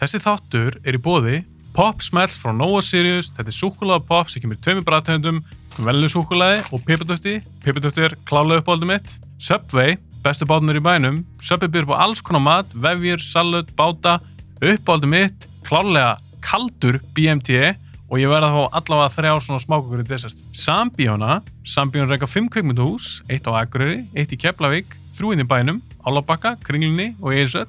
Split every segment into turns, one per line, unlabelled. Þessi þáttur er í bóði Pop Smells frá Nova Sirius, þetta er súkulega pop sem kemur í tveimur bræðtöndum, velinu súkulaði og pipadöfti, pipadöfti er klálega uppáldum mitt, Subway, bestu bátunar í bænum, Subway byrður på alls konar mat, vefjur, salut, báta, uppáldum mitt, klálega kaldur BMT og ég verða að fá allavega þrjá svona smákukur í desert. Sambíóna, Sambíón reyka fimm kveikmynduhús, eitt á Akureyri, eitt í Keflavík, þrjúinn í bænum, Álabakka, Kringlunni og Eirsöll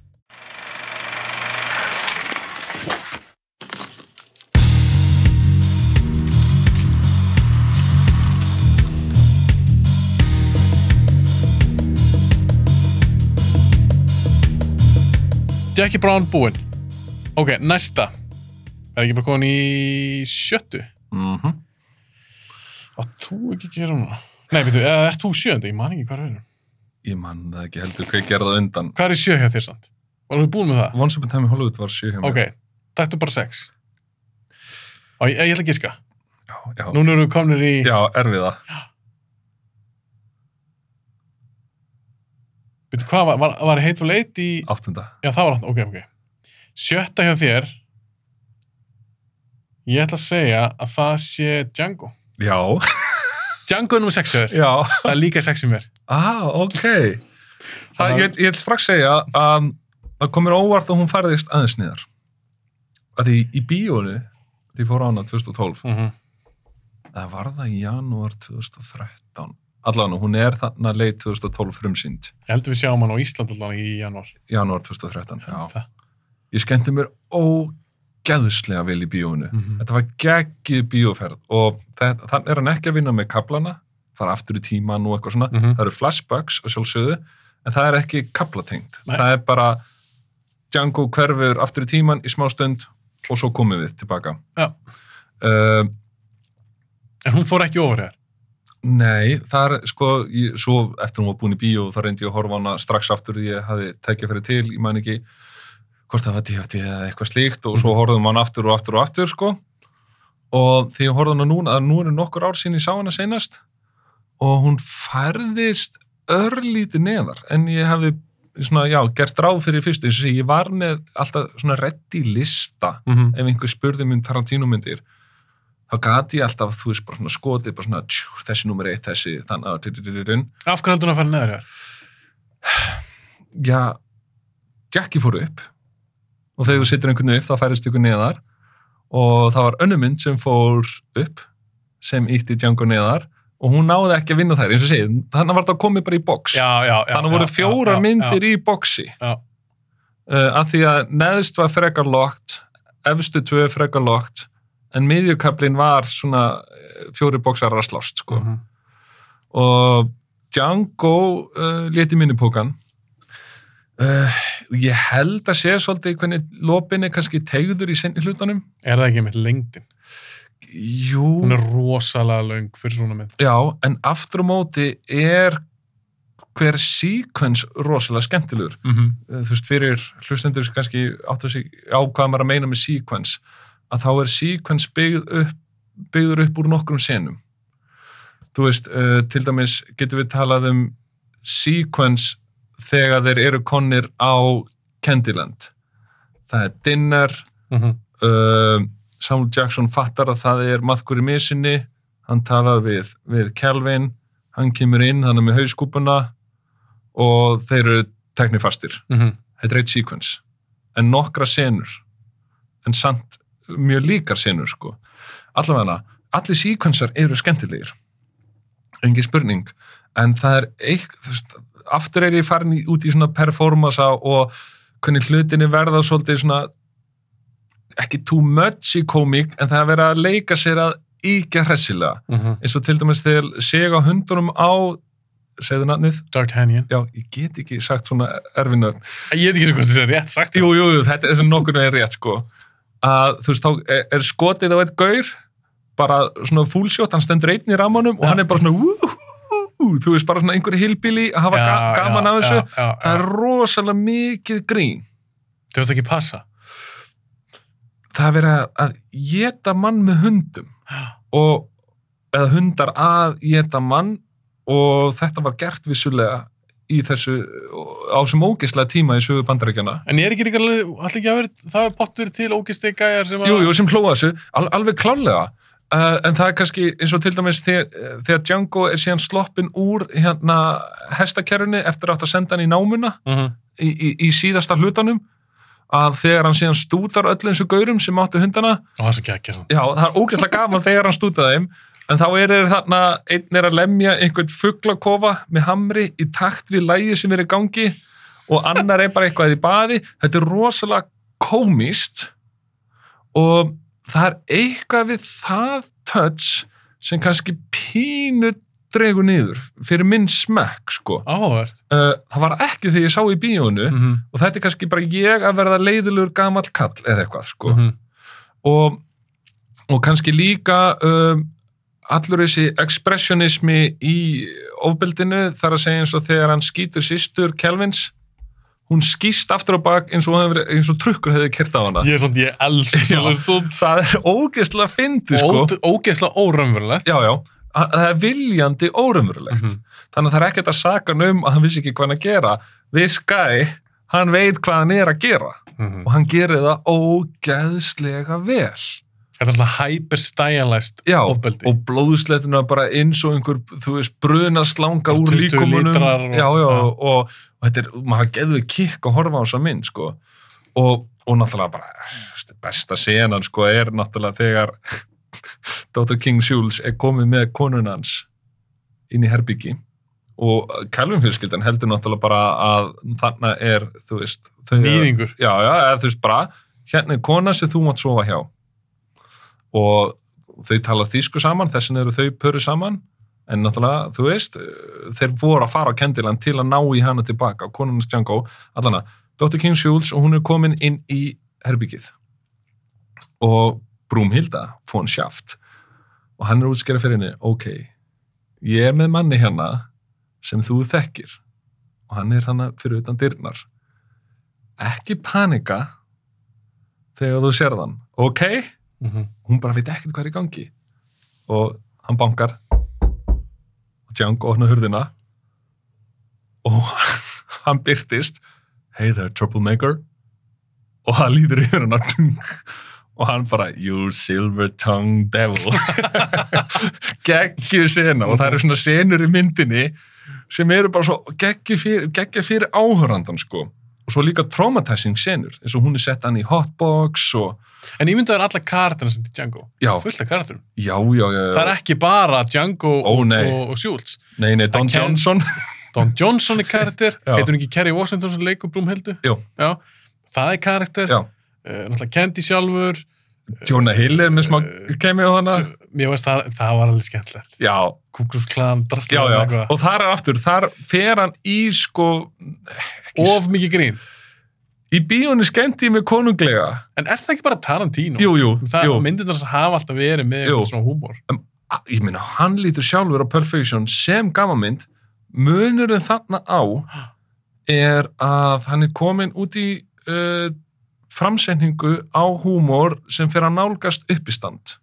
Jackie Brown búinn. Ok, næsta. Er ekki bara komin í sjöttu?
Mm
Að þú ekki gera núna? Nei, veitu, eða ert þú sjöndi? Ég man ekki hvað er verið.
Ég man það ekki heldur hvað ég gerði á undan.
Hvað er í sjö hjá þér samt? Varum við búin með það?
Once Upon a Time in Hollywood var sjö hjá mér.
Ok, dættu bara sex. Á, ég, ég ætla að gíska.
Já, já,
Núna erum við komnir í...
já erfiða.
Veitu, hvað var, var, var heit og leit í...
Áttunda.
Já, það var átt, ok, ok. Sjötta hjá þér. Ég ætla að segja að það sé Django.
Já.
Django er nummer sex hjá þér.
Já.
Það er líka sex í mér.
Ah, ok. Það, ég, ég vil strax segja að það komir óvart að hún færðist aðeins niðar. Að því í bíónu, því fór á hana 2012,
Mm -hmm.
það var það í janúar 2013. Allan, hún er þarna leið 2012 frumsýnd.
Ég heldur við sjáum hann á Ísland allan í janúar.
Janúar 2013, já.
Það-
Ég skemmti mér ógeðslega vel í bíónu.
Mhm.
Þetta var geggið bíóferð og það, þann er hann ekki að vinna með kaplana, það er aftur í tíman og eitthvað svona,
Mhm.
það eru flashbacks að sjálfsögðu, en það er ekki kaplatengt.
Nei.
Það er bara Django hverfur aftur í tíman í smá stund og svo komum við tilbaka.
Já.
Uh,
En hún fór ekki ofur þér.
nei, það er sko, ég, svo eftir hún var búin í bíó, það reyndi ég að horfa á hana strax aftur, ég hafði tekið fyrir til, ég man ekki hvort það var DVD eða eitthvað slíkt og svo horfðum hann aftur og aftur og aftur sko. og því ég horfði hana núna að nú eru nokkur ár sín ég sá hana seinast og hún færðist örlítið neðar en ég hefði svona, já, gert ráð fyrir í fyrstu eins og því ég var með alltaf svona reddi lista
Mm -hmm.
ef einhver spurði minn Tarantino myndir þá gati ég alltaf, þú veist, bara svona skotið bara svona, tjú, þessi nummer eitt, þessi þannig að, tjútjútjútjútjún,
Af hverju heldur hún að fara neður þér?
já Jackie fór upp og þegar þú sittur einhvern upp, þá færist ykkur neðar og það var önnur mynd sem fór upp, sem ítti Django neðar og hún náði ekki að vinna þær eins og segið, þannig var þetta komið bara í box
Já, já, já.
þannig voru
já,
fjóra
já, já,
myndir í boxi
Já.
uh, að því að neðst var frekar lokt efstu tvö frekar lokt en miðjukablin var svona eh, fjóri boxar að slást sko.
Mhm.
og Django uh, leti minni pókan uh, ég held að sé svolítið hvernig lopin er kannski tegður í senni hlutunum
Er það ekki með lengdin?
jú,
Hún er rosalega löng fyrir svona mynd.
já, en aftur á móti er hver sequence rosalega skemmtilegur
Mm -hmm.
eh, þú veist, fyrir hlustendur sem kannski áttu sig á hvað maður er að meina með sequence, að þá er sequence byggð upp, byggður upp úr nokkrum senum. Þú veist, uh, til dæmis getum við talað um sequence þegar þeir eru konir á Candyland. Það er dinner,
Mm -hmm.
uh, Samuel Jackson fattar að það er maðkur í misinni, hann talar við, við Kelvin, hann kemur inn, hann er með hauskúpuna og þeir eru teknifastir
Mm -hmm.
þetta er eitt sequence en nokkra senur en samt mjög líkar senur sko. allavega allir sequencer eru skemmtilegir engin spurning en það er eitt þú veist, aftur er ég farin í, út í svona performance og hvernig hlutinni verða svolítið svona ekki too much í komík en það er verið að leika sér að íkja hressilega
Mm -hmm.
eins og til dæmis þegar sega hundunum á segðu nafnið,
D'Artagnan.
já ég get ekki sagt svona erfinu
Ég veit ekki svo hvort það er rétt sagt.
Jú, jú, jú, þetta er sem nokkur er rétt sko að þú veist, þá er- er skotið á eitt gaur bara svona fúlsjótt, hann stendur einn í ramanum og
Ja.
hann er bara svona "Woohoo", þú veist bara svona einhver hilbili að hafa ga
Já,
gaman
já,
af þessu.
já, já,
Það er
já.
rosalega mikið grín.
Þú veist ekki passa
Það er verið að- að geta mann með hundum og eða hundar að geta mann og þetta var gert vissulega í þessu, á þessum ógislega tíma í sögu bandarækjana.
En ég er ekki líka alveg, allir ekki að vera, það er pottur til ógistig gæjar sem að...
Jú, jú, sem hlóða þessu, al alveg klálega. Uh, en það er kannski eins og til dæmis þegar, þegar Django er síðan sloppin úr hérna hestakerrunni eftir að átt að senda hann í námuna
Mhm.
í, í, í síðasta hlutanum að þegar hann síðan stútar öll eins og gaurum sem áttu hundana,
Ó, Það er svo gekkja svona.
já það er ógeðslega gaman þegar hann stútar þeim, en þá er þeir þarna, einn er að lemja einhvern fugglakofa með hamri í takt við lægi sem er í gangi og annar er bara eitthvað í baði, þetta er rosalega komist og það er eitthvað við það touch sem kannski pínu dregur niður fyrir minn smekk sko.
Áhugavert.
Uh, það var ekki þegar ég sá í bíónu
Mm -hmm.
og þetta er kannski bara ég að verða leiðilur gamall kall eða eitthvað sko.
mhm.
og, og kannski líka um, allur þessi expressionismi í ofbeldinu þar að segja eins og þegar hann skýtur sýstur Kelvins hún skýst aftur á bak eins og, hann hefur verið- eins og trukkur hefði kert á hana
Ég er svona, ég elska svona
Já.
stund.
það er ógeðslega fyndið sko.
Ód- Ógeðslega óraunverulegt.
já, já, að- það er viljandi órumverulegt
Mhm.
þannig að það er ekkert að saka hann um að hann vissi ekki hvað hann að gera this guy, hann veit hvað hann er að gera
Mhm.
og hann gerir það ógeðslega vel
Þetta er alltaf hyperstæjanlæst
Já,
ofbeldi.
og blóðslettina bara eins og einhver, þú veist, bruna slanga
Og
úr
20
líkumunum
lítrar og-
já, já,
já.
og, og þetta er, maður geður kikk að horfa á þessa mynd, sko og, og náttúrulega bara veist, besta senan, sko, er náttúrulega þegar Dr. King Jules er komið með konun hans inn í herbyggi og Calvin fjölskyldan heldur náttúrulega bara að þarna er, þú veist þau eru-
Nýðingur.
já, já, eða þú veist bara hérna er kona sem þú mátt sofa hjá og þau tala þýsku saman, þessin eru þau pöru saman en náttúrulega, þú veist eh, þeir voru að fara á kendilan til að ná í hana tilbaka, konunars Django allana, Dr. King Schultz og hún er komin inn í herbyggið og Brúmhilda von Schaft og hann er að útskýra fyrir henni, ok ég er með manni hérna sem þú þekkir og hann er hana fyrir utan dyrnar ekki panika þegar þú sér þann ok,
Mhm.
hún bara veit ekkert hvað er í gangi og hann bankar og Django opna hurðina og hann byrtist hey there troublemaker og hann líður yfir hann og hann bara you silver tongue devil geggju sena og það eru svona senur í myndinni sem eru bara svo geggja fyrir, geggja fyrir áhörandan sko og svo líka traumatizing senur eins og hún er sett hann í hotbox og
En ég myndi að það er alla karakterna sem til Django.
já,
Fullt af karakterum.
já, já, já, já.
Það er ekki bara Django
Ó,
og,
nei.
og, og Schultz.
nei, nei, Don
I can-
Johnson
Don Johnson er karakter.
Já.
Heitur hún ekki Kerry Washington sem leikur Brúmhildu?
Jú.
Já. Það er karakter.
Já.
Eh, náttúrulega Candy sjálfur.
Jonah Hill er með smá
Eh,
kemi á hana
Mér veist það, það var alveg skemmtilegt.
já,
Kúklús klan,
já,
drastlega
já, og þar er aftur þar fer hann í sko ekki,
Of mikið grín.
í bíónu skemmti ég mig konunglega
En er það ekki bara Tarantino?
jú, jú,
Það
jú
myndirnar sem hafa alltaf verið með
Jú.
eitthvað svona húmor.
A- ég meina, hann lítur sjálfur á Perfection sem gammamynd munurinn þarna á er að hann er komin út í uh, framsetningu á húmor sem fer að nálgast uppistand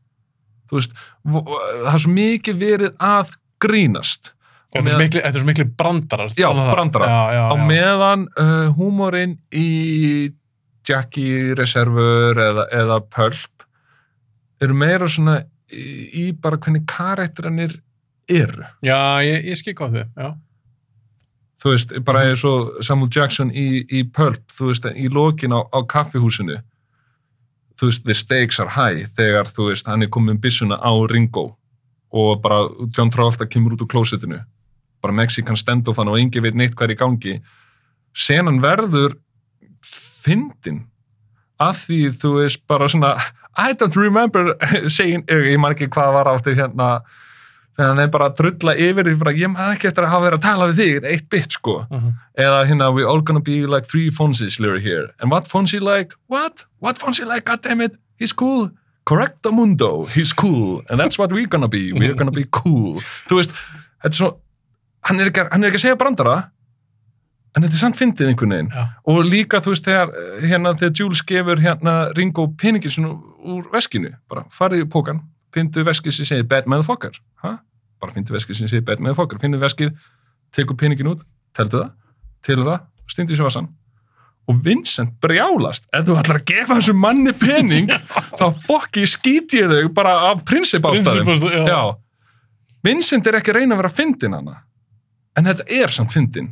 þú veist, vo- það er svo mikið verið að grínast
Þetta er
meðan-
svo miklu- þetta er svo miklu brandarar.
Já,
þannig að-
brandarar.
Já, já,
á
já.
meðan uh, húmorinn í Jackie Reserveur eða, eða Pulp eru meira svona í, í bara hvernig karakterannir eru
Já, ég, ég skil hvað þið. Já.
þú veist, bara eins og Samuel Jackson í, í Pulp, þú veist, í lokin á, á kaffihúsinu þú veist, the stakes are high þegar, þú veist, hann er komið um byssuna á Ringo og bara John Travolta kemur út úr klósitinu bara Mexikan standoff hann og engi veit neitt hvað er í gangi senan verður fyndin að því, þú veist, bara svona I don't remember saying, ég ég man ekki hvað var áttir hérna þegar hann er bara að drulla yfir því bara, ég man ekki eftir að hafa verið að tala við þig eitt bit sko, eða hérna we all gonna be like three Fonzies lyric here and what Fonzie like, what? what Fonzie like, goddammit, he's cool correcto mundo, he's cool and that's what we're gonna be, we're gonna be cool þú veist, þetta er svo hann er ekki, að- hann er ekki að segja brandara en þetta er samt fyndið einhvern veginn
Já.
og líka þú veist þegar eh, hérna þegar Jules gefur hérna Ringo peningin sinu úr veskinu bara farið í pókan, fyndu veskið sem segir bad motherfucker, ha? bara fyndu veskið sem segir bad motherfucker, fyndu veskið tekur peningin út, teldu það telur það, stundir í svasan og Vincent brjálast ef þú ætlar að gefa þessum manni pening þá fokki skýt ég þau bara af prinsip ástæðum
Prinsipast, já.
Já. Vincent er ekki að reyna að vera fyndin hana. En þetta er samt fyndin.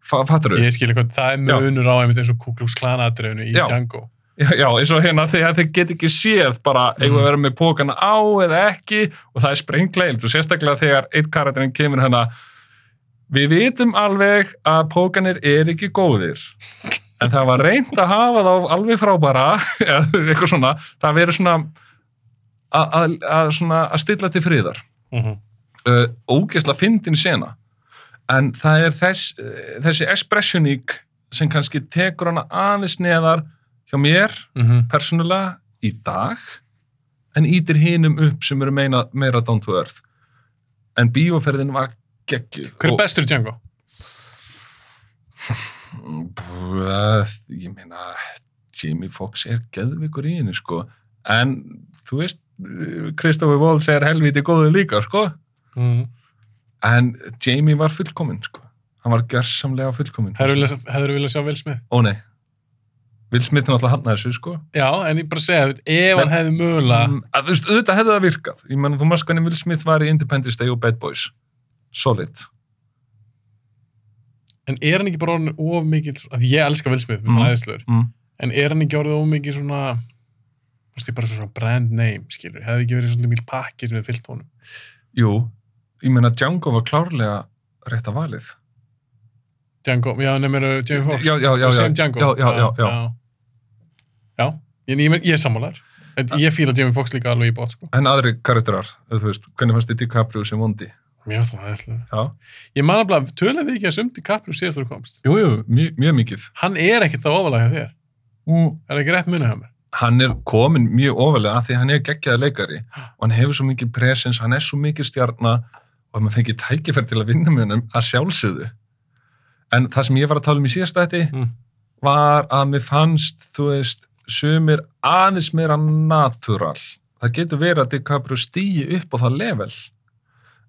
Fa- Fattar þú?
Ég skilja hvað, það er
Já.
munur á einmitt eins og Kuklúks klanadrefnu í
Já.
Django.
Já, eins og hérna þegar þeir get ekki séð bara eigum við að vera með pókana á eða ekki og það er sprengleild og sérstaklega þegar eitt karakterinn kemur hana við vitum alveg að pókanir er ekki góðir en það var reynd að hafa þá alveg frábara eða eitthvað svona, það verið svona að- að að svona að stilla til friðar
Mm
uh, ógeðslega fyndin sena en það er þess, uh, þessi expressioník sem kannski tekur hana aðeins neðar hjá mér
-hmm.
persónulega í dag en ítir hinum upp sem eru meina, meira down to earth en bíóferðin var geggjuð
Hver er
Og-
bestur í Django?
Böð, Mm, ég meina Jamie Foxx er geðvikur í henni sko en þú veist Kristoffer Waltz er helviti góður líka sko
Mm.
en Jamie var fullkominn sko. hann var gersamlega fullkominn
Hefur viljað sjá Will Smith?
ó nei Will Smith náttúrulega hann að þessu sko
Já, en ég bara segja, þú veist, ef hann hefði mögulega
Mm, að, þú veist, auðvitað hefði það virkað ég menn þú maður sko henni Will Smith var í Independence Day og Bad Boys solid
En er hann ekki bara orðin of mikið að ég elska Will Smith, mér
Mm.
finnst hann æðislegur
mm.
en er hann ekki orðið of mikið svona þú veist ég bara svona brand name, skilur hefði ekki verið svolítið mikil pakki sem við fyllt honum
jú, ég menna Django var klárlega rétt að valið
Django, já, nefnir uh, Jamie Foxx
já, já, já,
Og
já,
Sam Django
já, já, já, já.
já. Já, ég, ég, men- ég er sammálar en ég fíla Jamie Foxx líka alveg í bótt sko.
en aðri karakterar, þú veist, hvernig fannst þið DiCaprio sem vondi
mér finnst það æðislegur
já,
ég man að blá, tölum við ekki að sumti kaplu síðast þú komst
jú, jú, mjög, mjög mikið
hann er ekkert að ofalega hjá þér
mm.
er það ekki rétt munið hjá mér
hann er komin mjög ofalega að því hann er geggjaði leikari og hann hefur svo mikið presens, hann er svo mikið stjarna og ef maður fengið tækifæri til að vinna með hann að sjálfsögðu en það sem ég var að tala um í síðasta þetta
Mm.
var að mér fannst þú veist, sumir aðeins meira natural það getur verið að DiCaprio stýi upp á það level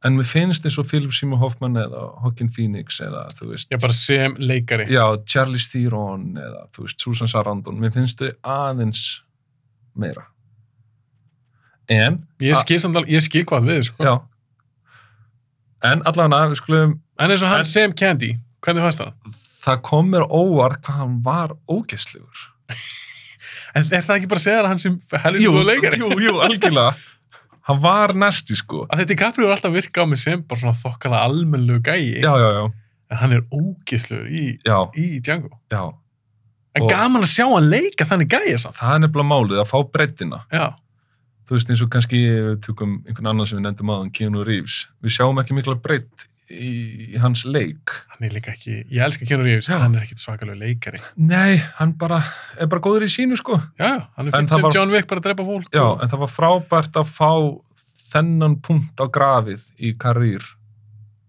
en mér finnst eins og Philip Seymour Hoffman eða Hawking Phoenix eða þú veist
ég bara sem leikari
já, Charlize Theron eða þú veist, Susan Sarandon, mér finnst þau aðeins meira en
ég skil, samt alveg- ég skil hvað við sko.
já en allavega, við skulum
En eins og hann
En-
Sam Candy, hvernig fannst það?
það kom mér óvart hvað hann var ógeðslegur
En er það ekki bara að segja að hann sem helviti góð leikari?
jú, jú, algjörlega hann var næsti sko
Að þetta Gabriel er alltaf að virka á mig sem bara svona þokkala almennlegu gæi,
já, já, já,
en hann er ógislegur í,
já,
í Django.
já
En
Og-
gaman að sjá hann leika þannig gæi samt.
það er nefnilega málið að fá breyttina
Já,
þú veist eins og kannski ef við tökum einhvern annan sem við nefndum aðan, Keanu Reeves við sjáum ekki mikla breytt í, í hans leik
hann er líka ekki, ég elska Keanu Reeves,
Já.
en hann er ekkit svakalegu leikari.
Nei, hann bara, er bara góður í sínu sko.
Já, já, hann er
En
fyrir
það
sem
var-
John Wick bara að drepa fólk.
Já,
og-
en það var frábært að fá þennan punkt á grafið í karýr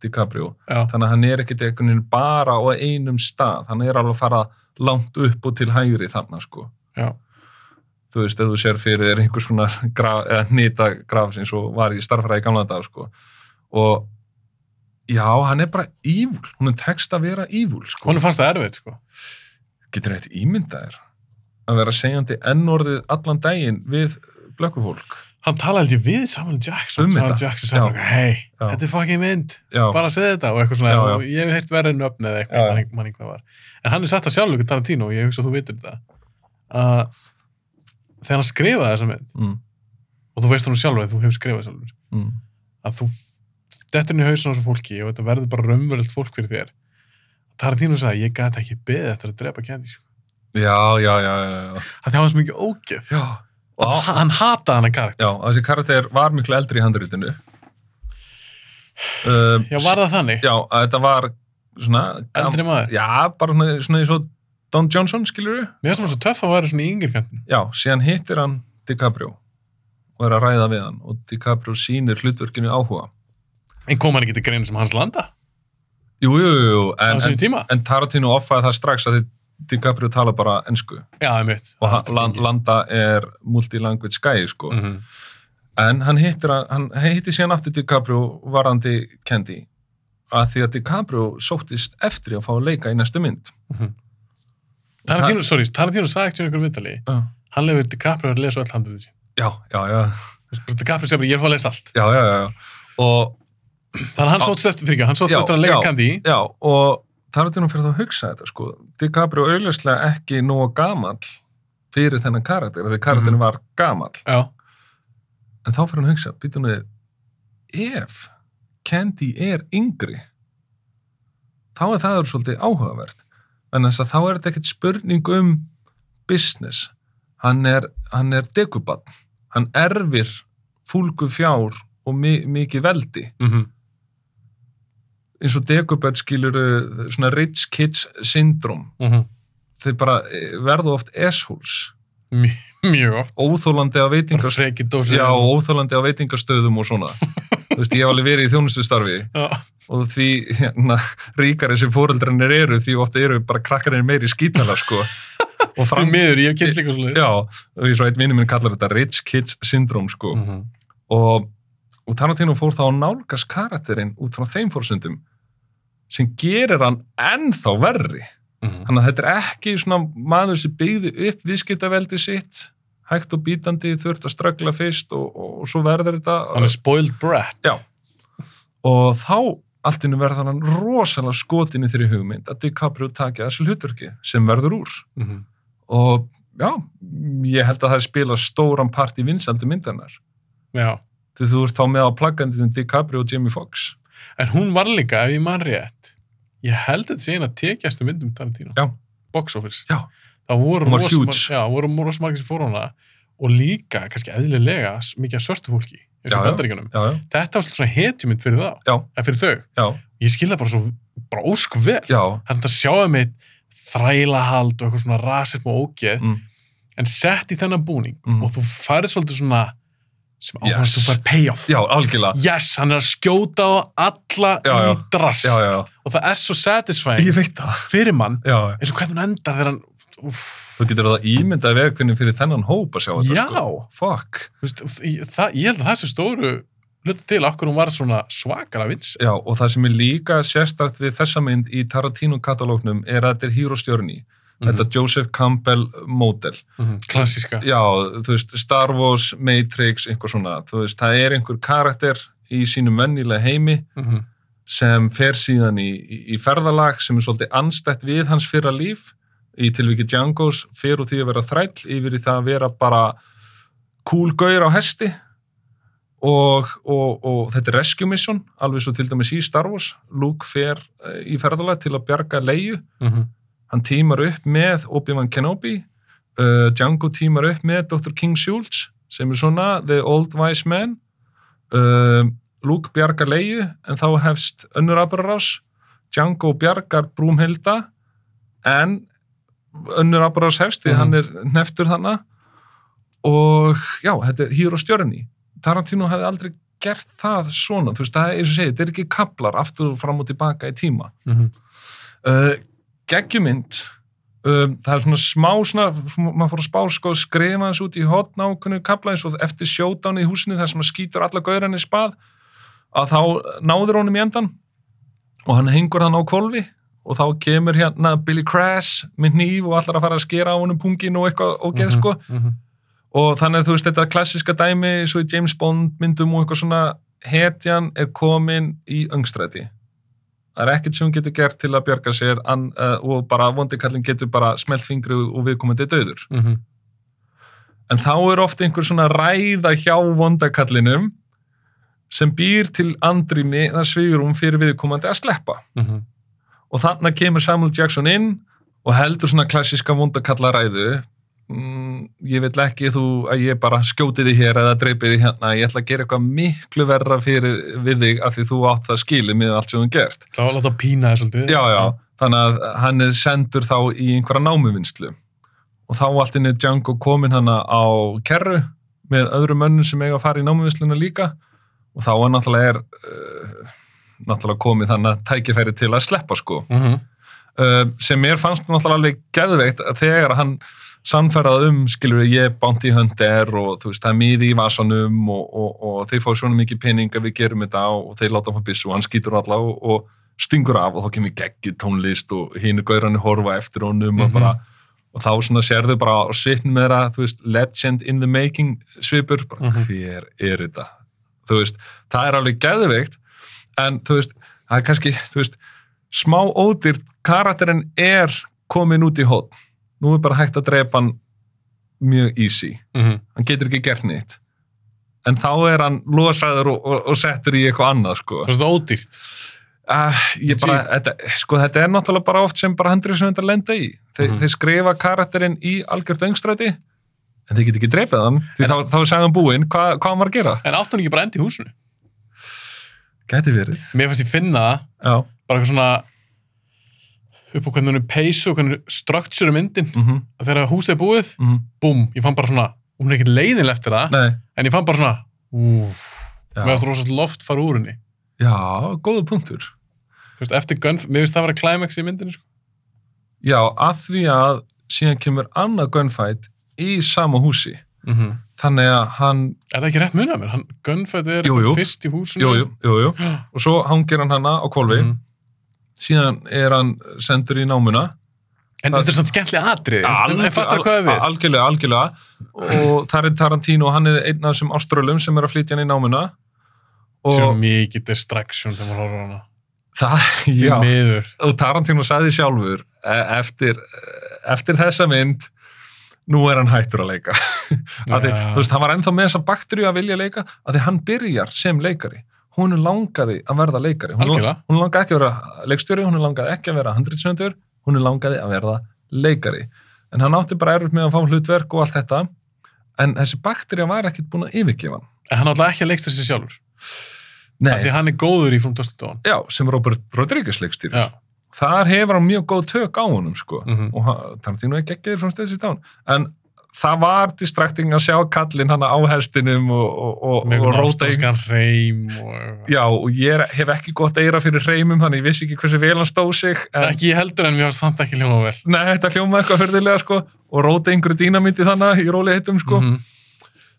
DiCaprio.
já.
Þannig að hann er ekkit einhvern veginn bara á einum stað. Hann er alveg að fara langt upp og til hægri þarna sko.
Já.
Þú veist, ef þú sér fyrir þér einhvers svona graf, eða nýta graf sem svo var í starfræði í gamla dag sko. Og já, hann er bara ívul. Hún er text að vera ívul sko.
Honum fannst það erfitt, sko.
getur þetta ímyndaðir að vera segjandi ennorðið allan daginn við blökkufólk
Hann talaði held ég við Samuel Jackson.
Um
Samuel
þetta.
Jackson
Já.
sagði bara, hei,
Já.
þetta er fucking mynd.
já,
bara að segja þetta og eitthvað svona
Já, já.
og ég hef heyrt verið nöfn eða
Já, já.
eitthvað, mann, mann hvað var en hann er satt að sjálfur ykkur Tarantino og ég hugsa að þú vitur þetta að þegar hann skrifaði þessa mynd
mm,
og þú veist hann sjálfur að þú hefur skrifað sjálfur
mm,
að þú dettur inn í hausin á þessu fólki og þetta verður bara raunveröld fólk fyrir þér Tarantino sagði ég gæti ekki beðið eftir að drepa Candy sko.
já, já, já, já, já.
að það var svo mikið ógef
já. Og, á-
hann hataði hann að karakter
já, og þessi karakter var miklu eldri í handrýtinu um,
já var það þannig,
já, að þetta var svona
eldri maður
já, bara svona, svona eins og Don Johnson skilur við
mér finnst það svo töff að vera svona í yngri kantin
já, síðan hittir hann DiCaprio og er að ræða við hann og DiCaprio sýnir hlutverkinu áhuga
en kom hann ekki til greina sem hans landa
Jú, jú, jú, jú,
á
en,
sínum
en,
tíma.
en Tarantino offaði það strax að þið DiCaprio tala bara ennsku
Já, einmitt.
og hann, land, landa er multilanguage guy, sko.
Mhm.
En hann hittir, að- hann hittir síðan aftur DiCaprio varandi Candy að því að DiCaprio sóttist eftir að fá að leika í næstu mynd.
Tarantino, sorry, Tarantino sagði ekki um einhverjum viðtali.
Já,
Hann lefur DiCaprio að lesa öll handrið þessi.
já, já, já,
DiCaprio sem ég er að fá að lesa allt.
já, já, já. Og,
Þannig að hann sóttist eftir, fyrir ekki, hann sóttist
Já,
eftir að leika
já.
kandi í.
já, og Tarantino fyrir þá að hugsa þetta, sko. DiCaprio auðvitað ekki nógu gamall fyrir þennan karakter, af því karakterin
Mhm.
var gamall.
Já,
En þá fyrir hann að hugsa, býtum við, ef Candy er yngri, þá er það er svolítið áhugavert. En þess að þá er þetta ekkert spurning um business. Hann er, hann er dekubann. Hann erfir fúlgu fjár og mi mikið veldi.
mhm,
Eins og dekubann skilur uh, svona rich kids syndrom.
mhm.
Þeir bara eh, verða oft assholes.
Mj- Mjög oft.
Óþólandi á
Bara
veitingastöðum.
freki dósir.
Já, óþólandi á veitingastöðum og svona. Þú veist, ég hef alveg verið í þjónustustarfi.
Já.
og því hérna, ríkari sem fóreldrarnir eru því ofta eru bara krakkarnir meiri skítala sko. og
Fram
fram
miður, ég hef kynst líka svolítið.
já, og eins og einn vinnum minn kallar þetta rich kids syndrome
Mm.
sko.
Mhm.
og, og Tarantino fór þá að nálgast karakterinn út frá þeim fórsöndum sem gerir hann ennþá verri þannig að þetta er ekki svona maður sem byggði upp viðskiptaveldi sitt hægt og bítandi, þurft að ströggla fyrst og, og, og svo verður þetta
Hann er spoiled brat.
Já. og þá allt innu verður hann rosalega skotin í þeirri hugmynd að DiCaprio takja þessu hlutverki sem verður úr
Mhm.
og já, ég held að það spila stóran part í vinsaldi myndarinnar
Já.
því þú ert þá með á plaggandinu DiCaprio og Jamie Foxx
En hún var líka, ef ég man rétt, ég held að þetta sé eina tekjastu myndum Tarantino.
Já.
Box office.
Já.
Það voru
Hún var
rosa
huge.
mar- Já, voru rosa margir sem fóru á hana og líka, kannski eðlilega, s- mikið af svörtu fólki. eins og
Já, já.
Bandaríkjunum.
já, já,
Þetta var svolítið svona hetjumynd fyrir þá.
Já.
Eða fyrir þau.
já,
Ég skil það bara svo bara ósk vel.
já,
Það er þetta að sjáum meitt þrælahald og eitthvað svona rasism og ógeð
mm,
en sett í þennan búning
Mhm.
og þú færið svolítið svona sem áhans
Yes.
yes. þú færið payoff
já, algjörlega
yes, hann er að skjóta á alla
Já, já.
í drast
já, já, já,
og það er svo satisfying
ég veit það
fyrir mann
já, já.
eins og hvernig hún endar þegar hann úf,
þú getur það ímyndað vegvinni fyrir þennan hóp að sjá þetta
já,
sko fuck,
þú veist, ég- það, ég held að það sem stóru hluti til okkur hún var svona svakara vins
já, og það sem er líka sérstakt við þessa mynd í Tarantino-katalógnum er að þetta er hýrostjörni þetta Joseph Campbell módel
Mhm, klassíska
já, þú veist, Star Wars, Matrix einhver svona, þú veist, það er einhver karakter í sínum vennilega heimi
Mhm.
sem fer síðan í, í, í ferðalag sem er svolítið anstætt við hans fyrra líf í tilviki Django's fer úr því að vera þræll yfir í það að vera bara kúlgauður á hesti og, og, og þetta er rescue mission alveg svo til dæmis í Star Wars Luke fer eh, í ferðalag til að bjarga leiðu
Mhm.
hann tímar upp með Obi-Wan Kenobi uh, Django tímar upp með Dr. King Schultz sem er svona The Old Wise Man uh, Luke bjargar leiðu en þá hefst önnur abrarás Django bjargar Brúmhilda en önnur abrarás hefst því
Mhm.
hann er neftur þannig og já, þetta er hýr og stjörni Tarantino hefði aldrei gert það svona, þú veist, það er eins og segið, þetta er ekki kaplar aftur og fram og tilbaka í tíma
Mhm.
uh, geggjumynd um, það er svona smá svona, f- maður fór að spá sko, skrifa hans út í hotn á kunnu kapla eins og eftir sjódán í húsinu þar sem maður skýtur alla gaurann í spað að þá náður honum í endan og hann hengur hann á kvolfi og þá kemur hérna Billy Crash með nýf og allar að fara að skera á honum pungin og eitthvað og geð sko
Mhm.
og þannig að þú veist þetta klassiska dæmi svo í James Bond myndum og eitthvað svona hetjan er komin í öngstræti það er ekkert sem hún getur gert til að bjarga sér an, uh, og bara vondikallin getur bara smelt fingri og viðkomandi er döður
Mhm.
en þá er ofta einhver svona ræða hjá vondakallinum sem býr til andrými það svigurum fyrir viðkomandi að sleppa
Mhm.
og þarna kemur Samuel Jackson inn og heldur svona klassíska vondakallaræðu mm, ég vil ekki þú að ég bara skjóti þig hér eða dreipi þig hérna, ég ætla að gera eitthvað miklu verra fyrir við þig af því þú átt það skilið með allt sem þú hefur gert
Það var að láta pína þér svolítið
já, já, þannig að hann er sendur þá í einhverja námuvinnslu og þá allt inn er Django komin hana á kerru með öðrum mönnum sem eiga að fara í námuvinnsluna líka og þá er náttúrulega er uh, náttúrulega komið þannig að tækifæri til að sleppa sko.
Mm -hmm.
uh, sem mér fannst náttúrulega alveg geðveikt að þegar hann sannferðað um, skilur við, ég bánti í hönder og þú veist, það er miði í vasanum og, og, og þeir fá svona mikið pening að við gerum þetta og, og þeir láta hann byssu og hann skýtur alla og, og stingur af og þá kemur geggi tónlist og hínu gaurani horfa eftir honum og
Mhm.
bara og þá svona sérðu bara á svipnum þeirra, þú veist, legend in the making svipur, bara
Mhm.
hver er þetta? Þú veist, það er alveg geðveikt en þú veist, það er kannski, þú veist, smá ódýrt karakterinn er komin út í hótt nú er bara hægt að drepa hann mjög easy
mhm.
hann getur ekki gert neitt en þá er hann losaður og, og, og settur í eitthvað annað sko.
Fannst það ódýrt?
uh, ég bara, þetta, sko þetta er náttúrulega bara oft sem bara handrið sem þetta lenda í Þe,
Mhm.
þeir skrifa karakterinn í algjört öngstræti en þeir getur ekki dreipið hann því
En-
þá, þá er sagðan búinn hvað, hvað hann var að gera
En átti hún ekki bara endi í húsinu?
gæti verið
Mér fannst ég finna það,
já,
bara eitthvað svona upp á hvernig hún er peysu og hvernig struktúru myndin
mm -hmm,
að þegar húsið er búið, búm, ég fann bara svona hún er ekkert leiðin eftir það,
mhm. nei
en ég fann bara svona úf, mér
já,
fannst rosast loft fara úr henni
já, góðu punktur
Þú veist, eftir Gunf, mér finnst það að vera climax í myndinu sko.
já, að því að síðan kemur annað gunfight í sama húsi Mhm. þannig að hann
er það ekki rétt munið að mér, hann Gunfett er
Jú, jú.
fyrst í húsinu
Jú, jú, jú, jú. Og svo hangir hann hana á kvolfi,
Mhm.
síðan er hann sendur í námuna.
en
Það-
þetta er svona skemmtilega atrið en fattar hvað er
al-
við
algjörlega, algjörlega. Og þar er Tarantino, hann er einn af þessum áströlum sem er að flytja hann í námuna. Og
sem er mikið distraction þegar maður horfir á hana
það,
því
já,
miður
og Tarantino sagði sjálfur e- eftir, e, eftir þessa mynd, nú er hann hættur að leika. Af því,
Ja.
þú veist, hann var ennþá með þessa bakteríu að vilja leika, að því hann byrjar sem leikari. Hún langaði að verða leikari. Hún,
algjörlega,
hún langaði ekki að vera leikstjóri, hún langaði ekki að vera handritsöndur, hún langaði að verða leikari. En hann átti bara erfitt með að fá hlutverk og allt þetta, en þessi bakterja var ekkit búin að yfirgefa hann.
en hann alltaf ekki að leiksta sér sjálfur
Nei,
af því hann er góður í From Dust to Dawn
já, sem Robert Rodriguez leikstýrir.
já,
Þar hefur hann mjög góð tök á honum, sko.
mhm.
Og hann- Tarantino er geggjður frá stöðsins dán. En það var distracting að sjá kallinn hann á hestinum og, og,
með
og, og
einhvern
róta í
ástæðskan reym og...
Já, og ég er, hef ekki gott eira fyrir hreimum, þannig ég vissi ekki hversu vel hann stóð sig. En,
ekki ég heldur en mér var samt ekki hljóma vel
Nei, þetta hljóma eitthvað hörðilega sko og róta einhverju dýnamíti þannig í róli hittum sko.
Mhm.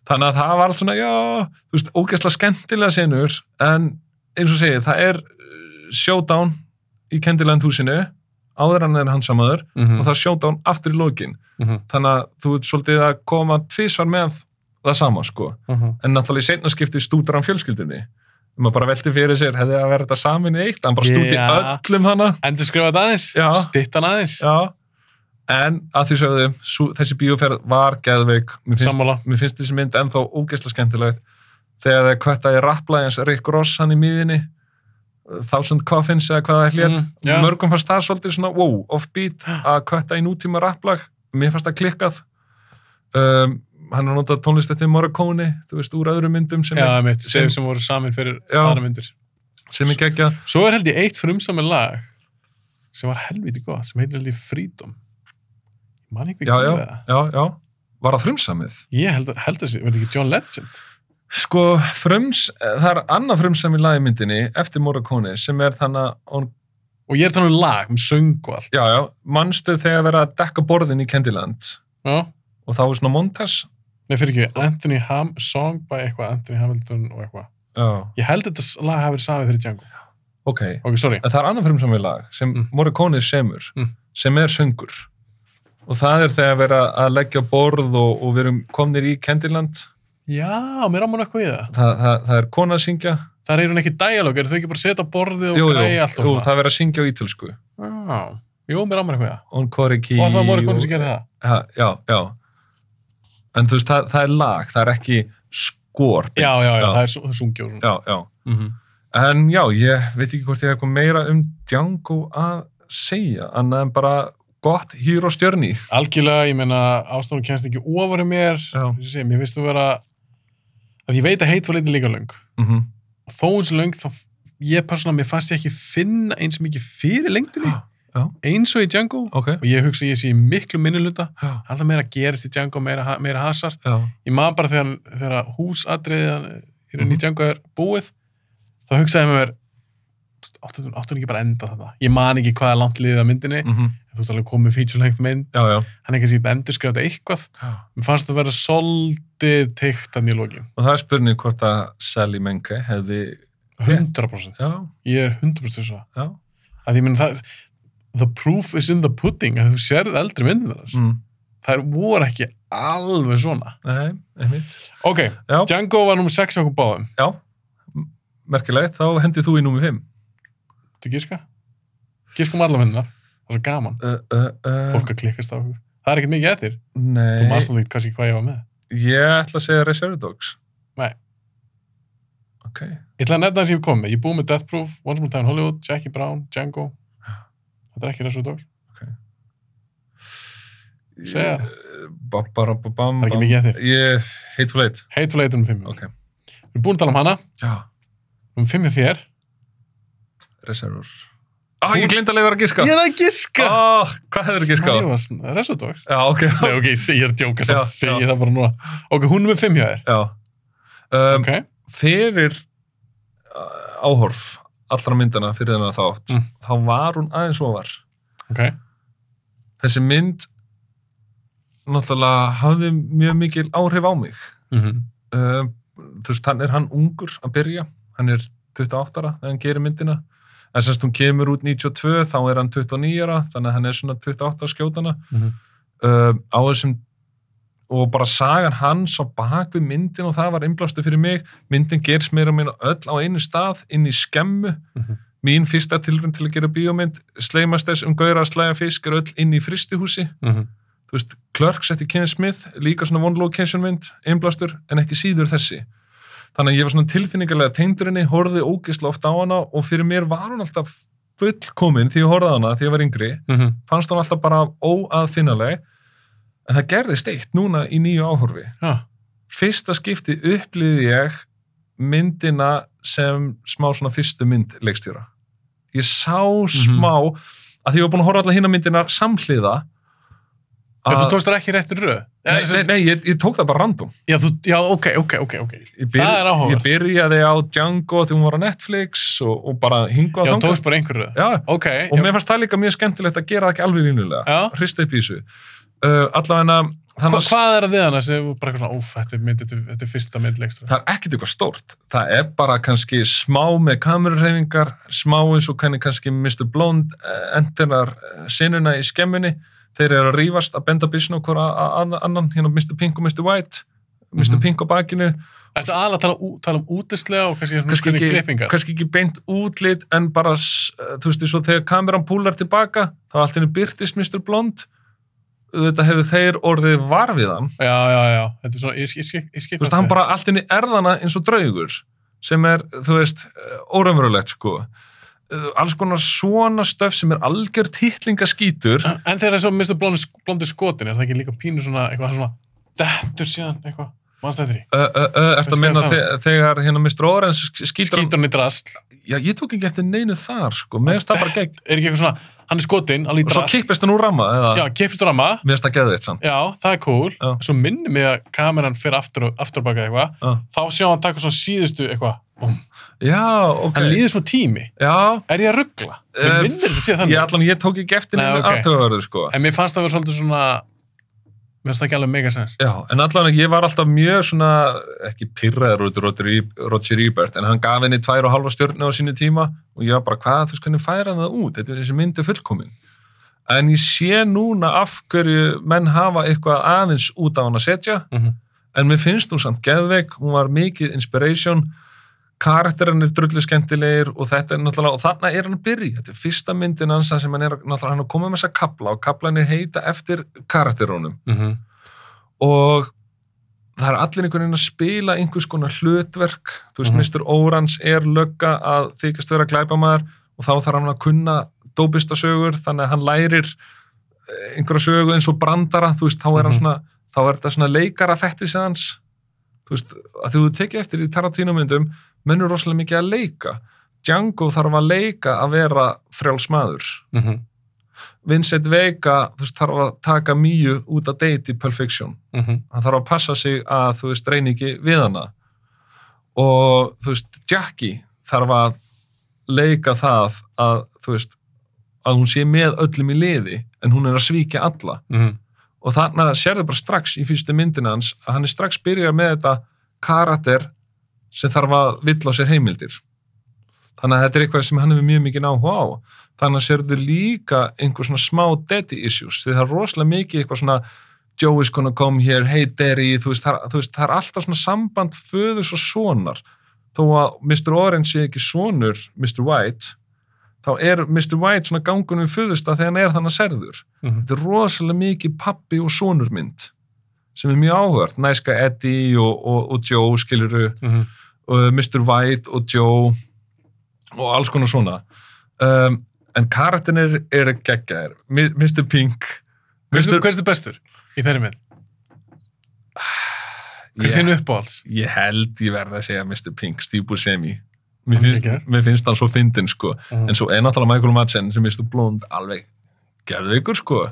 Þannig að það var allt svona, já, þú veist, ógæsla skemmtilega senur en eins og segir, það er uh, showdown í Candyland húsinu áður hann er hans samaður
Mhm.
og það er showdown aftur í lokin.
Mhm.
Þannig að þú ert svolítið að koma tvisvar með það sama sko.
Mhm.
En náttúrulega í seinna skipti stútur hann fjölskyldinni. Maður bara velti fyrir sér, hefði að vera þetta samin í eitt, hann bara stúti
Já.
öllum hana.
endur skrifa þetta aðeins,
Já.
stittan aðeins
Já, en að því sögðu, sú, þessi bíóferð var geðveik. Mér finnst,
Sammála.
Mér finnst þessi mynd ennþá ógeðslega skemmtilegt. Þegar það kvættaði rapplaðins Rick Ross hann í miðinni, Thousand Coffins eða hvað það hlét.
Mm, já.
Mörgum fannst það svolítið svona, wow, offbeat að kvætta í nútíma rapplag. Mér fannst það klikkað. Um, hann er notað tónlist eftir Morricone, þú veist, úr öðrum myndum sem,
Já,
er,
mitt, stef
sem-
sem voru samin fyrir
Já.
aðra myndir.
sem er geggjað.
Svo er held ég eitt frumsamið lag sem var helviti gott, sem heitir held ég Freedom. Ég man ekki
Já,
hvað
já,
það.
já, já. Var það frumsamið?
Ég held, held þessi, verði ekki John Legend?
Sko, frums, það er annað frumsam í lagmyndinni eftir Morricone sem er þannig að, on-
Og ég er þannig um lag, um söng og allt.
já, já, mannstu þegar verið að dekka borðin í Candyland
Já.
og þá er svona montas.
Nei, fyrir ekki, Anthony Ham, song by eitthvað, Anthony Hamilton og eitthvað.
Já,
Ég held þetta s- lag hafi verið samið fyrir Django.
ok.
Ok, sorry.
En það er annað frumsam í lag sem
Mm.
Morricone semur,
Mm.
sem er söngur. Og það er þegar verið að leggja á borð og, og við erum komnir í Candyland.
Já, mér ámur eitthvað í það.
Það, það, það er kona að syngja.
Það er hún ekki dialog, eru þau ekki bara að setja á borðið og
Jú, jú,
græja allt og
jú,
svona?
það verið að syngja á ítölsku.
Já, jú, mér ámur eitthvað í það.
On Koriki.
Og það voru konið sem gerði það.
Ha, já, já. En þú veist, það, það er lag, það er ekki skor. beint.
Já, já, já, það er su- það er sungið og svona.
já, já. En já, ég veit ekki hvort ég hef eitthvað meira um Django að segja, annað en bara gott hýr og stjörni.
algjörlega, ég meina ástofnum kennst ekki ofar í mér
Já.
Ég sé, mér finnst þú vera að ég veit að heit var leiti líka löng
Mm -hmm.
og þó eins löng þá ég persónulega, mér fannst ég ekki finna eins mikið fyrir lengdinni
Já.
eins og í Django
Ok.
og ég hugsa að ég sé í miklu minnuluta
Já,
alltaf meira gerist í Django, meira, ha- meira hasar
já,
ég maður bara þegar, þegar húsadriðan í rauninni
Mhm.
í Django er búið þá hugsaði ég með mér áttu hann ekki bara að enda þetta ég man ekki hvað er langt liðið að myndinni
Mm
þú veist alveg komið feature length mynd
Já, já.
hann er kannski að endur skrifa þetta eitthvað mér fannst það að vera soldið teikt að mjög loki
Og það er spurning hvort að Sally Menke hefði...
100%
Já,
ég er 100% þess að
já.
að ég meina það the proof is in the pudding að þú sérð eldri myndin þess
Mm.
þær voru ekki alveg svona
Nei, einmitt.
ok,
Já,
Django var nummer 6 okkur báðum
já. M- Merkilegt, þá hendið þú í númi 5.
þú giska? giskum alla myndina það er svo gaman
Uh, uh, uh,
fólk að klikkast á okkur það er ekkert mikið eftir
Nei.
þú maður snáðið kannski hvað ég var með
Ég ætla að segja Reserve Dogs.
Nei.
Ok.
ég ætla að nefna það sem ég kom með ég er búið með Death Proof, Once More Time in Hollywood, Jackie Brown, Django þetta er ekki Reservoir Dogs Segja.
Babbarababam.
Það er ekki mikið eftir.
Ég, Hateful Eight.
Hateful Eight er um 5
Ok.
við erum búin að tala um hana
Já,
um 5 er þér
Reserve. Á, ég glinda að leiða að giska.
er að giska
Á, hvað hefur ekki skáð?
Reservoir Dogs
Já, ok.
Nei, ok, ég segi- ég er að djóka samt,
Já,
segi
já.
það bara núna ok, hún er með 5 hjá þér
Já. Um,
ok,
fyrir uh, áhorf allra myndana fyrir þennan þátt
Mm.
þá var hún aðeins ofar
ok,
þessi mynd náttúrulega hafði mjög mikil áhrif á mig
mhm,
uh, þú veist, hann er hann ungur að byrja hann er 28 ára þegar hann gerir myndina en semst hún kemur út 92 þá er hann 29 ára þannig að hann er svona 28 að skjótana
mhm
uh, á þessum og bara sagan hans á bak við myndin og það var innblastu fyrir mig myndin gerst meira og minna öll á einu stað inn í skemmu
Mhm.
mín fyrsta tilrönd til að gera bíómynd sleimast þess um gauðra að slæja fisk er öll inn í fristihúsi
mhm,
þú veist, Clerks eftir Ken Smith líka svona one location mynd, innblastur en ekki síður þessi þannig að ég var svona tilfinningarlega tengdur henni horfði ógisla oft á hana og fyrir mér var hún alltaf fullkomin því ég horfði á hana því ég var yngri
mhm
fannst hann alltaf bara óaðfinnaleg en það gerðist eitt núna í nýju áhorfi
Já,
fyrsta skipti upplýði ég myndina sem smá svona fyrstu mynd leikstjóra ég sá smá að því ég var búin að horfa alla hina myndina samhliða
Ef þú
að,
tókst það ekki rétt röð
Ah.
Eh,
nei, nei, nei, ég, ég tók það bara random
Já, þú, já, ok, ok, ok, ok
ég,
Það er áhugavert.
ég byrjaði á Django þegar hún var á Netflix og, og bara hingað
Já, tókst bara einhver röð
já,
Ok,
og
já,
mér fannst það líka mjög skemmtilegt að gera það ekki alveg línulega
já
hrista upp í þessu uh, allavega
Hva,
þannig að
Hvað er að við hana sem þú bara eitthvað svona, óf, þetta er, mynd, þetta, er- þetta er fyrsta mynd leikstra
það er ekkert eitthvað stórt það er bara kannski smá með kamerurreifingar smá eins og kanni kannski Mr. Blonde uh, endurar uh, sinuna í skemmunni þeir eru að rífast að benda byssun okkur annan hérna Mr. Pink og Mr. White Mr.
Mhm.
Pink á bakinu
Ertu aðalega að tala, ú- tala um útistlega og kannski, kannski
kannski
ekki,
ekki,
klippingar?
kannski ekki beint útlit en bara, s- eh, þú veist, eins og þegar kameran púlar tilbaka, þá allt henni byrtist Mr. Blonde þetta hefur þeir orðið var við hann
Já, já, já, þetta er svona, ég, ég, ég, ég skip
þú veist, hann bara allt inn í erðana eins og draugur sem er, þú veist, óraumverulegt sko Uh, alls konar svona stöf sem er algjör titlingaskítur
En þegar svo Mr. Blonde, Blonde skotin, er það ekki líka pínu svona, eitthvað hann svona dettur síðan, eitthvað, mannst þetta í
uh, uh, uh, eftir
Veistu
að minna
hvað það
þe- þegar hérna Mr. Orange sk- skýtur hann
Skítur hann í drasl
já, ég tók ekki eftir neinu þar sko, mér finnst það bara gegn
Er ekki eitthvað svona, hann er skotin, alveg í
og svo
drasl
kippist hann úr ramma eða,
Já, kippist rama
mér finnst það geðveitt samt
Já, það er cool
Já.
Svo minnir mig að kameran fyrir aftur, aftur baka eitthvað
Já.
Þá sjá hann taka svona síðustu eitthvað Búm.
já, ok
Hann líður svona tími
já,
Er ég að ruggla?
Eh,
Mér minnir þetta sé þannig
ég, allan, ég tók ekki eftir
Nei, ok.
neinu okay. aðtöðverðu sko
En mér fannst það vera svolítið svona Mér finnst það ekki alveg mega sens
Já, en allan ég var alltaf mjög svona, ekki pyrraður út í Roger E- Roger Ebert, en hann gaf henni tvær og halva stjórnu á sínu tíma og ég var bara, hvað, þú veist, hvernig færa hann það út? Þetta er þessi myndi fullkomin. En ég sé núna af hverju menn hafa eitthvað aðeins út á hann að setja,
Mhm.
en mér finnst hún samt geðveik, hún var mikið inspiration, karakterinn er drullu skemmtilegir og þetta er náttúrulega, og þarna er hann að byrja, þetta er fyrsta myndin hans þar sem hann er, að- náttúrulega hann er að koma með þessa kapla og kaplan er heita eftir karakterunum
mm -hmm.
og það er allir einhvern veginn að spila einhvers konar hlutverk þú veist,
Mhm.
Mr. Orans er lögga að þykast vera glæpamaður og þá þarf hann að kunna dópistasögur þannig að hann lærir eh, einhverja sögu eins og brandara þú veist, þá er hann
Mhm.
svona þá er þetta svona leikara fættis hans þú veist, að því þú tekið eftir í Tarantino myndum mennur rosalega mikið að leika Django þarf að leika að vera frjálsmaður
Mm -hmm.
Vincent Vega þú veist, þarf að taka mýju út að date í Pulp Fiction
Mm -hmm.
hann þarf að passa sig að þú veist reyni ekki við hana og þú veist Jackie þarf að leika það að, þú veist, að hún sé með öllum í liði, en hún er að svíkja alla.
Mhm.
Og þarna sérðu bara strax í fyrstu myndina hans að hann er strax byrjað með þetta karakter sem þarf að vill á sér heimildir. Þannig að þetta er eitthvað sem hann hefur mjög mikið áhuga á. Þannig að sérðu líka einhver svona smá daddy issues. Því það er rosalega mikið eitthvað svona Joey's gonna come here, hey daddy, þú veist, það, þú veist, það er alltaf svona samband föðus og sonar. Þó að Mr. Orange sé ekki sonur Mr. White, þá er Mr. White svona gangunum föðust að þegar hann er þannig að sérður
Mhm.
þetta er rosalega mikið pappi og sonurmynd sem er mjög áhört, næska Eddie og, og, og Joe skiluru,
Mhm.
uh, Mr. White og Joe og alls konar svona um, en karatinir eru geggjaðir Mi- Mr. Pink
Hversu- Hver er þetta bestur í þeirri mynd? Hver er
ég,
þinn uppáhalds?
ég held ég verði að segja Mr. Pink, Steve Buscemi
Hann
mér
er
finnst,
geggjaður.
mér finnst hann svo fyndin sko
Mhm.
en svo er náttúrulega Michael Madsen sem mistu blónd alveg gerðveikur sko uh,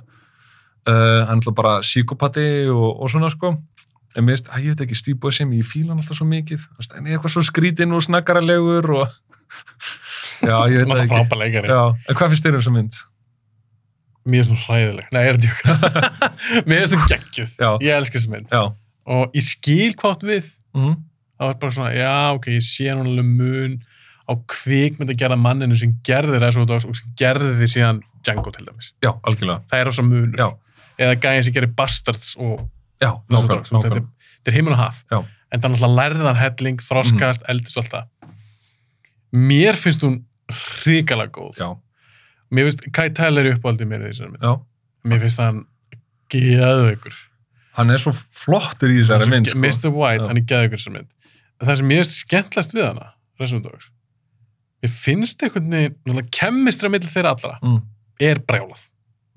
hann er náttúrulega bara síkopati og, og svona sko en mist, að ég veit ekki stíbuð sem ég fíla hann alltaf svo mikið Þú veist, hann er eitthvað svo skrítinn og snakkaralegur og já, ég veit
Hann
það
er
ekki
frábær leikari.
já, en hvað finnst þér um þessa mynd?
Mér er svona hræðileg. Nei, ég er að djúka. Mér er svona geggjuð.
Já.
Ég elska þessu mynd.
já,
Og ég skil hvort við.
mm,
Það var bara svona, já, ok, ég sé hann alveg mun á kvikmynd að gera manninu sem gerði Reservoir Dogs og sem gerði síðan Django til dæmis.
já algjörlega
Það er rosa munur.
Já.
Eða gæðin sem gerir Bastards og
já,
Reservoir
nákvæmlega,
Dogs. Þetta
nákvæmlega.
er- þetta er heimil og haf.
Já. Mhm.
En það er náttúrulega lærðan helling, þroskast, eldist og allt það. Mér finnst hún hrikalega góð.
já,
Mér finnst, Kai Tyler er uppáldið mér í þessari mynd.
já
Mér finnst hann geðveikur.
hann er svo flottur í þessari mynd sko.
Mr. White,
Já.
hann er geðveikur í þessari mynd. En það sem mér finnst skemmtlast við hana, Reservoir Dogs, mér finnst einhvern veginn, náttúrulega kemistra mill þeirra allra,
mm,
er brjálað.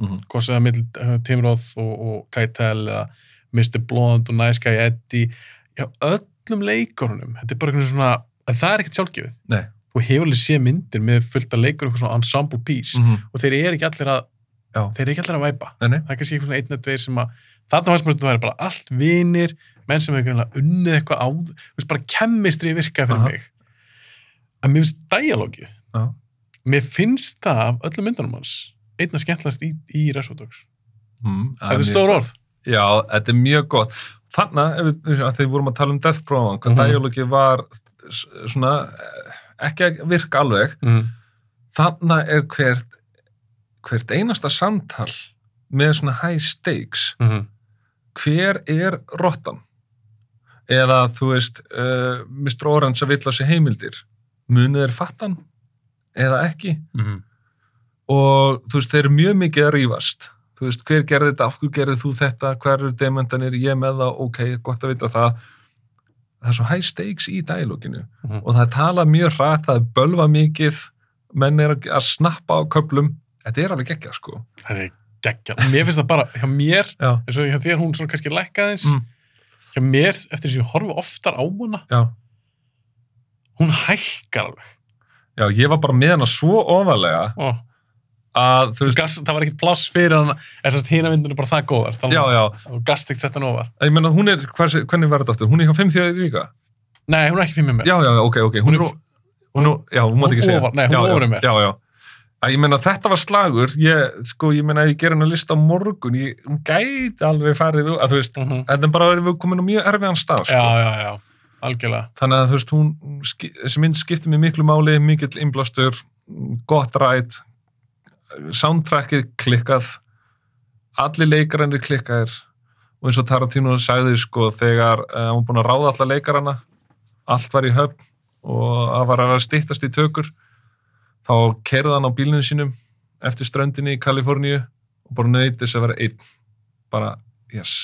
Mhm.
Hvort sem það mill uh, Tim Roth og, og Keitel eða Mr. Blonde og Nice Guy Eddie, já, öllum leikurunum, þetta er bara einhvern veginn svona, en það er ekkert sjálfgefið.
nei,
Þú hefur alveg sé myndir með fullt að leikur eitthvað svona ensemble piece
mm,
og þeir eru ekki allir að,
já,
þeir eru ekki allir að væpa
nei, nei
það er kannski einhvern veginn einn eða tveir sem að þarna fannst mér að það væri bara allt vinir menn sem hefur greinlega unnið eitthvað á þú veist bara kemmistri virkaði fyrir
Aha.
mig að mér finnst dialógið
Já.
mér finnst það af öllum myndunum hans einna skemmtlast í, í Reservoir Dogs
mm,
þetta er stór orð
Já, þetta er mjög gott. Þannig að við- að þegar við vorum að tala um Death Pro, áðan, hvað mm
Mhm.
var s- svona eh, ekki að virka alveg,
mm.
þannig er hvert, hvert einasta samtal með svona high stakes,
Mm -hmm.
hver er rottan? Eða, þú veist, uh, Mr. Orange að vill á sér heimildir, munið er fattan? Eða ekki?
Mm.
og þú veist, þeir eru mjög mikið að rífast þú veist, hver gerði þetta, af hverju gerði þú þetta hver eru demandanir, ég með það, ok gott að vita það það er svo high stakes í dælókinu
Mhm.
og það tala mjög hratt, það er bölva mikið menn er að að snappa á köplum þetta er alveg geggjað sko
það er geggjað Og mér finnst það bara hjá mér
já,
eins og hjá þér hún svona kannski lækkaðins
mm,
hjá mér eftir þess að ég horfi oftar á hana
já.
hún hækkar alveg
já, ég var bara með hana svo ofalega
Ó,
að þú
þú
veist,
gast, það var ekkert pláss fyrir hana þess að hina myndin er bara það góðar
já, já
og gast ekkert sett hann ofar
ég meina, hún er, hvers, hvernig var þetta aftur, hún er hjá 50 líka,
Nei, hún er ekki fimm með mér.
já, já, já, ok, ok
Hún er-
hún, er- já, hún mátt ekki
Hún
segja
ofar- nei, hún
já,
ofar
já,
í mér.
já, já. Að ég meina þetta var slagur ég, sko, ég meina ef ég ger hennar list á morgun ég hún gæti alveg farið úr- að þú veist,
Mm
þetta er bara að við komin á mjög erfiðan stað, sko,
Já, já, já, algjörlega.
þannig að þú veist hún, hún ski- þessi mynd skipti mér miklu máli mikill inblastur, gott rætt soundtrackið klikkað allir leikarannir klikkaðir og eins og Tarantino sagði sko þegar uh, hann var búin að ráða alla leikaranna allt var í höfn og það var að vera stýttast í tökur þá kerði hann á bílinu sínum eftir ströndinni í Kaliforníu og bara nöyti þess að vera einn bara, yes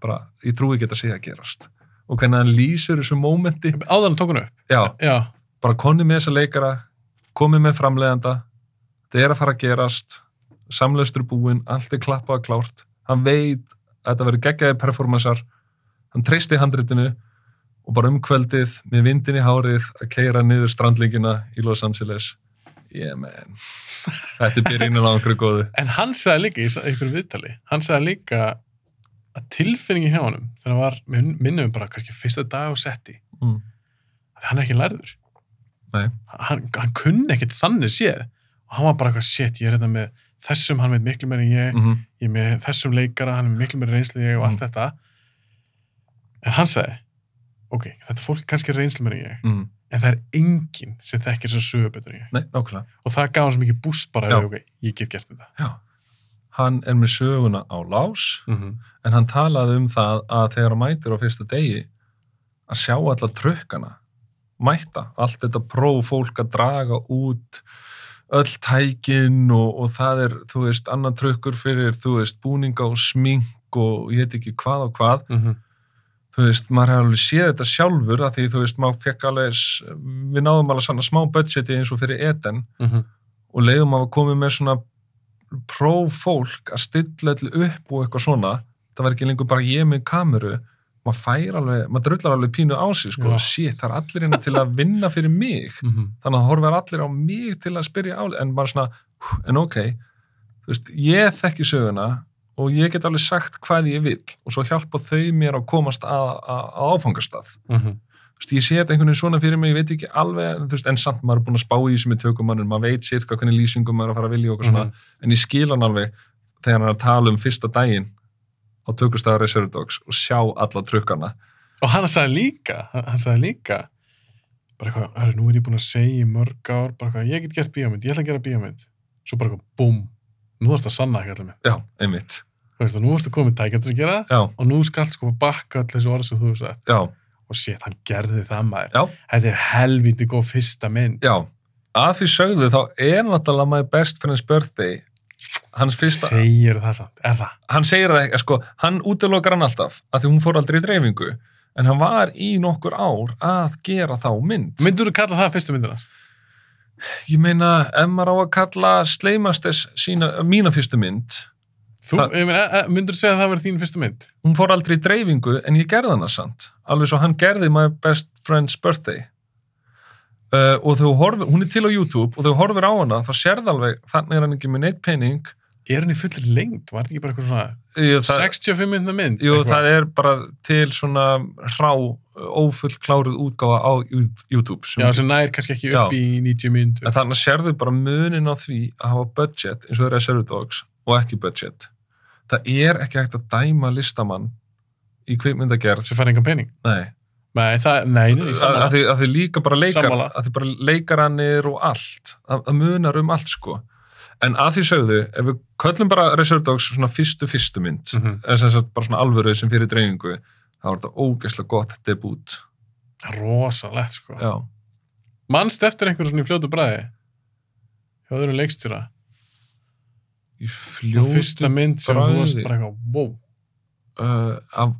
bara, ég trúi ekki að þetta sé að gerast og hvernig hann lýsir þessu mómenti
Áðan tók hún upp.
já,
Já,
bara konni með þessa leikara komið með framleiðanda þetta er að fara að gerast samlaustur búinn, allt er klappað og klárt hann veit að þetta verður geggjaði performansar hann treysti handritinu og bara umkveldið með vindin í hárið að keira niður strandlingina í Los Angeles yeah man þetta er byrjunin á einhverju góðu
en hann sagði líka í sa- einhverju viðtali, hann sagði líka að tilfinningin hjá honum, þegar hann var, minnum bara kannski fyrsta dag á setti,
mm.
að hann er ekki lærður.
Nei.
hann, hann kunni ekkert þannig séð og hann var bara eitthvað shit, ég er þetta með þessum, hann veit miklu meira en ég,
Mm -hmm.
ég er með þessum leikara, hann er með miklu meira reynslu en ég og
Mm.
allt þetta en hann sagði ok, þetta fólk er kannski reynslu meira en ég
Mm.
en það er enginn sem þekkir þess að sögu betur en ég
Nei, nákvæmlega.
og það gaf hann svo mikið búst bara
Já.
ef okay, ég get gert þetta
Já. Hann er með söguna á lás,
mm -hmm.
en hann talaði um það að þegar hann mætir á fyrsta degi að sjá alla trukkana, mæta, allt þetta próf fólk að draga út öll tækin og, og það er, þú veist, annar trukkur fyrir, þú veist, búninga og smink og ég veit ekki hvað og hvað
Mm -hmm.
þú veist, maður hefur alveg séð þetta sjálfur að því, þú veist, maður fekk alveg s- við náðum alveg svona smá budgeti eins og fyrir Eden
Mm -hmm.
og leiðum að komið með svona prófólk að stilla allir upp og eitthvað svona, það var ekki lengur bara ég með kameru, maður fær alveg maður drullar alveg pínu á sig, sko
Já.
shit, það er allir hérna til að vinna fyrir mig
Mm -hmm.
þannig að horfa allir á mig til að spyrja áli, en bara svona, hú, en ok þú veist, ég þekki söguna og ég get alveg sagt hvað ég vil og svo hjálpa þau mér að komast að, að, að áfangastað Þú veist, ég sé þetta einhvern veginn svona fyrir mig, ég veit ekki alveg en, þú veist, en samt maður er búin að spá í þessu með tökumannum maður veit sirka hvernig lýsingum maður er að fara að vilja og eitthvað
Mhm.
svona, en ég skil hann alveg þegar hann er að tala um fyrsta daginn á tökustæða Reserve Dogs og sjá alla trukkana
og hann sagði líka hann hann sagði líka bara eitthvað, "Herru, nú er ég búin að segja í mörg ár bara eitthvað, ég get gert bíómynd, ég ætla að gera bíómynd svo bara eitthvað, búm, nú ertu að sanna ekki allir mig,
já, einmitt,
þú veist það, nú ertu komið tækjandi sem gera það
já,
og nú skalt sko bakka allir þessu orð sem þú hefur sagt
já,
og shit, hann gerði það maður
já
þetta er helviti góð fyrsta mynd
já, að því sögðu þá er náttúrulega maður best friends birthday hans fyrsta,
segir það samt, er það
hann segir það ekki, sko, hann útilokar hann alltaf að því hún fór aldrei í dreifingu en hann var í nokkur ár að gera þá mynd
myndur þú kalla það fyrstu myndina?
Ég meina, ef maður á að kalla Sleimastes sína, mína fyrstu mynd,
Þú,
Það-
ég meina, eh, eh, myndirðu segja að það verði þín fyrsta mynd?
hún fór aldrei í dreifingu en ég gerði hana samt. Alveg svo hann gerði My Best Friend's Birthday. Uh, og þegar þú horfir, hún er til á YouTube og þegar þú horfir á hana, þá sérð alveg, þannig er hann ekki með neitt penning.
Er hann í fullir lengt? Var þetta ekki bara eitthvað svona
Jú, það,
65 myndna mynd?
jú,
eitthvað?
það er bara til svona hrá, ófull kláruð útgáfa á YouTube. sem-
Já, sem nær kannski ekki upp
Já.
í 90 myndu.
En þannig sérðu bara munin á því að hafa budget eins og Reserve Dogs og ekki budget. Það er ekki hægt að dæma listamann í kvikmyndagerð.
sem fær engan pening.
Nei.
Nei, það, nei, nei,
Að, að,
samanlega.
því, að því líka bara leikar,
Sammála.
að því bara leikaranir og allt. Að, að munar um allt sko. En að því sögðu, ef við köllum bara Reserve Dogs svona fyrstu fyrstu mynd, mm.
Mhm.
eða sem sagt bara svona alvöruð sem fyrir dreifingu, þá var þetta ógeðslega gott debut.
Rosalegt, sko.
Já.
Manst eftir einhverjum svona í fljótu bræði? Hjá öðrum leikstjóra.
Í
Svo
fljótu
fyrsta mynd sem
bragði.
þú varst bara eitthvað, wow.
uh, af,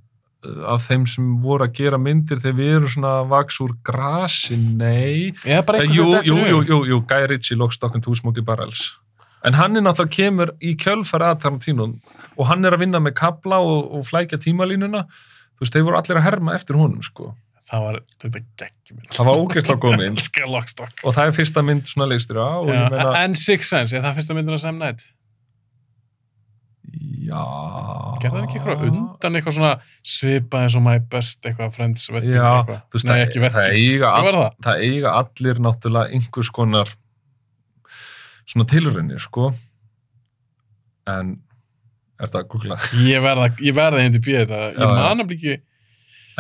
uh, af þeim sem voru að gera myndir þegar við erum svona að vaks úr grasi, nei
Eða bara
Eh,
eitthvað
jú,
sem
jú,
dettur í
jú,
hug.
jú, jú, Guy Ritchie lókst okkur túsmóki barrels en hann er náttúrulega kemur í kjölfæra að Tarantínun og hann er að vinna með kabla og, og flækja tímalínuna þú veist, þeir voru allir að herma eftir honum sko.
Það var, þetta geggjum minn.
það var ógeðslega góð mynd
Elskar Lockstock.
og það er fyrsta mynd svona leistur á og
Já,
ég meina, Ah.
En Six Sense, er það fyrsta myndin að Sam Night?
já
Gerði það ekki eitthvað undan eitthvað svona svipað eins og My Best, eitthvað Friends, vetting,
Já,
eitthvað?
þú veist,
Nei,
það-
ekki
það
vetting.
eiga
Hvað var það?
það eiga allir náttúrulega einhvers konar svona tilraunir, sko. En er það að googla?
Ég verða, ég verða hindi bíða þetta.
Já,
Ég
já.
man að blíki,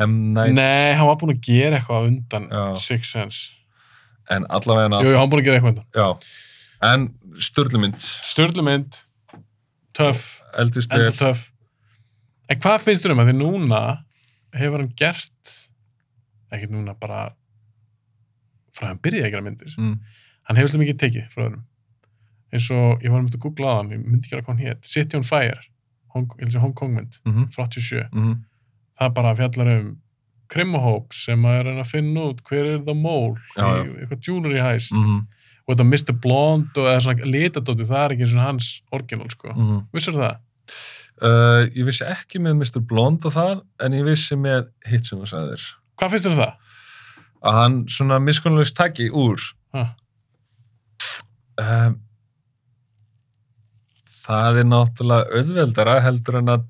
M.
Nei,
Night,
hann var búinn að gera eitthvað á undan
Já.
Six Sense.
en allavega
Jú, jú, hann var búinn að gera eitthvað á undan.
já. En störlumynd,
Störlu mynd, töff,
eldist
enda
vel,
töff. En hvað finnst þér um að því núna hefur hann gert, ekkert núna bara, frá að hann byrjaði að gera myndir.
mm,
Hann hefur slið mikið tekið frá öðrum. Eins og ég var myndið að googla á hann, ég myndi ekki alveg hvað hann hétt, City on Fire, Hong, ég lýsi Hong Kong mynd,
mm
frá 87.
mm,
það bara fjallar um krimahóp sem að er að reyna að finna út hver er það mól
Já, já.
í eitthvað jewelry heist
mm,
og þetta Mr. Blonde og eða svona litadóti það er ekki eins og hans orginal sko mm.
mm.
vissur það?
Uh, ég vissi ekki með Mr. Blond og það, en ég vissi með hitt sem þú sagðir.
Hvað finnst þér um það?
Að hann svona miskunnulegst taki úr
Ha.
um, það er náttúrulega auðveldara heldur en að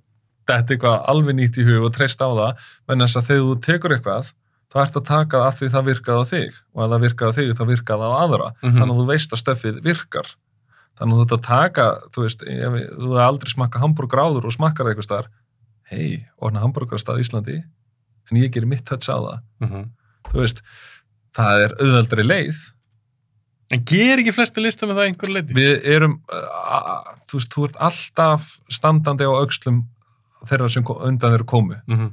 þetta eitthvað alveg nýtt í hug og treyst á það menn þess að þegar þú tekur eitthvað þá ert að taka að því það virkaði á þig og ef það virkaði á þig þá virkaði á aðra
Mhm.
þannig að þú veist að stöffið virkar þannig að þú ert að taka þú veist, ef þú hefur aldrei smakka hambúrgur áður og smakkar það eitthvað staðar hei, orðna hambúrgarstað í Íslandi en ég gerir mitt touch á það
Mhm.
þú veist, það er auðveldari leið
En ger ekki flesti lista með það einhver leiti?
við erum uh, uh, þú veist, þú ert alltaf standandi á aukslum þeirra sem ko- undan eru komu
Mhm.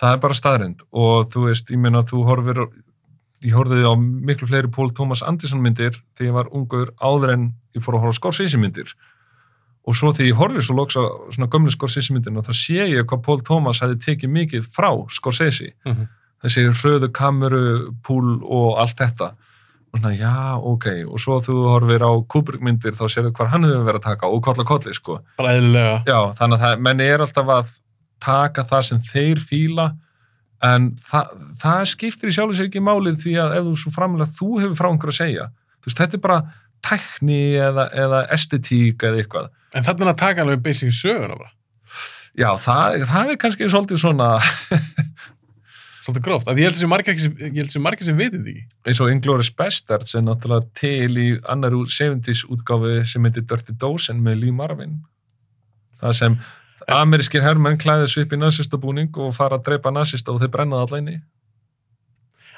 það er bara staðrind og þú veist, ég meina þú horfir ég horfði á miklu fleiri Pól Tómas Andísson myndir þegar ég var ungur áður en ég fór að horfa Scorsese myndir og svo þegar ég horfði svo loks á svona gömlu Scorsese myndin og þá sé ég hvað Pól Tómas hefði tekið mikið frá Scorsese
Mhm.
þessi hröðu kameru púl og allt þetta og svona, já, ok, og svo þú horfir á Kubrick myndir, þá sérðu hvað hann hefur verið að taka og kolla kolli, sko
Bara eðlilega.
já, þannig að það, menni er alltaf að taka það sem þeir fíla en það, það skiptir í sjálfis ekki málið því að ef þú svo framlega þú hefur frá einhver að segja þú veist, þetta er bara tækni eða, eða estetík eða eitthvað
En þarna er að taka alveg basic söguna bara.
já, það, það er kannski svolítið svona
Svolítið gróft. Af því Ég held að sé margir ekki sem- ég held að sé margir sem vitið ekki.
eins og Inglourious Bastards er náttúrulega til í annar úr 70s útgáfi sem heitir Dirty Dozen með Lee Marvin það sem amerískir herrmenn klæðir sig upp í nazistabúning og fara að dreipa nazista og þeir brenna það allæni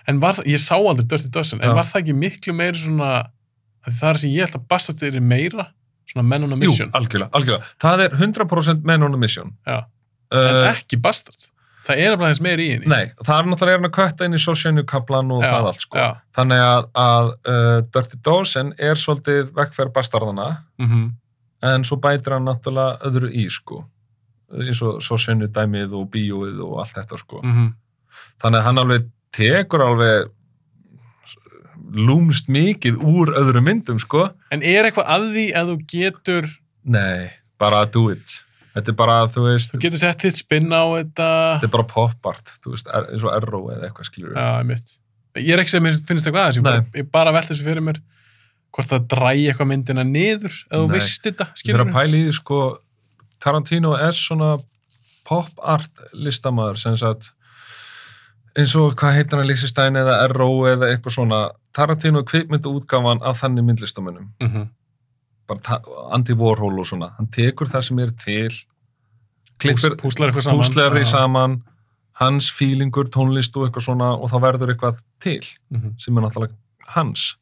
En var það, ég sá aldrei Dirty Dozen, en
Já.
var það ekki miklu meiri svona, af því það er sem ég held að bastast þeirri meira, svona men on a mission.
Jú, algjörlega, algjörlega. Það er 100% men on a mission.
Já. en
Uh,
ekki bastast. Það er alveg aðeins meiri í henni.
nei, það er náttúrulega er hann að kvötta inn í sósjönjukablan og
Já,
það allt, sko.
Já.
Þannig að, að uh, Dirty Dozen er svolítið vekkferð bastarðana,
Mm
Mhm, en svo bætir hann náttúrulega öðru í, sko. Eins og sósjönjudæmið og bíóið og allt þetta, sko. Þannig að hann alveg tekur alveg lúmst mikið úr öðru myndum, sko.
En er eitthvað að því að þú getur,
Nei, bara do it. Þetta er bara, þú veist,
þú getur sett þitt spinn á þetta?
þetta er bara pop-art, þú veist, er- eins og erró eða eitthvað, skilur við.
Já, einmitt. Ég er ekki sem mér finnst eitthvað aðeins, ég
Nei.
bara, ég bara velta þessu fyrir mér hvort það drægi eitthvað myndina niður ef þú
Nei.
veist þetta,
Ég fyrir
skilur
að pæla í því, sko, Tarantino er svona pop-art listamaður, sem sagt, eins og hvað heitir hann Lísistæn eða R.O. eða eitthvað svona, Tarantino er kvikmyndu útgáfan af þannig myndlistamönnum,
Mhm,
bara ta- Andy Warhol og svona, hann tekur það sem er til, klippir,
Púslar eitthvað saman.
púslar því
Já.
saman, hans fílingur, tónlist og eitthvað svona og þá verður eitthvað til.
Mhm.
sem er náttúrulega hans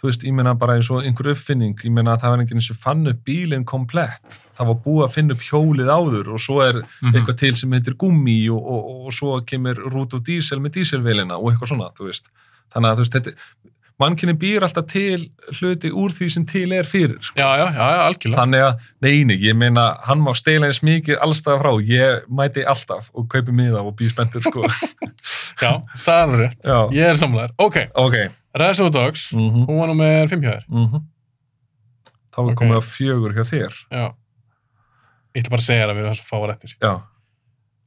þú veist, ég meina bara eins og einhver uppfinning ég meina að það var enginn sem fann upp bílinn komplett, það var búið að finna upp hjólið áður og svo er
Mhm.
eitthvað til sem heitir gummi og, og, og, og svo kemur rút og dísel með díselvelina og eitthvað svona, þú veist þannig að þú veist, þetta, mannkinni býr alltaf til hluti úr því sem til er fyrir sko.
Já, já, já, já, algjörlega.
þannig að, neini, ég meina hann má stela eins mikið allstað frá ég mæti alltaf og kaupi miða og býr spendur, sko
Já, það er alveg rétt.
Já,
Ég er samlæður. Ok,
ok
Reservoir Dogs,
mm
hún var nummer 5 hjá þér.
mm þá er
Ok.
komið að fjögur hjá þér
Já. Ég ætla bara að segja það við erum þess að fá að réttir.
já,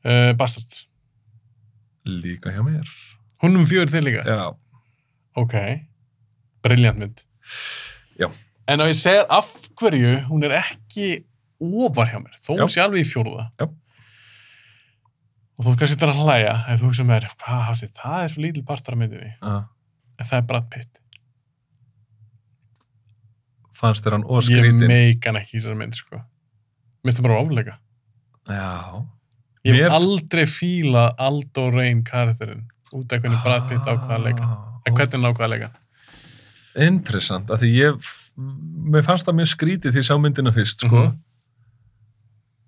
Uh, Bastards.
líka hjá mér
Hún nummer 4 þig líka?
já,
Ok. Briljant mynd.
Já.
En ef ég segir af hverju hún er ekki ofar hjá mér, þó
Já.
hún sé alveg í fjórða.
Já.
Og þú ert kannski þetta að hlæja, ef þú hugsa með þér, hvað hafði, það er svo lítil partur af myndinni,
já.
en það er Brad Pitt.
fannst þér hann
Ég
óskrítin
meik hann ekki í þessari mynd, sko. Minnst það bara ofleika.
já,
Ég hef
Mér-
aldrei fílað Aldo Rain karakterinn út af hvernig Brad Pitt ákvað að leika. En
Ah,
hvernig hann ákvað að leika?
interessant, af því ég f- mér fannst það mjög skrítið því ég sá myndina fyrst sko.
Mhm.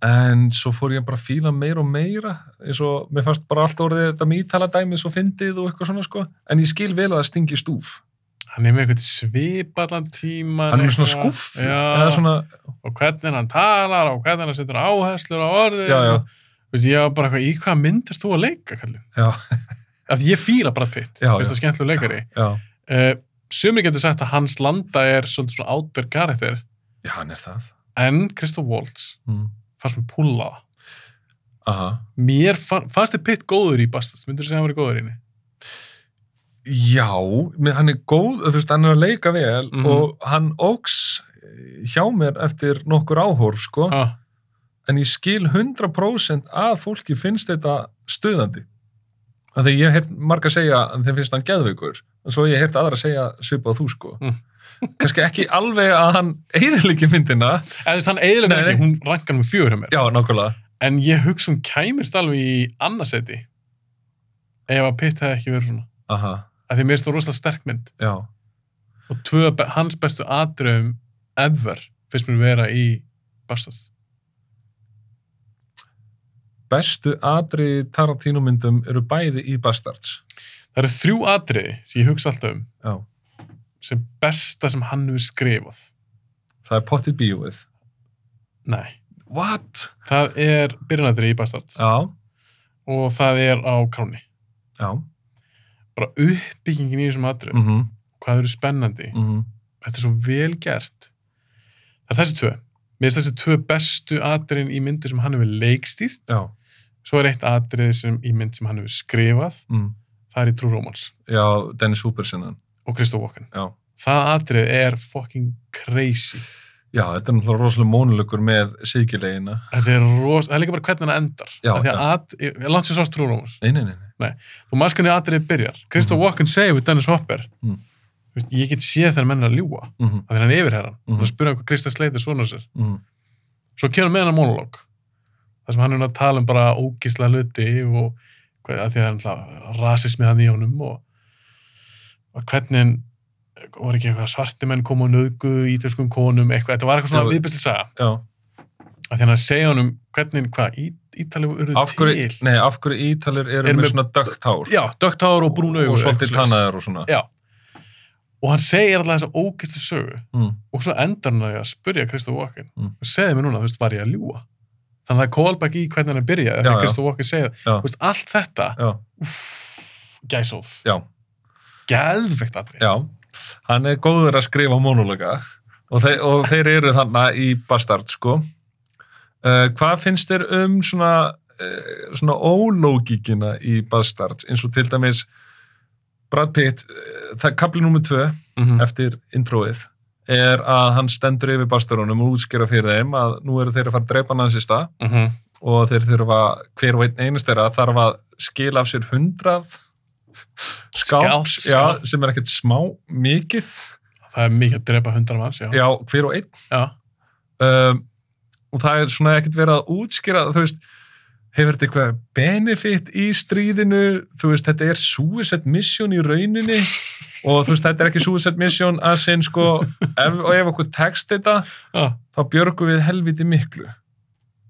en svo fór ég bara að fíla meira og meira eins og mér fannst bara allt orðið þetta með ítala dæmi svo fyndið og eitthvað svona sko. en ég skil vel að það stingi í stúf
Hann er með eitthvað svipallan tíma.
hann er með svona skúff
Já,
svona,
og hvernig hann talar og hvernig hann setur áherslur á orðið.
já, já,
Veit, ég var bara eitthvað, í hvaða mynd er þú að leika, kallinn?
já,
Af því ég fíla Brad Pitt.
Já,
Mér finnst
já.
það skemmtilega leikari.
já.
Uh, Sumir getur sagt að hans landa er svolítið svona átur karakter,
já hann er það
en Christoph Waltz
mm.
fannst mér púla.
aha
Mér fa- fannst þið Pitt góður í Bastards, myndur þú segja að hann var góður í henni?
Já, mér- hann er góð, þú veist, hann er að leika vel
Mhm.
og hann óks hjá mér eftir nokkur áhorf, sko,
Ah.
en ég skil 100% að fólki finnst þetta stuðandi. að því ég hef heyrt marga segja að þeim finnst hann geðveikur en svo hef ég heyrt aðra segja svipað þú sko
Mm.
kannski ekki alveg að hann eðiliki myndina
eða þess að hann eðilega
Nei.
ekki, hún rankar nú fjör hjá mér
já, nákvæmlega
en ég hugsa hún kæmist alveg í annarsæti ef að Pitt hefði ekki verið svona
Aha,
að því mér stóð rosalega sterk mynd
já,
og tvö be hans bestu atriðum ever finnst mér vera í Bastards
bestu atri Tarantino myndum eru bæði í Bastards
það eru þrjú atriði sem ég hugsa alltaf um
já,
sem besta sem hann hefur skrifað
það er pottið bíóið
nei,
what?
það er byrjunadrið í Bastards
já,
og það er á kráni
já
bara uppbyggingin í þessum atriðum
mm -hmm,
hvað eru spennandi þetta er svo vel gert það er þessi tvö mér finnst þessi tvö bestu atriðin í myndi sem hann hefur leikstýrt
já
svo er eitt atrið sem, í mynd sem hann hefur skrifað
mm.
það er í True Romance
já, Dennis Hoopersinan
og Kristó Walken
já,
það atrið er fucking crazy
já, þetta er náttúrulega rosalega mónulegur með síkilegina
þetta er ros það er líka bara hvernig hann endar
Já,
Af því
já.
að at, ég, ég langt sér sást True Romance
nei, nei, nei, nei.
þú maður skanir atriðið byrjar Kristó
Mhm.
Walken segir við Dennis Hopper
Mm.
þú veist, ég get séð þennan menn er að ljúa
Mm -hmm,
það er hann yfirherran mm
Mhm.
hann spyrir hann hvað Kristó Sleiter svona sér
mm -hmm.
svo kemur hann með hann að monolog þar sem hann er að tala um bara ógísla hluti og hvað, að því að hann alltaf rasismi hann í honum og að hvernig var ekki eitthvað svartimenn kom og nöðgu ítölskum konum, eitthvað, þetta var eitthvað svona
Já.
viðbyrst að saga,
já
að því hann er að segja honum hvernig, hvað, í, ítalegu urðu
af hverju,
til
nei, af hverju ítalir eru
Eru
með,
með-
svona dögt hár
já, dögt hár og brún augur
og svolítið tannaðar og svona
Já. og hann segir alltaf þessa ógísla sögu
mm,
og svo endar hann á því að spyrja Kristof Walken
Mm.
og segði mér núna, þú veist, var ég að ljúa þannig að það er callback í hvernig hann er byrjað
Já,
þegar
já.
Kristof Walken segir
Já.
það veist, allt þetta,
já,
uff, gæsóð
já,
geðveikt aðri
já hann er góður að skrifa monologa og, þe og þeir eru þannig í Bastard sko uh, hvað finnst þér um svona uh, svona ólógikina í Bastard eins og til dæmis Brad Pitt, uh, það kapli nummer tvö
Mhm.
eftir introið er að hann stendur yfir Bastardunum og útskýra fyrir þeim að nú eru þeir að fara að drepa hann hans í stað
Mhm.
og þeir þurfa, hver og einn einast þeirra þarf að skila af sér hundrað skáps,
Skáps,
já,
já.
sem er ekkert smá mikið,
það er mikið að drepa hundar manns, já,
já, hver og einn
já.
um, og það er svona ekkert verið að útskýra, þú veist hefur þetta eitthvað benefit í stríðinu þú veist, þetta er suicide mission í rauninni og þú veist, þetta er ekki suicide mission að sinn sko, ef, og ef okkur tekst þetta
Já.
þá björgum við helviti miklu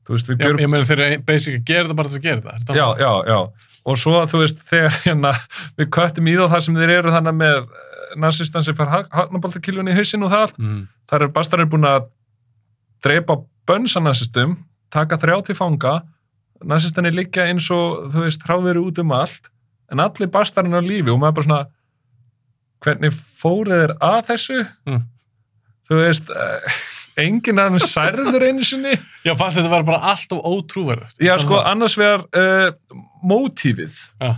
þú veist, við
Já,
björgum
ég meina þeir eru basic að gera það bara þess að gera það
já, já, já og svo þú veist þegar hérna, við köttum í þá þar sem þeir eru þannig með eh, nasistan sem fær hagnaboltakilvun í hausinn og það allt
Mm.
þar er bastarinn búin að dreipa bönsa nasistum taka þrjá til fanga nasistanir liggja eins og þú veist hráðir út um allt en allir bastarinn á lífi og maður bara svona hvernig fóruð þeir að þessu
Mm.
þú veist eh, enginn af þeim særður einu sinni
já, fannst þetta var bara allt of ótrúverð
já sko annars vegar uh, mótífið
já.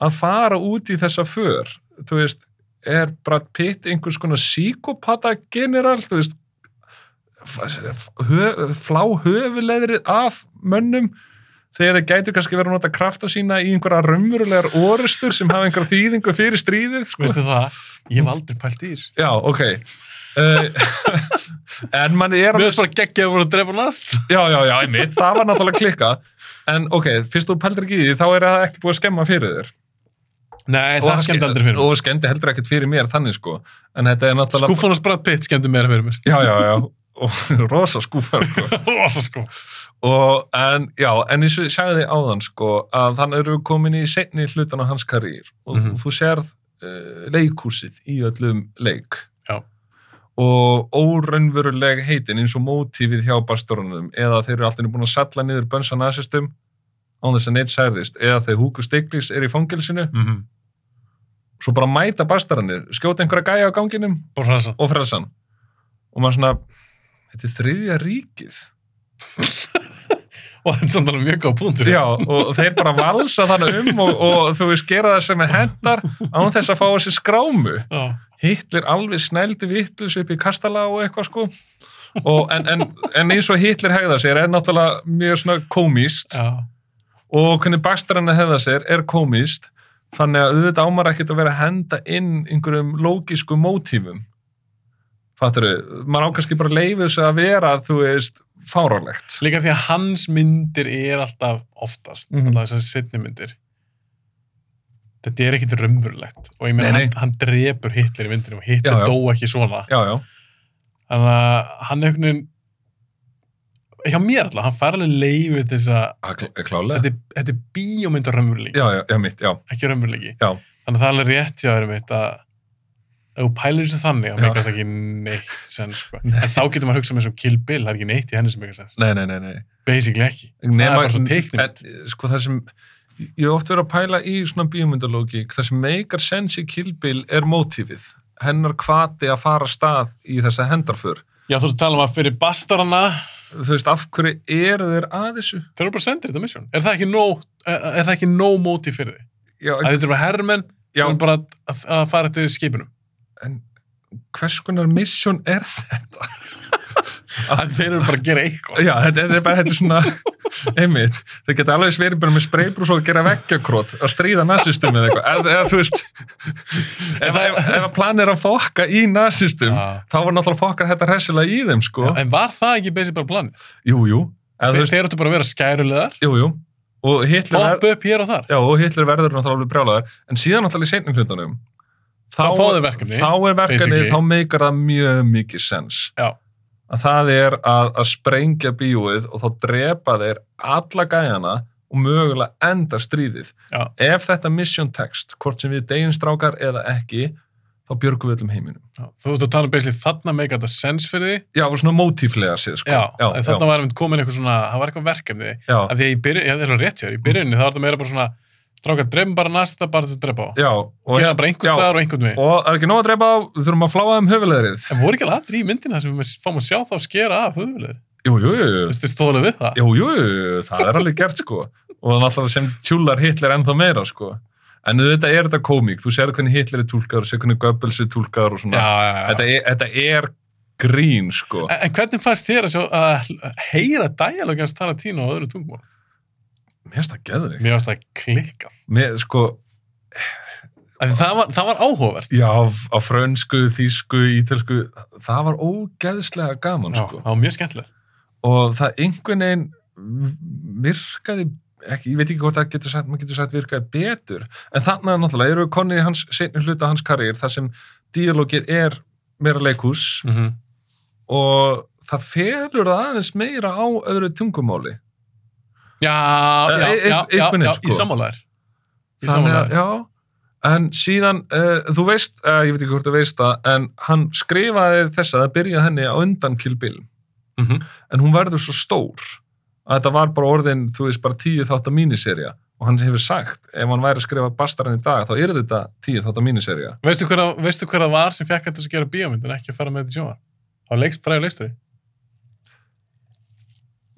að fara út í þessa för þú veist, er Brad Pitt einhvers konar psíkopata general þú veist f- f- hö- flá höfuleðrið af mönnum þegar þeir gætu kannski verið að nota krafta sína í einhverja raunverulegar orustur sem hafa einhverja þýðingu fyrir stríðið sko.
veistu það, ég hef aldrei pælt í þér
já, ok uh, en manni er
mér finnst bara geggja að voru að drepa last
já, já, já, einmitt, það var náttúrulega klikka en ok, fyrst þú pældir ekki í því þá er það ekki búið að skemma fyrir þér
nei,
Og
það skemmt aldrei fyrir mér
og skemmdi heldur ekkert fyrir mér þannig sko en þetta er náttúrulega
skúfan og spratt pitt skemmti meira fyrir mér
já, já, já, og rosa skúfar sko.
rosa sko
og en, já, en eins og ég sagði áðan sko, að hann eru komin í seinni hlutan á hans karýr og
Mhm.
þú sérð uh, leikúsið í öllum leik
Já.
og óraunveruleg heitin eins og mótífið hjá bastorunum eða þeir eru alltaf búin að salla niður bönsa nasistum án þess að neitt særðist eða þegar Hugo Stiglitz er í fangilsinu
Mhm.
svo bara mæta bastarunir, skjóta einhverja gæja á ganginum
bara fransa
og frelsan og maður svona, þetta er þriðja ríkið
og þetta er samt alveg mjög góð punktur
já, og þeir bara valsa þannig um og, og þú veist, gera það sem er hendar án þess að fá þessi skrámu
já.
Hitler alveg snældi vittlus upp í kastala og eitthvað sko og, en, en, en eins og Hitler hegða sér er náttúrulega mjög svona komist
já.
og hvernig bastarinn að hefða sér er komist þannig að auðvitað ámar ekkert að vera að henda inn einhverjum lógiskum mótífum fattur við, maður ákvæmst bara að leifu þess að vera, þú veist fáránlegt
Líka því að hans myndir er alltaf oftast,
Mhm.
alltaf þessar setni myndir. Þetta er ekkit raunverulegt og ég meina
Nei, nei.
hann, hann drepur Hitler í myndinum og Hitler
Já, já.
dó ekki svona.
já, já,
Þannig að hann er einhvern veginn, hjá mér alltaf, hann fær alveg leiðið þess að
að klá- að klálega
þetta, Ah, er- þetta er bíómynd og raunveruleiki,
já, já, já, mitt, já,
ekki raunveruleiki.
Já.
Þannig að það er alveg rétt hjá þér mitt að ef þú pælir þessu þannig, þá
Já.
meikar þetta ekki neitt sen, sko.
Nei.
En þá getur maður hugsað með þessum Kill Bill, það er ekki neitt í henni sem meikar sen.
nei, nei, nei, nei
Basically ekki. það er
Nema-
bara svo teiknum.
en, sko það sem ég hef oft verið að pæla í svona bíomundalógík það sem meikar sens í kilbil er mótífið hennar hvati að fara af stað í þessa hendarför
Já, þú ert að tala um að fyrir bastarana,
þú veist, af hverju eru þeir að þessu
þeir eru bara sendir þetta misjón. Er það ekki nóg, er, er það ekki nóg móti fyrir því?
já,
Að þetta eru bara herrmenn
já,
sem eru bara að, að fara eftir skipunum.
en hvers konar misjón er þetta?
Að þeir eru bara að gera eitthvað.
Já, þetta, þetta er bara, þetta er svona einmitt, það geta alveg verið bara með spreybrús og gera veggjakrót að stríða nasistum eða eitthvað, eða, eða þú veist ef, ef, ef að plan er að fokka í nasistum,
Já.
þá var náttúrulega fokkar þetta hressilega í þeim, sko
En var það ekki basically bara planið?
Jú, jú. En,
Þeir,
þú veist,
þeir eru bara að vera skærulegar,
jú, jú. Og Hitler, ver,
hoppa upp hér og þar.
já, og Hitler verður náttúrulega alveg brjálaðar. En síðan náttúrulega í seinni hlutunum.
Þá fá þeir verkefni,
Þá er verkefni,
basically.
þá meikar það mjög mikið sens.
Já.
Að það er að, að sprengja bíóið og þá drepa þeir alla gæjana og mögulega enda stríðið.
Já.
Ef þetta mission text, hvort sem við deginstrákar eða ekki, þá björgum við öllum heiminum.
Já. Þú ert að tala um basically þarna meika þetta sens fyrir því.
Já, og svona mótíflega séð, sko.
Já,
já,
en þarna var einmitt komin eitthvað svona, það var eitthvað verkefni.
já,
Af því að ég byrja, já þeir eru rétt hjá þér, í byrjunni þá er þetta meira bara svona, strákar, drefum bara næsta bara til að drepa á.
já. Og, hérna-
Gera bara einhver
Já.
staðar og einhvern veginn.
og það er ekki nóg að drepa á, við þurfum að fláa um höfulegrið.
En voru ekki alveg aðri í myndina sem við fáum að sjá þá skera af höfulegir?
Jú, jú, jú, jú.
Þú veist, þið stóðlega við það?
jú, jú, jú, það er alveg gert sko og náttúrulega sem tjúlar Hitler ennþá meira sko en auðvitað er þetta komík, þú sér hvernig Hitler er túlkaður, sér hvernig Goebbels er túlkaður og
Já,
svona,
já, já.
Þetta, er, þetta er grín sko
En- En hvernig fannst þér að, sjá, að heyra dæalógi hans Tarantino á öðru tungumál?
mér finnst það geðvig
Mér fannst það klikkað.
mér, sko,
Af því Það var, það var áhugavert.
já, á frönsku, þýsku, ítelsku það var ógeðslega gaman sko
það var mjög skemmtilegt.
og það einhvern veginn virkaði ekki, ég veit ekki hvort það getur sagt, maður getur sagt virkaði betur, en þannig að náttúrulega eru við konni í hans seinni hluta hans karriér þar sem díalógið er meira leikús
Mm -hmm.
og það felur það aðeins meira á öðru tungumáli
Já,
Eh,
já,
ein-
já,
ein-
já,
einhvern
já,
veginn,
í
sko.
sammálaðir. Í
þannig að,
sammálaðir.
já en síðan, uh, þú veist uh, ég veit ekki hvort þú veist það, en hann skrifaði þessa, það byrjaði henni á undan Kill Bill
Mm -hmm.
en hún verður svo stór að þetta var bara orðin, þú veist, bara tíu þátt að míniserja og hann hefur sagt ef hann væri að skrifa bastarinn í dag, þá er þetta tíu þátt að míniserja.
Veistu, hver, það- veistu hver það var sem fekk þetta að gera bíómynd en ekki að fara með þetta í sjónvar? Það var leikst, fræður leikstöri.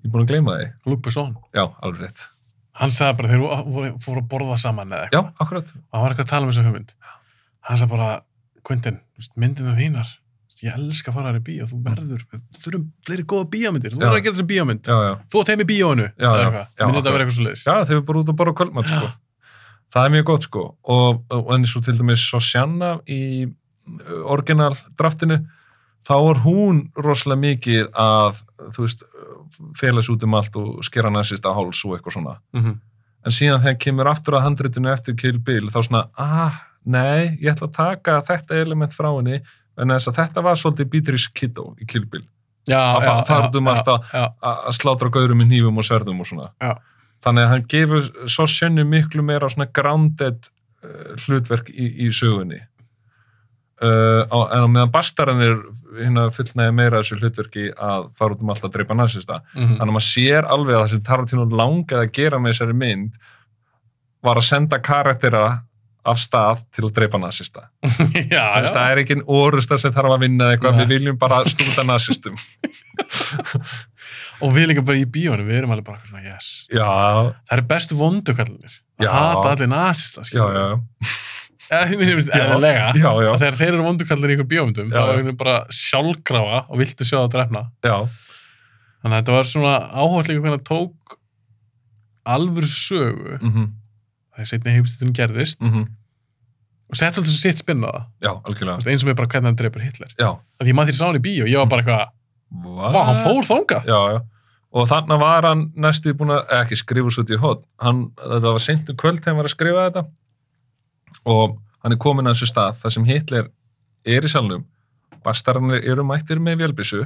Ég er búin að gleyma því.
Luke Besson.
Já, alveg rétt.
Hann sagði bara, þeir voru- voru- fóru að borða saman eða eitthvað.
Já, akkurat.
og hann var eitthvað að tala um þessa hugmynd hann sagði bara, Quentin, þú veist, myndina þínar þú veist, ég elska að fara þær í bíó þú verður, við þurfum fleiri góða bíómyndir þú
Já.
verður að gera þessa bíómynd,
Já, já.
þú átt heim í bíóinu
Já, já, já,
myndi þetta
akkurat.
að vera eitthvað svo leiðis
Já, þeir eru bara út að borða kvöldmatt, sko.
Já.
Það er mjög gott, sko. Og, og enn svo til dæmis Sosjanna í uh, orginal draftinu, þá er hún rosalega mikið að, þú veist, félags út um allt og skera næsist á háls og eitthvað svona. en síðan þegar kemur aftur að handritinu eftir Kill Bill þá svona, ah, nei, ég ætla að taka þetta element frá henni en þess að þetta var svolítið Beatrice Kiddo í Kill Bill,
já,
Að
já,
fa- fara út um
já,
allt að-
já,
a- að slátra gaurum í nýfum og sverðum og svona
Já.
þannig að hann gefur svo sönnu miklu meira svona grounded uh, hlutverk í, í sögunni uh, á, en á meðan bastarann er hérna fullnæði meira þessu hlutverki að fara út um allt að dreipa nazista
mhm.
þannig að maður sér alveg að það sem Tarantino langaði að gera með þessari mynd var að senda karaktera af stað til að dreipa nasista
já, Ah, já,
það er ekki orusta sem þarf að vinna eða eitthvað,
Nei.
við viljum bara stúta nasistum
og við líka bara í bíóinu við erum alveg bara, svona, yes
já,
það er best vondukallinir að
Já.
hata allir nasista
já, já Já.
eðlilega
já, já,
Að þegar þeir eru vondukallir í ykkur bíómyndum
Já,
þá
já.
er það bara sjálfkrafa og viltu sjá það drefna
já,
Þannig að þetta var svona áhugað líka hvernig það tók alvöru sögu
mhm,
það er setni heimstættunum gerðist
Mm
og sett svolítið sitt spinn á það
Já, algjörlega.
Þú veist, eins og mér bara hvernig hann dreipur Hitler
Já.
að ég maður því sá hann í bíó, ég var bara eitthvað
Vá,
vá, hann fór þanga
Já, já. Og þannig var hann næstu búin að, eh, ekki skrifa svo til hótt, hann, þetta var seint um kvöld þegar hann var að skrifa þetta og hann er komin að þessu stað þar sem Hitler er í salnum, bastarnir eru mættir með vélbissu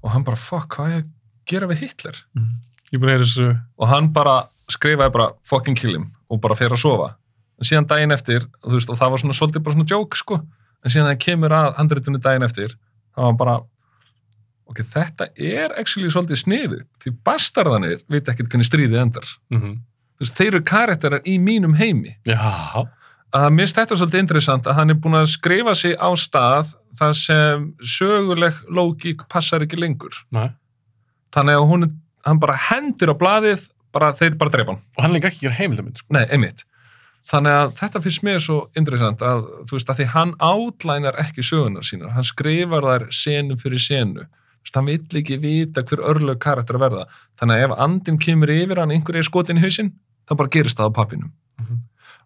og hann bara, fuck, hvað er ég að gera við Hitler?
ég búin að heyra þessu
og hann bara skrifaði bara fucking kill him og bara fer að sofa en síðan daginn eftir, þú veist, og það var svona svolítið bara svona joke, sko, en síðan það kemur að handritunni daginn eftir, það var bara ok, þetta er actually svolítið sniðu, því bastarðanir vita ekkert hvernig stríðið endar
mm
þú veist, þeir eru karakterar í mínum heimi
já,
að mér finnst þetta svolítið interessant að hann er búin að skrifa sig á stað þar sem söguleg lógík passar ekki lengur
næ
þannig að hún, hann bara hendir á blaðið, bara, þeir bara dreipa hann
og hann er líka ekki að gera heimildamind sko.
Nei, einmitt. Þannig að þetta finnst mér svo interessant að þú veist að því hann átlænar ekki sögunar sínar, hann skrifar þær senu fyrir senu. Þú veist, hann vill ekki vita hver örlög karakter að verða. Þannig að ef andin kemur yfir hann einhver er skotin í hausinn, þá bara gerist það á pappinum.
Mhm.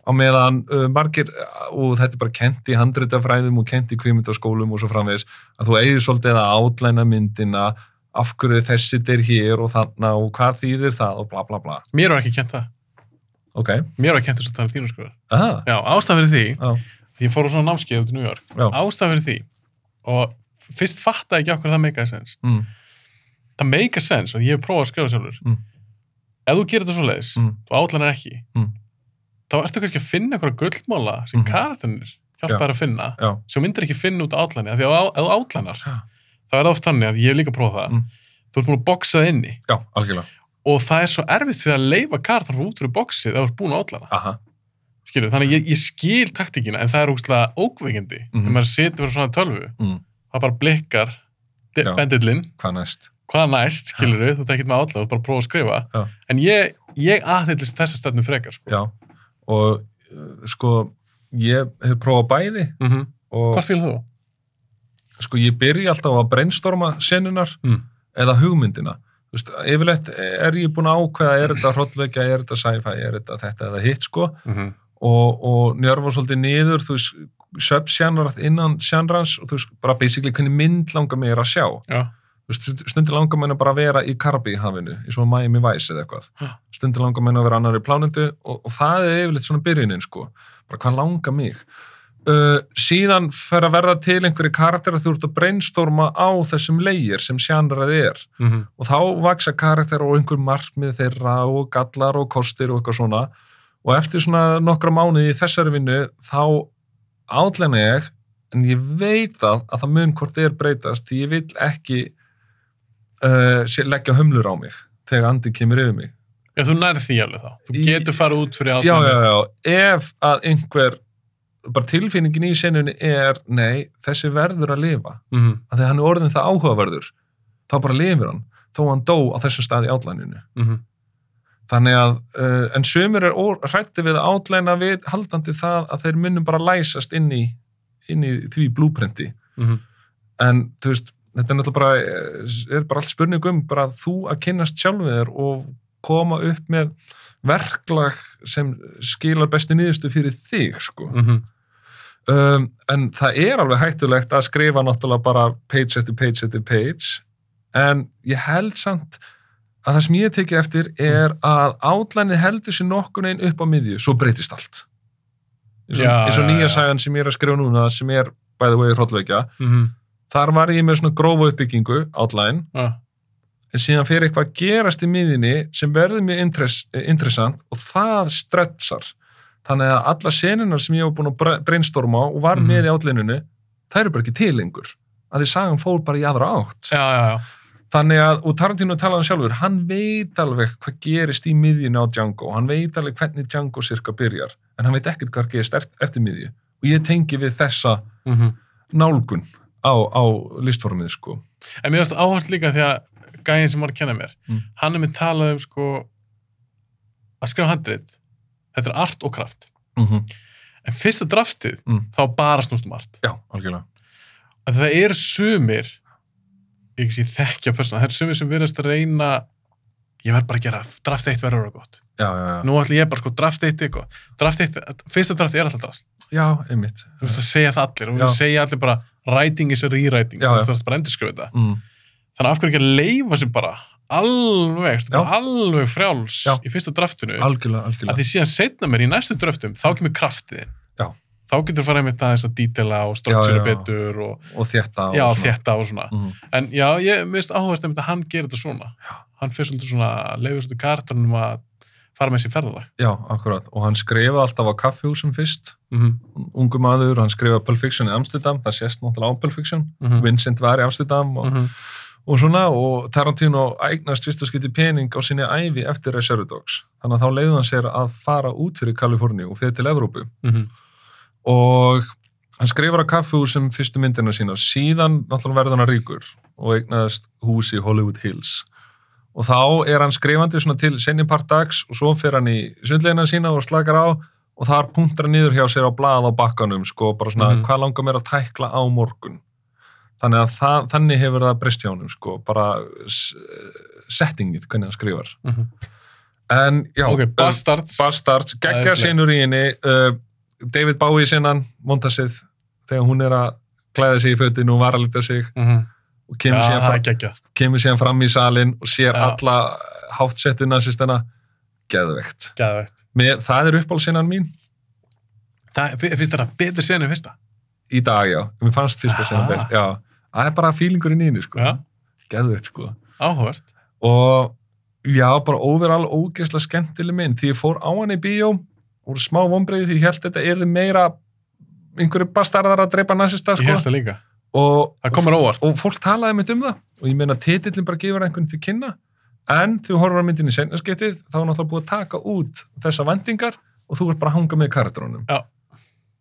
Á meðan uh, margir, og þetta er bara kent í handritafræðum og kent í kvímyndaskólum og svo framvegis, að þú eigir svolítið að átlæna myndina, af hverju þessi er hér og þarna og hvað þýðir það og bla bla bla.
mér var ekki kent það,
Ok,
mér var ekki kent þess að tala þínu sko
aha,
já, ástæðan fyrir því,
já,
ég fór á svona námskeið út í New York,
já.
ástæðan fyrir því og fyrst fatta ekki okkur það make a sense
Mm.
það make a sense og ég hef prófað að skrifa sjálfur
Mm.
ef þú gerir þetta svo leiðis
Mm.
þú átlanar ekki
Mm.
þá ertu kannski að finna einhverja gullmóla sem mm.
Mhm.
hjálpa
Já.
þær að finna
Já,
sem þú myndir ekki finna út átlani af því að ef þú átlanar
Já.
þá er það oft þannig að ég hef líka prófað það
Mm.
þú ert búin að boxa það inni
já, algjörlega.
og það er svo erfitt fyrir að leifa kartan út fyrir boxið ef þú ert búin að átlana
Aha,
skilur, þannig að ég, ég skil taktíkina en það er ógustlega ókveikindi mm
Mhm.
-hmm. maður situr fyrir svona tölvu
Mm.
það bara blikkar
Já.
bendillinn
hvað næst?
hvað næst, skilur þú, ert ekkert með átla, þú ert bara að prófa að skrifa
Já.
en ég, ég aðhyllist þessa stefnu frekar sko.
Já, og uh, sko, ég hef prófað bæði
mm -hmm.
og
Hvað fylgðu þú?
sko, ég byrji alltaf að brainstorma senunar
Mm.
eða hugmyndina. Þú veist, yfirleitt er ég búin að ákveða, er þetta hrollveikja, er þetta sci-fi, er þetta þetta eða hitt, sko,
Mm -hmm.
og, og njörfa svolítið niður, þú veist, subsjanrað innan sjanrans og þú veist, bara basically hvernig mynd langar mér að sjá.
Já.
Þú veist, stund- stundir langar menn að bara vera í Karabíhafinu, í svona Miami Vice eða eitthvað.
Ha.
Stundir langar menn að vera annar í plánendu og, og það er yfirleitt svona byrjunin, sko. Bara hvað langar mig? Uh, síðan fer að verða til einhverju karakter að þú ert að brainstorma á þessum leir sem sjanrað er
Mm -hmm.
og þá vaksa karakter og einhver markmið þeirra og gallar og kostir og eitthvað svona og eftir svona nokkra mánuði í þessari vinnu þá átlæna ég en ég veit það að það mun hvort þið er breytast því ég vil ekki uh, sé- leggja hömlur á mig þegar andið kemur yfir mig
Já, þú nærð því alveg þá. Þú
Í-
getur farið út fyrir
já,
átlani.
já, já, ef að einhver bara tilfinningin í senunni er nei, þessi verður að lifa
Mm -hmm.
að þegar hann er orðin það áhugaverður þá bara lifir hann, þó hann dó á þessum stað í átlæninu
Mm -hmm.
Þannig að, uh, en sömur er hrætti við að átlæna við haldandi það að þeir munum bara læsast inn í, inn í því blúprenti.
Mm -hmm.
En þú veist, þetta er náttúrulega bara, eh, er bara allt spurning um bara þú að kynnast sjálfið þér og koma upp með verklag sem skilar besti nýðustu fyrir þig, sko.
Mm -hmm.
Um, en það er alveg hættulegt að skrifa náttúrulega bara page eftir page eftir page en ég held samt að það sem ég tekið eftir er að átlænið heldur sér nokkun einn upp á miðju, svo breytist allt eins og,
Já,
eins og
já,
nýja
já.
sægan sem ég er að skrifa núna sem er bæði vegi hróllveikja
Mm -hmm.
þar var ég með svona grófa uppbyggingu átlæn, en síðan fyrir eitthvað að gerast í miðjunni sem verður mér interess, eh, interessant og það stretsar þannig að alla senunar sem ég var búin að bre- brainstorma á og var
Mhm.
með í átlæninu það eru bara ekki til lengur að því sagan fór bara í aðra átt
já, já, já.
þannig að, og Tarantino talaði um sjálfur hann veit alveg hvað gerist í miðjunni á Django, hann veit alveg hvernig Django cirka byrjar, en hann veit ekkert hvað gerist eft- eftir miðju og ég tengi við þessa
Mm
nálgun á, á listformið sko
En mér finnst áhört líka því að gæðin sem var að kenna mér,
Mm.
hann er með talað um sko að skrifa handrit. Þetta er art og kraft.
mm -hmm.
En fyrsta draftið,
Mm.
þá bara snúst um art.
já, algjörlega
að það eru sumir ég ekki sé þekkja persóna, það eru sumir sem verðast að reyna ég verð bara að gera draft eitt verður að vera gott.
já, já, já,
Nú ætlum ég bara sko draft eitt eitthvað. Draft eitt, fyrsta draft er alltaf draft.
já, einmitt
Þú veist að segja það allir og
Já.
þú segja allir bara writing is a rewriting.
Já,
Þú
já.
veist, Þú veist bara að endurskrifa þetta.
mm.
Þannig að af hverju ekki að leifa sem bara alveg, þú veist, bara alveg frjáls
Já.
í fyrsta draftinu.
algjörlega,
að
algjörlega
því síðan setna mér í næstu dröftum þá kemur kraftið
Já.
þá getur þú farið með það þess að dítela og struktúra
Já, já.
betur og
og þetta
já,
og
þetta og svona
mm.
en já, ég minnst áhverst að hann gerir þetta svona
Já.
hann fyrir svolítið svona leiður svolítið kartunum að fara með sér ferðalag
já, akkurat, og hann skrifaði alltaf á kaffihúsum fyrst
mm -hmm.
ungu maður, hann skrifaði Pulp Fiction í Amsterdam það sést náttúrulega á Pulp Fiction
Mhm,
Vincent var í Amsterdam mhm.
Mm.
og, og svona og Tarantino ægnast fyrst að skipti pening á sinni ævi eftir Reserve Dogs þannig að þá leiði hann sér að fara út fyrir Kaliforni og fyrir til Evrópu
mhm,
og hann skrifar á kaffehúsum fyrstu myndina sína síðan náttúrulega verður hann ríkur og eignaðist hús í Hollywood Hills og þá er hann skrifandi svona til senni part dags og svo fer hann í sundleina sína og slakar á og þar punktar hann niður hjá sér á blað á bakkanum sko bara svona
Mhm.
hvað langar mér að tækla á morgun þannig að það, þannig hefur það breyst hjá honum sko bara s- settingið hvernig hann skrifar en já
mhm. ok,
um,
bastards
Bastards, geggja
Æðisleg.
sinur í henni uh, David Bowie sinnan Montasið, þegar hún er að klæða sig í fötin og varalita sig
Mhm.
og
Já,
kemur, síðan,
það er
fram,
geggja
kemur síðan fram í salin og sér
Já.
alla háttsettu nazistana geðvegt.
geðvegt
Með, það er uppálsinnan mín
það, fi- finnst þér það betri senu fyrsta
í dag, já, mér fannst fyrsta sinna
Ah.
best já, það er bara fílingurinn í henni sko.
Já.
geðvegt sko
áhverst
og já, bara overall ógeðslega skemmtileg mynd því ég fór á hann í bíó og smá vonbreiði því ég held þetta erði meira einhverju bastarðar að dreipa nazista
ég
sko.
held það líka
og,
það komur óvart
og fólk talaði mitt um það og ég meina titillin bara gefur einhvern til kynna en þegar þú horfur á myndin í senjaskiptið þá er náttúrulega búið að taka út þessa vendingar og þú ert bara að hanga með karakterunum
Já.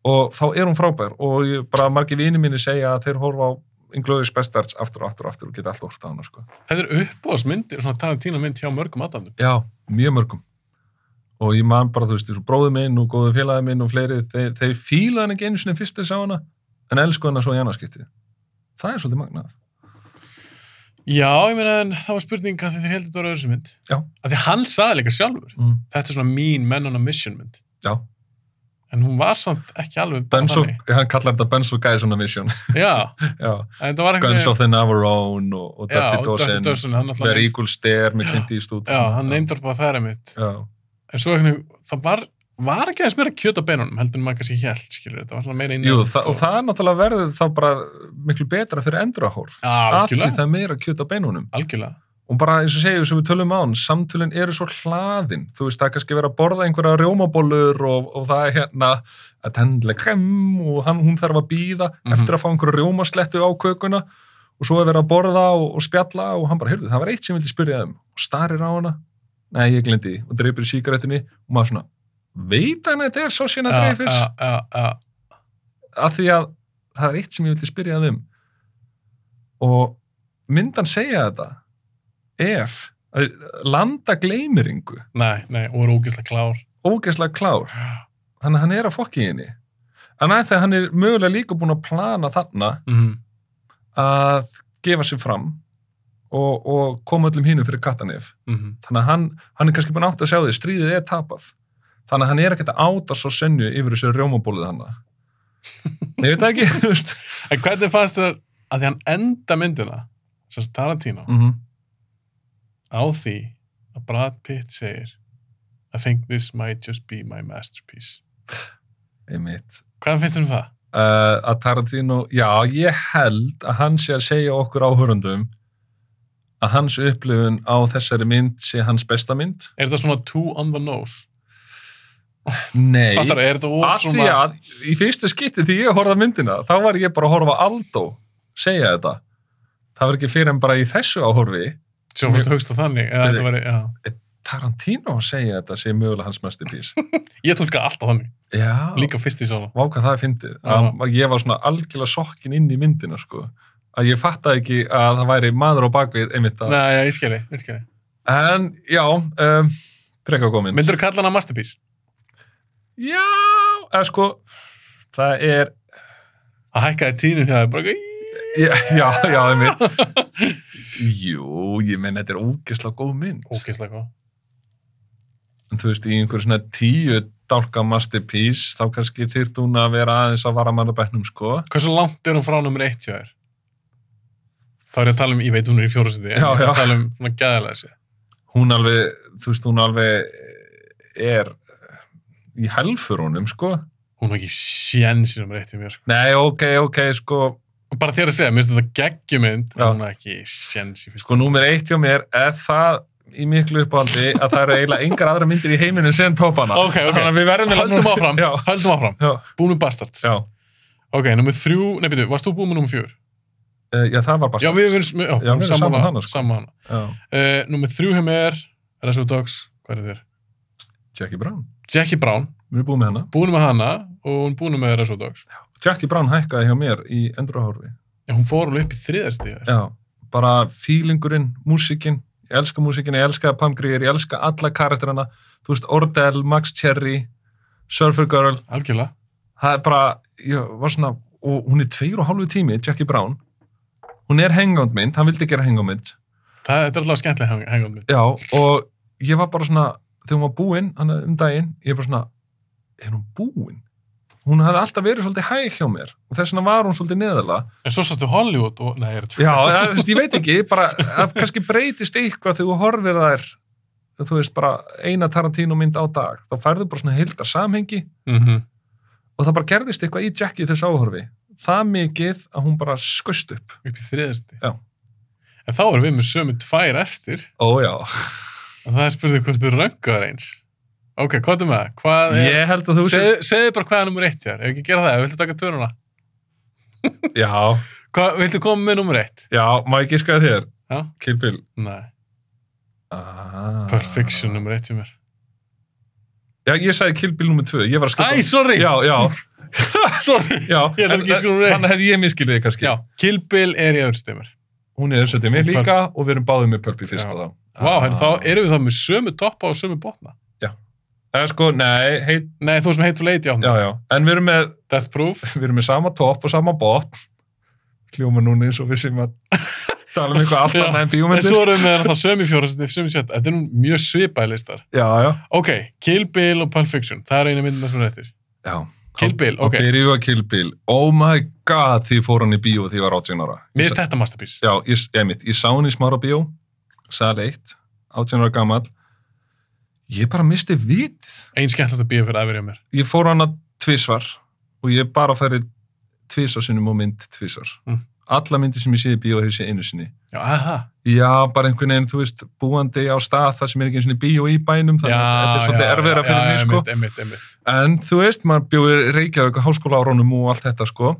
og þá er hún frábær og ég, bara margir vini mínir segja að þeir horfa á Inglourious Bastards aftur og aftur og aftur og geta alltaf orta á hana sko.
þetta er uppbóðsmyndir svona Tarantino mynd hjá mörgum aðdæmdum
Já, mjög mörgum. Og ég man bara, þú veist, bróði minn og góðu félagi minn og fleiri, þeir, þeir fíla hann ekki einu sinni fyrst þeir sá hana, en elsku hana svo í annarskiptið. Það er svolítið magnað.
Já, ég meina, en það var spurning að þið heldur þetta var öðru sem mynd.
Já.
Að því hann saði líka sjálfur,
Mm.
þetta er svona mín menn on a mission mynd.
Já,
En hún var samt ekki alveg bara
Benz of,
þannig.
hann kallar þetta Benz of Guys on a Mission.
Já,
Já,
en þetta var
Guns of the Navarone og, og
Já,
Dirty
og Dirty
Dozen,
Dozen, hann
Ver
náttúrulega...
Eagle Stare með Clint Eastwood.
Já, hann neymdar bara það er mitt.
Já,
En svo ekki, það var, var ekki aðeins meira kjöt á beinunum, heldur en maður kannski held, skilur þetta. var svona meira inn
Jú, það, og það er náttúrulega verður þá bara miklu betra fyrir endurahorf.
Já,
Af því
algjörlega.
það er meira kjöt á beinunum.
Algjörlega.
og bara eins og segjum sem við tölum á hann, samtölinn eru svo hlaðin, þú veist það er kannski verið að borða einhverja rjómabólur og, og það er hérna að tendla krem og hann, hún þarf að býða
Mhm.
eftir að fá einhverju rjómaslettu á kökuna og svo er verið að borða og, og spjalla og hann bara, heyrðu, það var eitt sem ég vildi spyrja þeim og starir á hana, nei ég glendi og dreipir síkaretinni og maður svona veit hann að þetta er svo sína dreifis
Já, já, já, já.
af því að það er eitt sem ég vildi spyrja þeim og myndan segja þetta ef að landa gleymir yngu
Nei, nei, og er ógislega klár.
ógeðslega klár þannig að hann er að fokki í henni en að þegar hann er mögulega líka búin að plana þarna
Mm.
að gefa sig fram og, og koma öllum hínum fyrir kattanef
Mm.
þannig að hann, hann er kannski búin átt að sjá því stríðið er tapað þannig að hann er ekkert að áta svo senju yfir þessu rjómabólið hann ég veit það ekki þú veist.
En hvernig fannst þér að því hann enda myndina, sem sagt Tarantino,
mm -hmm.
á því að Brad Pitt segir I think this might just be my masterpiece.
einmitt
Hvað finnst þér um það?
uh, að Tarantino, já, ég held að hann sé að segja okkur áhörundum að hans upplifun á þessari mynd sé hans besta mynd.
Er þetta svona two on the nose?
Nei,
Fattar, er þetta of
að því að í fyrsta skipti því ég horfði á myndina, þá var ég bara að horfa á Aldo segja þetta. Það var ekki fyrir en bara í þessu áhorfi
Sjá, fyrst að hugsta þannig. Eða,
Nei,
þetta væri, já.
Tarantino að segja þetta sé mögulega hans masterpiece.
Ég tólka alltaf þannig.
já,
Líka fyrst í svona.
Vá hvað það er fyndið. Að að Ég var svona algjörlega sokkin inn í myndina, sko. Að ég fattaði ekki að það væri maður á bakvið einmitt að
Nei, já, ég skilji, virkjali.
En já, um, frekar góð mynd.
Myndur þú kalla hana masterpiece?
Já, eða sko, það er,
Að hækkaði tíðinu hjá það, bara eitthvað, "Í",
Já, já, já, það er mér. Jú, ég menn, þetta er ógeðslega góð mynd.
Ógeðslega góð.
En þú veist, í einhverju svona tíu dálka masterpiece, þá kannski þyrt hún að vera aðeins að vara manna bæknum, sko.
Hversu langt er hún frá nummer eitt hjá þér? Þá er ég að tala um, ég veit hún er í fjórasæti, en
Já,
ég er
já.
að tala um svona gæðalega sér.
Hún alveg, þú veist, hún alveg er í helfurunum, sko.
Hún er ekki sjens í nummer eitt hjá mér, sko.
Nei, ok, ok, sko,
Og bara þér að segja, mér finnst þetta geggjumynd,
Já.
en hún er ekki sjens í fyrst.
sko, númer eitt hjá mér er það í miklu uppáhaldi að það eru eiginlega engar aðra myndir í heiminu sem topana.
Ok, ok.
Þannig að við verðum eiginlega-
Höldum áfram,
Já,
höldum áfram.
já,
Búnum bastards.
já.
Ok, nummer þrjú, nei, byrju, varst þú búin með nummer fjör?
Eh, Já, það var bara...
Já, við erum, já,
við erum
sammála-
saman hana, sko.
sammála hana.
Já,
Uh, nummer þrjú hjá mér, Reservoir Dogs, hvað er þér?
Jackie Brown.
Jackie Brown,
Við erum búið með hana.
búin með hana og hún búin með Reservoir Dogs.
Jackie Brown hækkaði hjá mér í endurahorfi.
Já, hún fór alveg upp í þriðarstíðar.
Já, bara feelingurinn, músikinn. Ég elska músikinn, ég elska Pam Grier, ég elska alla karakterina. Þú veist, Ordell, Max Cherry, Surfer Girl.
Algjörlega.
Það er bara, ég var svona, og hún er tveir og hálfu tími, Jackie Brown. Hún er hengandmynd, hann vildi gera hengandmynd.
Það, þetta er alltaf skemmtilega hang, hang
Já, og ég var bara svona, þegar hún var búinn, hann um daginn, ég bara svona, er hún búinn? Hún hafði alltaf verið svolítið hæg hjá mér og þess vegna var hún svolítið neðalega.
En svo sástu Hollywood og... Nei, er þetta...
Já, það, þú veist, ég veit ekki, bara að kannski breytist eitthvað þegar þú horfir þær þú veist, bara eina Tarantino mynd á dag, þá færðu bara svona hildar samhengi
Mm
og það bara gerðist eitthvað í Jackie í þessu áhorfi það mikið að hún bara skust upp
Upp í þriðarstíð.
Já.
En þá erum við með sömu tvær eftir.
Ó já,
En það er spurning hvort þú röngar eins. Ok, hvað er með það? Hvað er...
ég held að þú
Segðu, segðu bara hvað er nummer eitt hér. Ef ekki gera það, viltu taka törnuna?
Já,
Hvað, viltu koma með nummer eitt?
já, má ég giska að þér
Já.
Kill Bill
Nei.
ah.
Perfection nummer eitt hjá mér.
Já, ég sagði Kill Bill nummer 2, ég var að skjóta
Æ, sorry!
Já, já,
sorry.
já
Ég ætla að giska númer eitt.
Þannig hef ég miskilið þig kannski
Já, Kill Bill er í öðru stímur.
Hún er þessu til mér líka og við erum báðið með Purple fyrst
Já.
á þá Ah.
Vá, herri, þá erum við þá með sömu toppa og sömu botna.
Það er sko, nei, heit,
Nei, þú sem heitur leiti á
já,
hann.
já, en við erum með,
Death Proof.
við erum með sama topp og sama botn, kljóma núna eins og við sem að tala um eitthvað allt
Já,
annað
En
en
svo
bíómyndir.
erum við alltaf sömu fjórastir, sömu sjötta. Þetta er nú mjög svipaði listar.
Já, já,
Ok, Kill Bill og Pulp Fiction. Það er eina myndina sem er eftir.
já.
Kill Bill, ok.
Það byrjuðu að Kill Bill. Oh my god, því fór hann í bíó því ég var 18 ára.
Mér
Ég
finnst þetta masterpiece.
Já, ég, ég mitt, ég sá hann í smára bíó, sal 1, 18 ára gamall. Ég bara misti vitið.
Einn skemmtlast að bíða fyrir aðverja mér.
Ég fór hann að tvísvar og ég bara færi tvísar sinnum og mynd tvísar.
Mm.
Alla myndir sem ég sé í bíó hefur sé einu sinni.
Já, aha.
Já, bara einhvern veginn, þú veist, búandi á stað þar sem er ekki einu sinni bíó í bænum, þannig að þetta er svolítið erfiðra fyrir mig, sko.
Já, emitt, emitt,
En þú veist, maður bjóði Reykjavík á háskóla árunum og allt þetta, sko.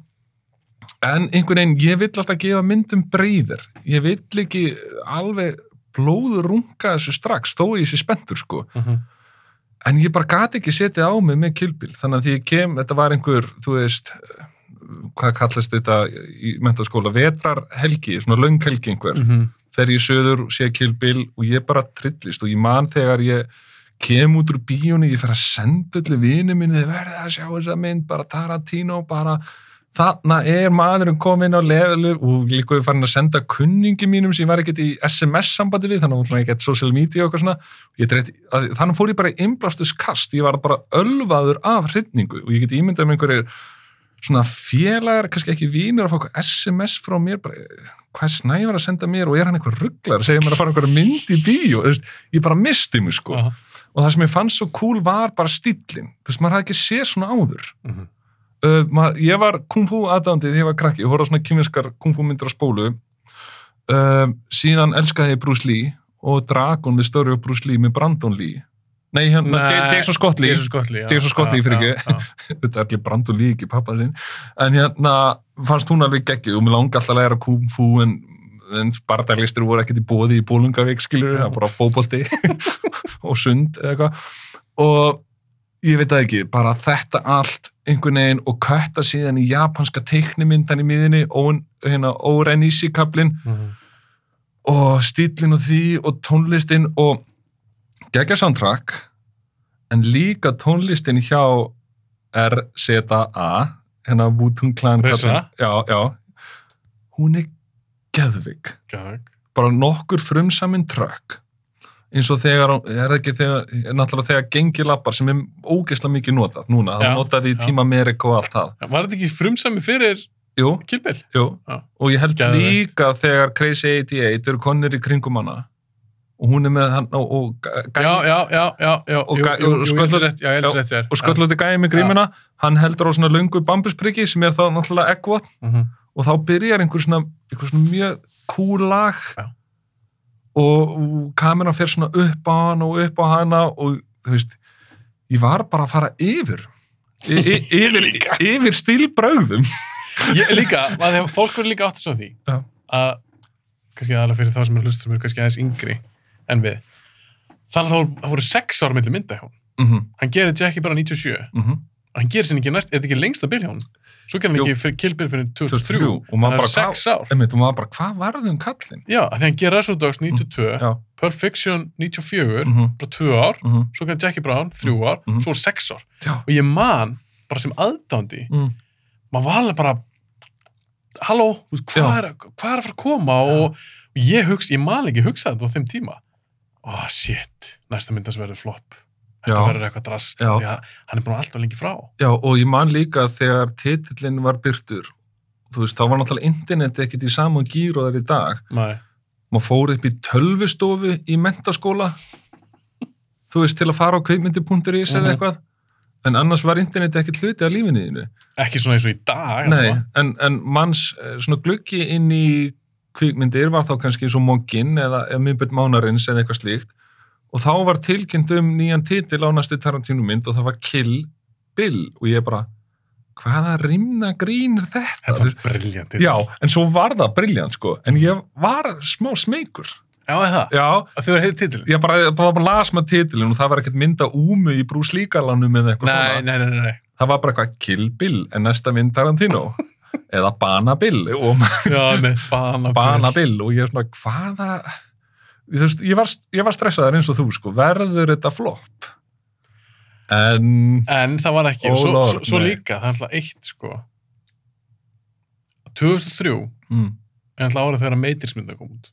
En einhvern veginn, ég vill alltaf gefa myndum breyðir. Ég vill ekki alveg blóður runga þessu strax, þó ég sé spenntur, sko.
emitt.
En ég bara gati ekki setið á mig með kilbíl, þannig að því ég kem, þetta var einhver, þú veist, hvað kallast þetta í mentaskóla, vetrarhelgi, svona lönghelgi einhver fer ég söður, sé Kill Bill og ég bara trillist og ég man þegar ég kem út úr bíónu, ég fer að senda öllu vini minni, þið verðið að sjá þessa mynd, bara Tarantino, bara þarna er maðurinn kominn á levelu og líka við farin að senda kunningi mínum sem ég var ekkert í SMS-sambandi við, þannig að ég ekkert social media og eitthvað svona, Ég dreit, að, þannig fór ég bara í inblastuskast, ég var bara ölvaður af hrifningu og ég get ímyndað með einhverjir svona félagar, kannski ekki vínur að fá eitthvað SMS frá mér, bara hvað er snævar að senda mér og er hann eitthvað rugglar segir mér að fara einhverja mynd í bíó þú veist, ég bara misti mig sko
Aha.
og það sem ég fann svo cool var bara stíllinn þú veist, maður hafði ekki séð svona áður
Mhm.
uh, maður, ég var kung fu aðdándið þegar ég var krakki, ég horfði á svona kyminskar kung fu myndir á spólu uh, síðan elskaði ég Bruce Lee og Dragon við störu og Bruce Lee með Brandon Lee nei, hérna,
Nei,
J- Jason Scott Lee
Jason Scott Lee, já.
Jason Scott Lee,
Já,
fyrir
já,
ekki.
já.
þetta er allir Brandon Lee, ekki pappa sinn en hérna fannst hún alveg geggju og mér langi alltaf að læra kung fu en, en bardaglistur voru ekkert í bóði í Bólungavík skilur, það var bara fótbolti og sund eða eitthvað og ég veit það ekki, bara þetta allt einhvern veginn og kötta síðan í japanska teiknimyndan í miðinni Owen- hérna, Oren Ishikablin
Mhm.
og stílinn og því og tónlistin og geggja soundtrack en líka tónlistin hjá RZA hérna Wu-Tung Clan
RZA?
kallinn. já, já hún er geðvig
Gag.
bara nokkur frumsaminn trökk eins og þegar, er það ekki þegar, er náttúrulega þegar gengi lappar sem er ógeðslega mikið notað núna, það
Já,
er notað í
já.
tíma merik og allt það.
Var þetta ekki frumsami fyrir
Jú,
Kilbel?
jú,
Já.
og ég held
Geðveikt.
líka þegar Crazy 88 eru konir í kringum hana og hún er með hann og, og,
Já, já, já, já, já.
Og
jú,
ga-
jú,
og
jú, ég
sköllótt-
heldur rétt, já, ég heldur
já,
rétt þér.
og sköllóti gæði með grímina, hann heldur á svona löngu bambuspriki sem er þá náttúrulega eggvot
Mhm.
og þá byrjar einhver svona, einhver svona mjög cool lag
Já.
og, og kameran fer svona upp á hann og upp á hana og þú veist, ég var bara að fara yfir y yfir,
Líka.
yfir stílbröðum
Ég líka, að þegar fólk verður líka átt að svo því
Já.
að kannski aðalega fyrir þá sem er hlustur mér kannski aðeins yngri en við þar þá voru- það voru sex ár milli mynda hjá hún
mm -hmm,
hann gerir Jackie bara 97
mm -hmm.
hann gerir sinni ekki næst, er þetta ekki lengsta bil hjá hún svo gerir hann
Jú.
ekki fyrir Kill Bill fyrir 2003
2003 og
það
maður
er
bara, hvað,
sex ár
einmitt, og maður bara, hvað varði um kallinn?
já, af því hann gerir Reservoir Dogs 92
Mm, Já,
Pulp Fiction 94
mhm,
bara 2 ár,
mhm,
svo gerir Jackie Brown 3 ár,
Mhm.
svo 6 ár
já,
og ég man, bara sem aðdándi
mm,
maður var alveg bara halló, þú veist, hvað
Já.
er, hvað er að fara að koma og, og ég hugsa, ég man ekki hugsa þetta á þeim tíma oh shit, næsta myndans verður flopp þetta
Já.
verður eitthvað drast
Já.
því að hann er búin alltaf lengi frá
já, og ég man líka þegar titillinn var byrtur þú veist, þá var náttúrulega interneti ekkit í saman gýr og það er í dag
Nei.
maður fór upp í tölvustofu í mentaskóla þú veist, til að fara á kveikmyndi.is
Mhm.
eða eitthvað en annars var interneti ekkert hluti af lífinu þínu
ekki svona eins og í dag
Nei, en, en manns eh, svona gluggi inn í kvikmyndir var þá kannski eins og Mokkin eða, eða Mimbert Mánarins eða eitthvað slíkt og þá var tilkynnt um nýjan titil á næstu Tarantino mynd og það var Kill Bill og ég bara hvaða rimna grín er þetta?
þetta er briljant
Já, en svo var það briljant sko, en ég var smá smeykur.
já er það,
Já,
að þau eru heilt titil
ég bara, bara, bara las maður titilin og það var ekkert mynda úmu í brús líkalanum eða eitthvað
nei,
svona.
nei, nei, nei, nei.
Það var bara eitthvað Kill Bill en næsta mynd Tarantino eða Bana Bill og
já, með bana,
Bana Bill og ég er svona hvaða ég, þú veist, ég, var, ég var stressaður eins og þú sko verður þetta flopp en
en það var ekki
Ó,
og svo,
Lord,
svo, svo
nei.
líka, það er alltaf eitt sko 2003 er
mm,
alltaf árið þegar meitirsmynda kom út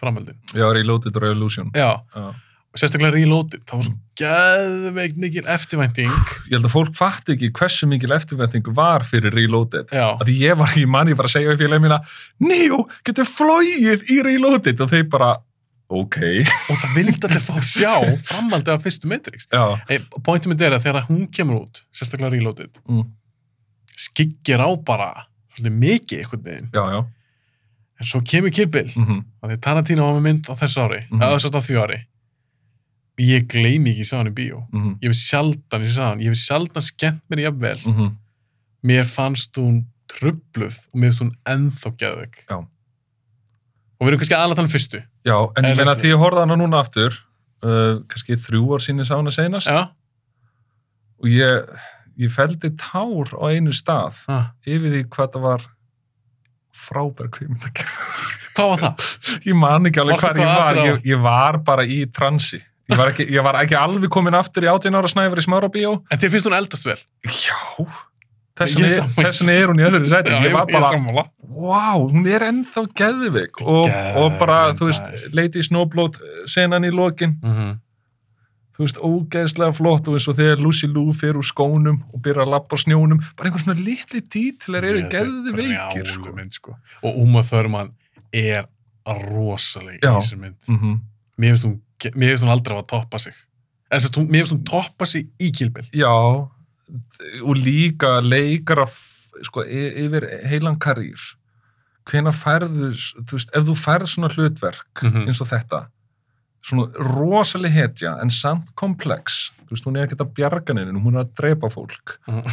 framöldin,
ég var í Loaded Revolution
já
Já.
og sérstaklega Reloaded, það var svo geðveik mikil eftirvænting
ég held að fólk fatti ekki hversu mikil eftirvending var fyrir Reloaded
já,
að því ég var í manni bara að segja við félagin mína Neo getur flóið í Reloaded og þeir bara ok
og það vildi allir fá að sjá framhaldi af fyrstu Matrix
já
hey, pointum mitt er að þegar hún kemur út sérstaklega Reloaded,
mm.
skyggir á bara svolítið mikið einhvern veginn
já, já
en svo kemur Kill Bill,
mm
af því Tarantino var með mynd á þessu ári, mm
Mhm.
-hmm. eða svolítið á því ári ég gleymi ekki sá hann í bíó
-hmm.
ég hef sjaldan, ég sá hann, ég hef sjaldan skemmt mér jafnvel
Mm -hmm.
mér fannst hún trubluð og mér finnst hún ennþá geðveik
Já.
og við erum kannski aðalega þannig fyrstu
já, en
En
ég meina
veist-
því ég horfði á hana núna aftur uh, kannski þrjú ár sinni sá hana seinast
já,
og ég, ég feldi tár á einu stað
ah.
yfir því hvað það var frábær kvikmyndagerð.
Hvað var það?
Ég man ekki alveg
Varstu
hvað ég
hvað
var,
aðra á?
ég, ég var bara í transi. Ég var ekki, ég var ekki alveg komin aftur í 18 ára snæfur í smárabíó.
En þér finnst hún eldast vel?
Já,
Ég
þessan
er
er,
sammála.
þessan er hún í öðru sæti. ég var bara,
sammála.
wow, hún er ennþá geðvik og, og bara, þú veist, Lady Snowblood senan í lokin. þú veist, ógeðslega flott og eins og þegar Lucy Lou fer úr skónum og byrjar að lappa á snjónum, bara einhver svona litli dítilar eru geðið veikir sko.
Mynd, sko. Og Uma Thurman er rosaleg í
Já.
þessari mynd.
mm -hmm.
Mér finnst hún, ge- mér finnst hún aldrei að toppa sig. En þess að mér finnst hún toppa sig í kilbel.
Já, og líka leikara f- sko, y- yfir heilan karýr hvenar færðu, s- þú veist, ef þú færð svona hlutverk
Mhm.
eins og þetta svona rosaleg hetja en samt komplex, þú veist, hún er ekkert að bjarga neinu, hún er að drepa fólk
Mhm.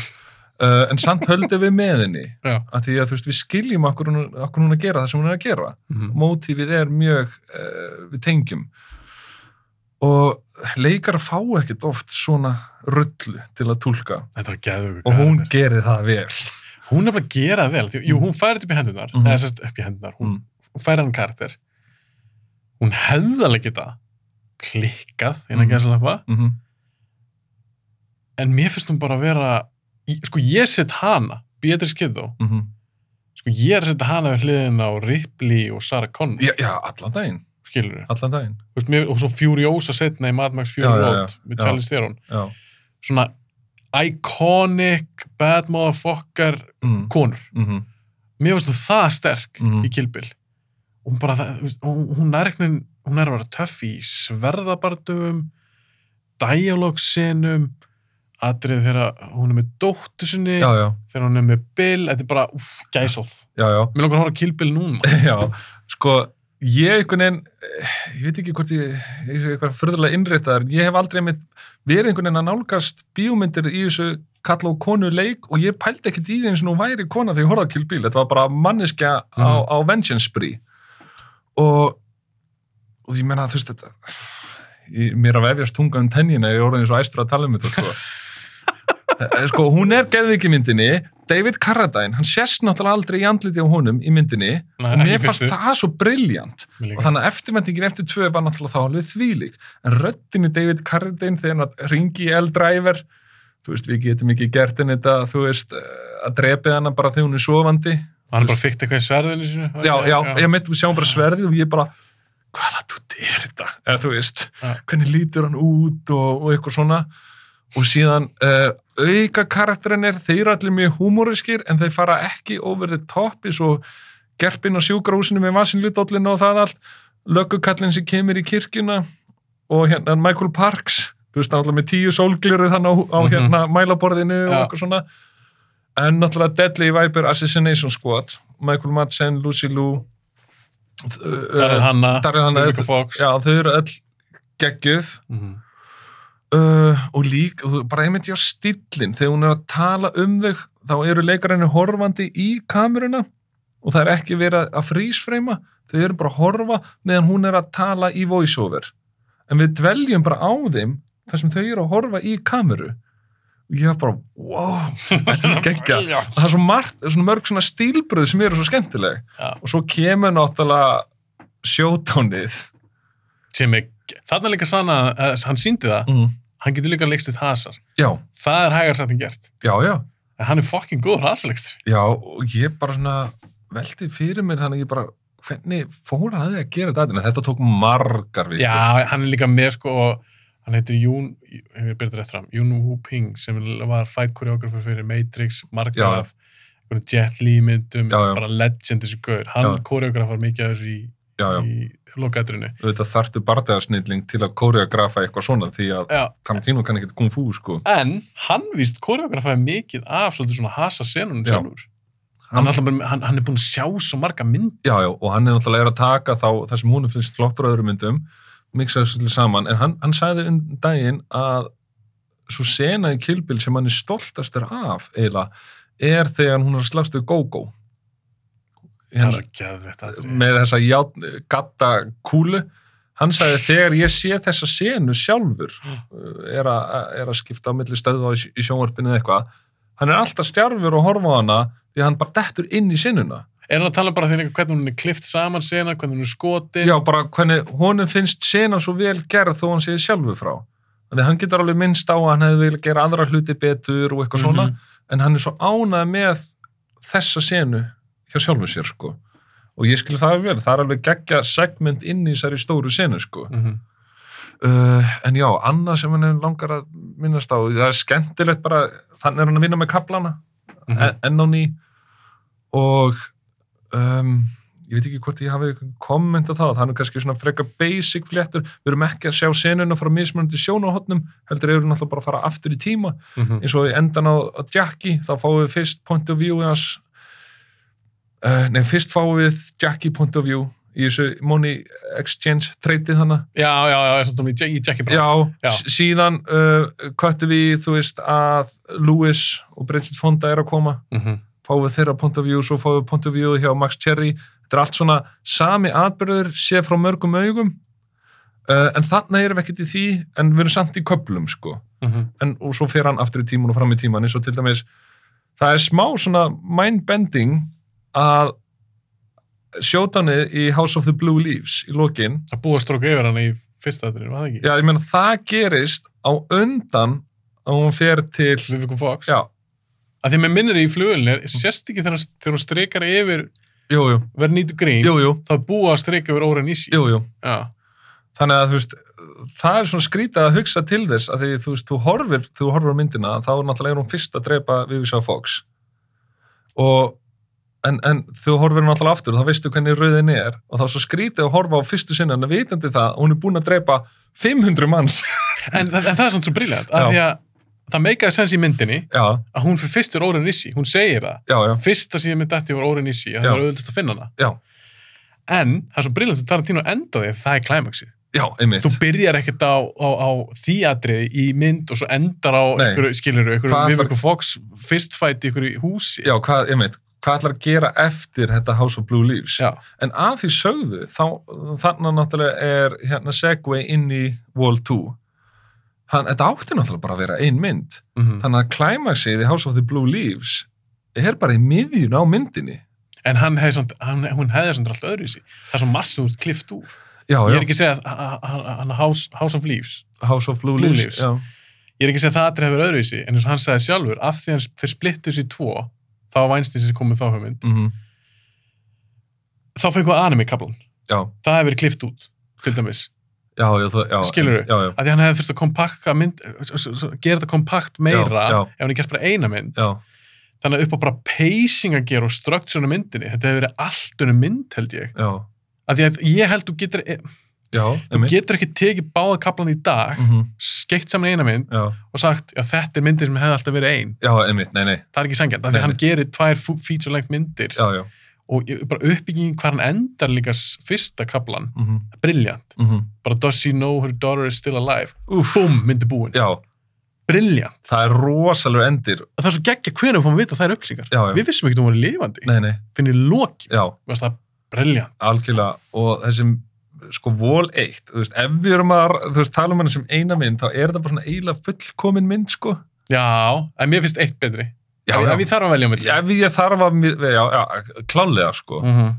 uh, en samt höldum við með henni
Já.
að því að þú veist, við skiljum okkur hún, okkur hún er að gera það sem hún er að gera mótífið er mjög uh, við tengjum og leikar fá ekkert oft svona rullu til að tólka
Þetta var geðugur.
og hún gerir það vel
Hún er bara að gera það vel. Því- Jú, hún færi þetta upp í hendunar. Mm
Mhm.
-hmm. Eða sérst upp í hendunar. Hún, hún færi hann karakter. Hún hefði alveg geta klikkað innan mm
Mhm.
-hmm. gæðsalappa.
mm -hmm.
en mér finnst hún bara að vera í, sko ég set hana, Beatrice Kiddo Sko ég er að setja hana við hliðin á Ripley og Sarah Connor,
Já, já, allan daginn,
skilur við.
allan daginn,
Veist, mér, og svo Furiosa setna í Mad Max Fury
Já, já, já,
Road með
já.
Charlize Theron.
já.
Svona iconic, bad motherfucker
Mm,
konur.
mm -hmm.
Mér finnst nú það sterk
Mhm.
í Kill Bill. Og Hún bara, það, þú veist, hún hún er eitthvað, hún er að vera töff í sverðabardugum, dialogsinum, atrið þegar hún er með dóttu sinni,
Já, já,
þegar hún er með Bill, þetta er bara, uff, gæsóð.
já, já.
Mér langar að horfa á Kill Bill núna.
Já, sko, ég einhvern veginn, eh, ég veit ekki hvort ég, ég er eitthvað förðurlega innréttaður, ég hef aldrei einmitt verið einhvern veginn að nálgast bíómyndir í þessu kalla og konu leik og ég pældi ekkert í því eins og nú væri kona þegar ég horfði á Kill Bill, þetta var bara manneskja á,
Mhm.
á vengeance spree og, og ég menna, þú veist, þetta, ég, mér er að vefjast tunga um tennina, ég er orðin svo æstur að tala um þetta, sko. Eh, sko, hún er geðviki í myndinni, David Carradine, hann sérst náttúrulega aldrei í andliti á honum í myndinni,
Nei,
og
ekki
mér fannst
fyrstu.
það svo briljant
Mér
og
líka.
þannig að eftirvendingin eftir tvö var náttúrulega þá alveg þvílík en röddinu David Carradine þegar hann ringi í L-Driver þú veist, við getum ekki gert henni þetta þú veist, eh, að drepið hana bara þegar hún er sofandi
Hann bara fyrkt eitthvað í sverðinu sinu.
já, já, ég mitt við sjáum bara sverðið og ég bara hvaða dutt er þetta, eða þú veist
Já.
hvernig lítur hann út og, og eitthvað svona og síðan uh, auka karakterinir, þeir eru allir mjög húmóriskir en þeir fara ekki over the top eins og gerpinn á sjúkrahúsinu með vasinlítóllinu og það allt löggukallin sem kemur í kirkjuna og hérna Michael Parks þú veist, náttúrulega með tíu sólgliru þannig á, á
Mhm.
hérna mælaborðinu og
Já.
eitthvað svona en náttúrulega Deadly Viper Assassination Squad Michael Madsen, Lucy Liu
Darrell
Darrell
Hanna,
uh, Darrell Hannah,
Rebecca Fox.
Já, þau eru öll geggjuð
Mhm.
uh, og lík, og bara einmitt já stillin, þegar hún er að tala um þau þá eru leikarinu horfandi í kameruna og það er ekki verið að frísfreima, þau eru bara að horfa meðan hún er að tala í voiceover en við dveljum bara á þeim þar sem þau eru að horfa í kameru og ég var bara, wow þetta er geggja
Já.
Og það er svo margt, svona mörg svona stílbröð sem eru svo skemmtileg
Já.
og svo kemur náttúrulega showdownið
Sem er, þarna er líka sanna að hann síndi það,
mm.
hann getur líka leikstitt hasar.
já,
Það er hægar sagt en gert.
já, já
En hann er fucking góð hasalegstur.
Já, og ég bara svona veldi fyrir mér þannig að ég bara hvernig fór að þið að gera þetta en þetta tók margar vikur
Já, hann er líka með sko, hann heitir Jún, hefur ég byrðið rétt fram, Jún Woo Ping sem var fight koreografur fyrir Matrix,
Já.
margar af einhvern Jet Li myndum,
Já, já.
bara legend þessu gaur. Hann
Já.
koreografar mikið af þessu í,
já, já.
í lokaðrunu.
Þetta þartu bardaðarsnilling til að koreografa eitthvað svona því að
Já,
Tarantino kann ekkert kung fu sko
en hann víst koreografaði mikið af svolítið svona hasa senunum
Já.
sjálfur hann, hann, bara, hann, hann er búin að sjá svo marga mynd
Já, já, og hann er náttúrulega er að taka þá það sem hún finnst flottur á öðrum myndum miksaði þessu til saman, en hann, hann sagði um daginn að svo sena í kilpil sem hann er stoltastur af eiginlega, er þegar hún er að slagst við Go-Go
það
Hérna-
er ekki að þetta
með þessa játn, gatta kúlu hann sagði þegar ég sé þessa senu sjálfur
Mm.
uh, er, a, er að skipta á milli stöðu á í, í sjónvarpinu eða eitthvað hann er alltaf stjárfur og horfa á hana því að hann bara dettur inn í senuna
er hann að tala bara þegar hvernig hún er klift saman sena, hvernig hún er skotin
já bara hvernig honum finnst senan svo vel gerð þó hann sé sjálfur frá þannig að hann getur alveg minnst á að hann hefði vel gera aðra hluti betur og eitthvað
Mhm,
svona en hann er svo ánað með þessa senu hjá sjálfur sér sko og ég skil það vel, það er alveg geggja segment inn í þessari stóru senu sko
mm -hmm.
Uh, en já, annað sem hann er langar að minnast á, það er skemmtilegt bara, þannig er hann að vinna með kaplana
Mm
en- enn á ný og um, ég veit ekki hvort ég hafi komment á það, þannig kannski svona frekar basic fléttur, við erum ekki að sjá senuna frá mismunandi sjónahotnum, heldur eru náttúrulega bara að fara aftur í tíma
-hmm.
eins og í endan á, á Jackie þá fáum við fyrst point of view hans uh, nei, fyrst fáum við Jackie point of view í þessu money exchange treytið hana
já, já, já, er svona í, Jack- í Jackie Brown
Já,
Já.
s- síðan uh, köttu við, þú veist, að Lewis og Bridget Fonda er að koma
Mhm.
fáum við þeirra point of view, svo fáum við point of view hjá Max Cherry, þetta er allt svona sami atbyrður séð frá mörgum augum uh, en þarna erum við ekkert í því en við erum samt í köplum sko
Mhm.
en, og svo fer hann aftur í tíman og fram í tíman eins og til dæmis, það er smá svona mindbending að sjótanið í House of the Blue Leaves í lokin
að búa strók yfir hann í fyrsta aðrinu, var það ekki?
Já, ég meina það gerist á undan að hún fer til
Livico Fox
já,
að því að mér minnir í flugulni sérst ekki þegar hann- þegar hún streikar yfir
Jú, jú,
verð nýtu grín
jú, jú,
þá er búið að streika yfir óren í sí
jú, jú.
já,
Þannig að þú veist, það er svona skrítið að hugsa til þess að því þú veist, þú horfir, þú horfir á myndina, þá er náttúrulega er hún fyrst að drepa Vivisá Fox. Og, en, en þú horfir náttúrulega aftur, þá veistu hvernig rauðin er og þá er svo skrítið að horfa á fyrstu sinna en að vitandi það, að hún er búin að drepa 500 manns.
en, en, en það er svona svo briljant að
Já.
því að það meikaði sens í myndinni
já,
að hún fyrir fyrstur óren í sí, hún segir það
já, já,
fyrsta sem ég myndi eftir var óren í sí að
Já.
það er auðvitað að finna hana
já,
en það er svo briljant að Tarantino enda því það er klæmaksi
já, einmitt.
þú byrjar ekkert á, á, á því atriði í mynd og svo endar á
Nei.
einhverju, skilur einhverju
Hvað ætlar-
Vivica Fox fistfæti einhverju í húsi
Já, hvað, einmitt, hvað ætlar að gera eftir þetta House of Blue Leaves?
Já.
En að því sögðu, þá, þannig náttúrulega er hérna segway inn í Wall 2. Hann, þetta átti náttúrulega bara að vera ein mynd.
Mhm.
Þannig að klæmaksið í House of the Blue Leaves er bara í miðjun á myndinni.
en hann hefði samt, hann, hún hefði samt alltaf öðru í sig það er svo massum úr klift úr
Já,
ég
já,
er ekki að segja að- að- að- að- hann House, House of Leaves
House of Blue,
Blue Leaves.
Leaves. Já.
ég er ekki að segja að það atrið hefur öðru í sig en eins og hann sagði sjálfur, af því hann þeir splittu sér í tvo þá var Weinstein sem komið þá hugmynd
Mm
þá fengið við anime kaplan,
já,
það hefur verið klift út til dæmis,
já, já, það, já.
Skilurðu?
Já, já,
af því hann hefði þurft að kompakka mynd, s- s- s- gera þetta kompakt meira
já.
ef hann hefði gert bara eina mynd
já,
þannig að upp á bara pacing að gera og struktúrinu myndinni, þetta hefur verið allt unum mynd held ég,
já,
af því að ég held þú getur, eh,
já,
þú getur ekki tekið báða kaplan í dag,
Mm -hmm.
skeitt saman í eina mynd
Já,
og sagt, já þetta er myndin sem hefði alltaf verið ein
já, einmitt, nei, nei,
það er ekki sangjant, af því
Nei,
að hann gerir tvær fu- feature length myndir
já, já.
og ég- bara uppbyggingin hvað hann endar líka s- fyrsta kaplan,
Mm -hmm.
briljant
Mhm.
bara does she know her daughter is still alive
Úf,
búm, myndi búin,
já,
briljant
það er rosalur endir.
það er svo geggja hvernig við fáum að vita þær upplýsingar
Já, já,
við vissum ekki að hún var lifandi,
nei, nei,
finnir loki
já.
Mér fannst það briljant
algjörlega og þessi sko vol 1, þú veist, ef við erum að þú veist, tala um henni sem eina mynd, þá er þetta bara svona eiginlega fullkomin mynd, sko
Já, en mér finnst eitt betri.
Já,
ef,
já.
ef ég þarf að velja um þetta.
ef ég þarf að, mið- já, já, klálega sko, mm.
Mm -hmm.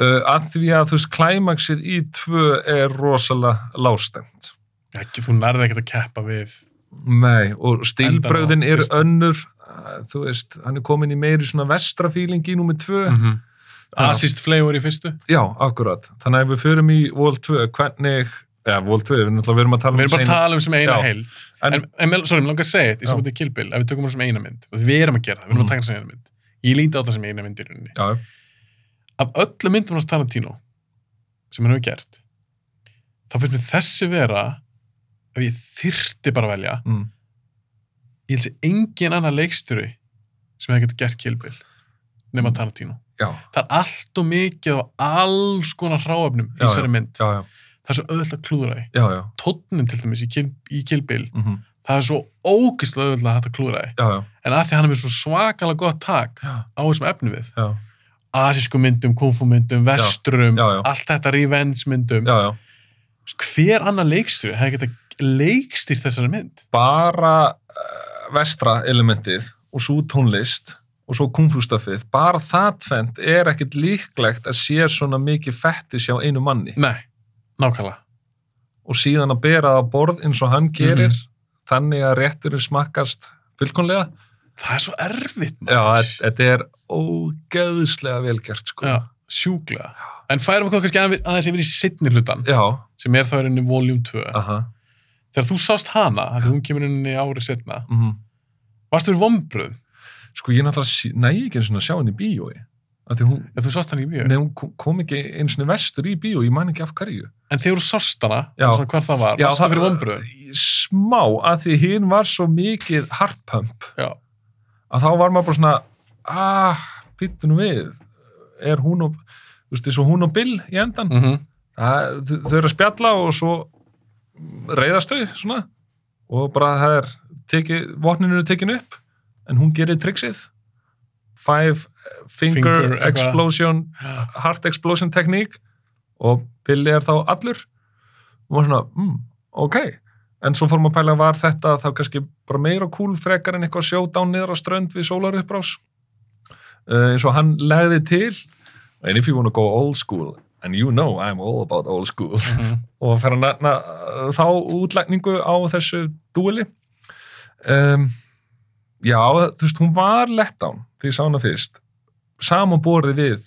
uh, að því að þú veist, klæmaksið í tvö er rosalega lástend
Ekki, þú nærði ekkert að keppa við.
nei, og stílbröðin
Endan á
er
fyrsta.
önnur uh, þú veist, hann er komin í meiri svona vestrafílingi númið tvö
Mm -hmm. Asist flavor í fyrstu.
já, akkurat, þannig að ef við förum í vol 2, hvernig eða vol 2, við náttúrulega verum að tala
Við erum bara að
seinna-
tala um sem eina
Já.
heild. En,
En-
en, en sorry, mér langar að segja þetta, ég
Já.
sem búið til Kill Bill, ef við tökum það sem eina mynd. og Við erum að gera það, við erum að
Mhm.
taka það sem eina mynd. Ég líti á það sem eina mynd í rauninni.
já,
Af öllu myndum hans Tarantino, sem hann hefur gert, þá finnst mér þessi vera, ef ég þyrti bara að velja,
mm.
ég held sér engin annar leikstjóri sem hefði gett gert Kill Bill, nema
Mhm.
Tarantino.
já,
það er allt og mikið af alls konar hráefnum í
Já,
þessari mynd.
já, já,
Það er svo auðvitað að klúðra því.
já, já.
Tónnin til dæmis í Kill, í Kill Bill,
Mm
það er svo ógeðslega auðvitað að hægt að klúðra því.
já, já,
En að því hann er með svo svakalega gott tak
já,
á þessum efni við,
já,
asísku myndum, kungfu myndum, vestrurum,
Já, já.
allt þetta revenge myndum,
já, já.
hver annar leikstu hefði getað leikstýrt þessari mynd?
bara uh, vestra elementið og svo tónlist og svo kungfústafið, bara það tvent er ekkit líklegt að sé svona mikið fettis hjá einu manni
Nei, nákvæmlega.
og síðan að bera það á borð eins og hann gerir þannig að rétturinn smakkast fullkonlega.
Það er svo erfitt,
Já, þe- þetta er ógeðslega velgjart, sko.
Já, sjúklega. En færum við kannski aðeins yfir í sittni hlutan,
já
sem er þá í rauninni voljum 2.
aha,
þegar þú sást hana, að hún kemur inn í árið setna,
mhm.
varstu þér vombröð
Sko, ég náttúrulega sí- næ ekki einu svona að sjá henni í bíói. Af Því hún,
þegar þú sást hana í bíó?
Nei, hún kom- kom ekki einu svona vestur í bíó, ég man ekki af hverju.
En þegar þú sást hana,
Já.
svona hvar það var,
Já,
varstu
það-
fyrir vombröð?
Smá, að því hinn var svo mikið hartpump,
Já,
að þá var maður bara svona, ah, pittu nú við, er hún og, þú veist, þessu hún og Bill í endan,
mm
það, þau- þau eru að spjalla og svo reyðast þau, svona, og bara það er, tekið, vopninu eru tekin upp, en hún gerir triksið, five finger,
Finger, eitthvað.
explosion heart explosion tekník og Billy er þá allur og maður svona, mm, ok en svo fórum að pæla var þetta þá kannski bara meira cool frekar en eitthvað showdown niður á strönd við sólarupprás uh, eins og hann legði til and if you wanna go old school and you know I'm all about old school
Mhm.
og fer að nefna uh, þá útlækningu á þessu dúli um, já, þú veist, hún var lett án því ég sá hana fyrst samanborið við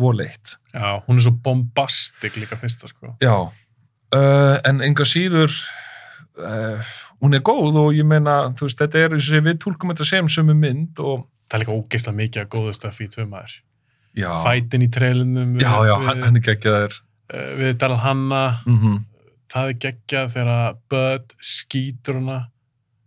Wall 1
Já, hún er svo bombastik líka fyrsta, sko.
já, uh, en enga síður uh, hún er góð og ég meina, þú veist, þetta er eins og við tólkum þetta sem sömu mynd og
Það er líka ógeðslega mikið að góðu stöfi í tvömaður.
já,
Fætin í trelunum.
já, já, hann, hann er geggjaður
eh, Við Dalal Hanna,
mm
það er geggjað þegar að Bud skýtur hana.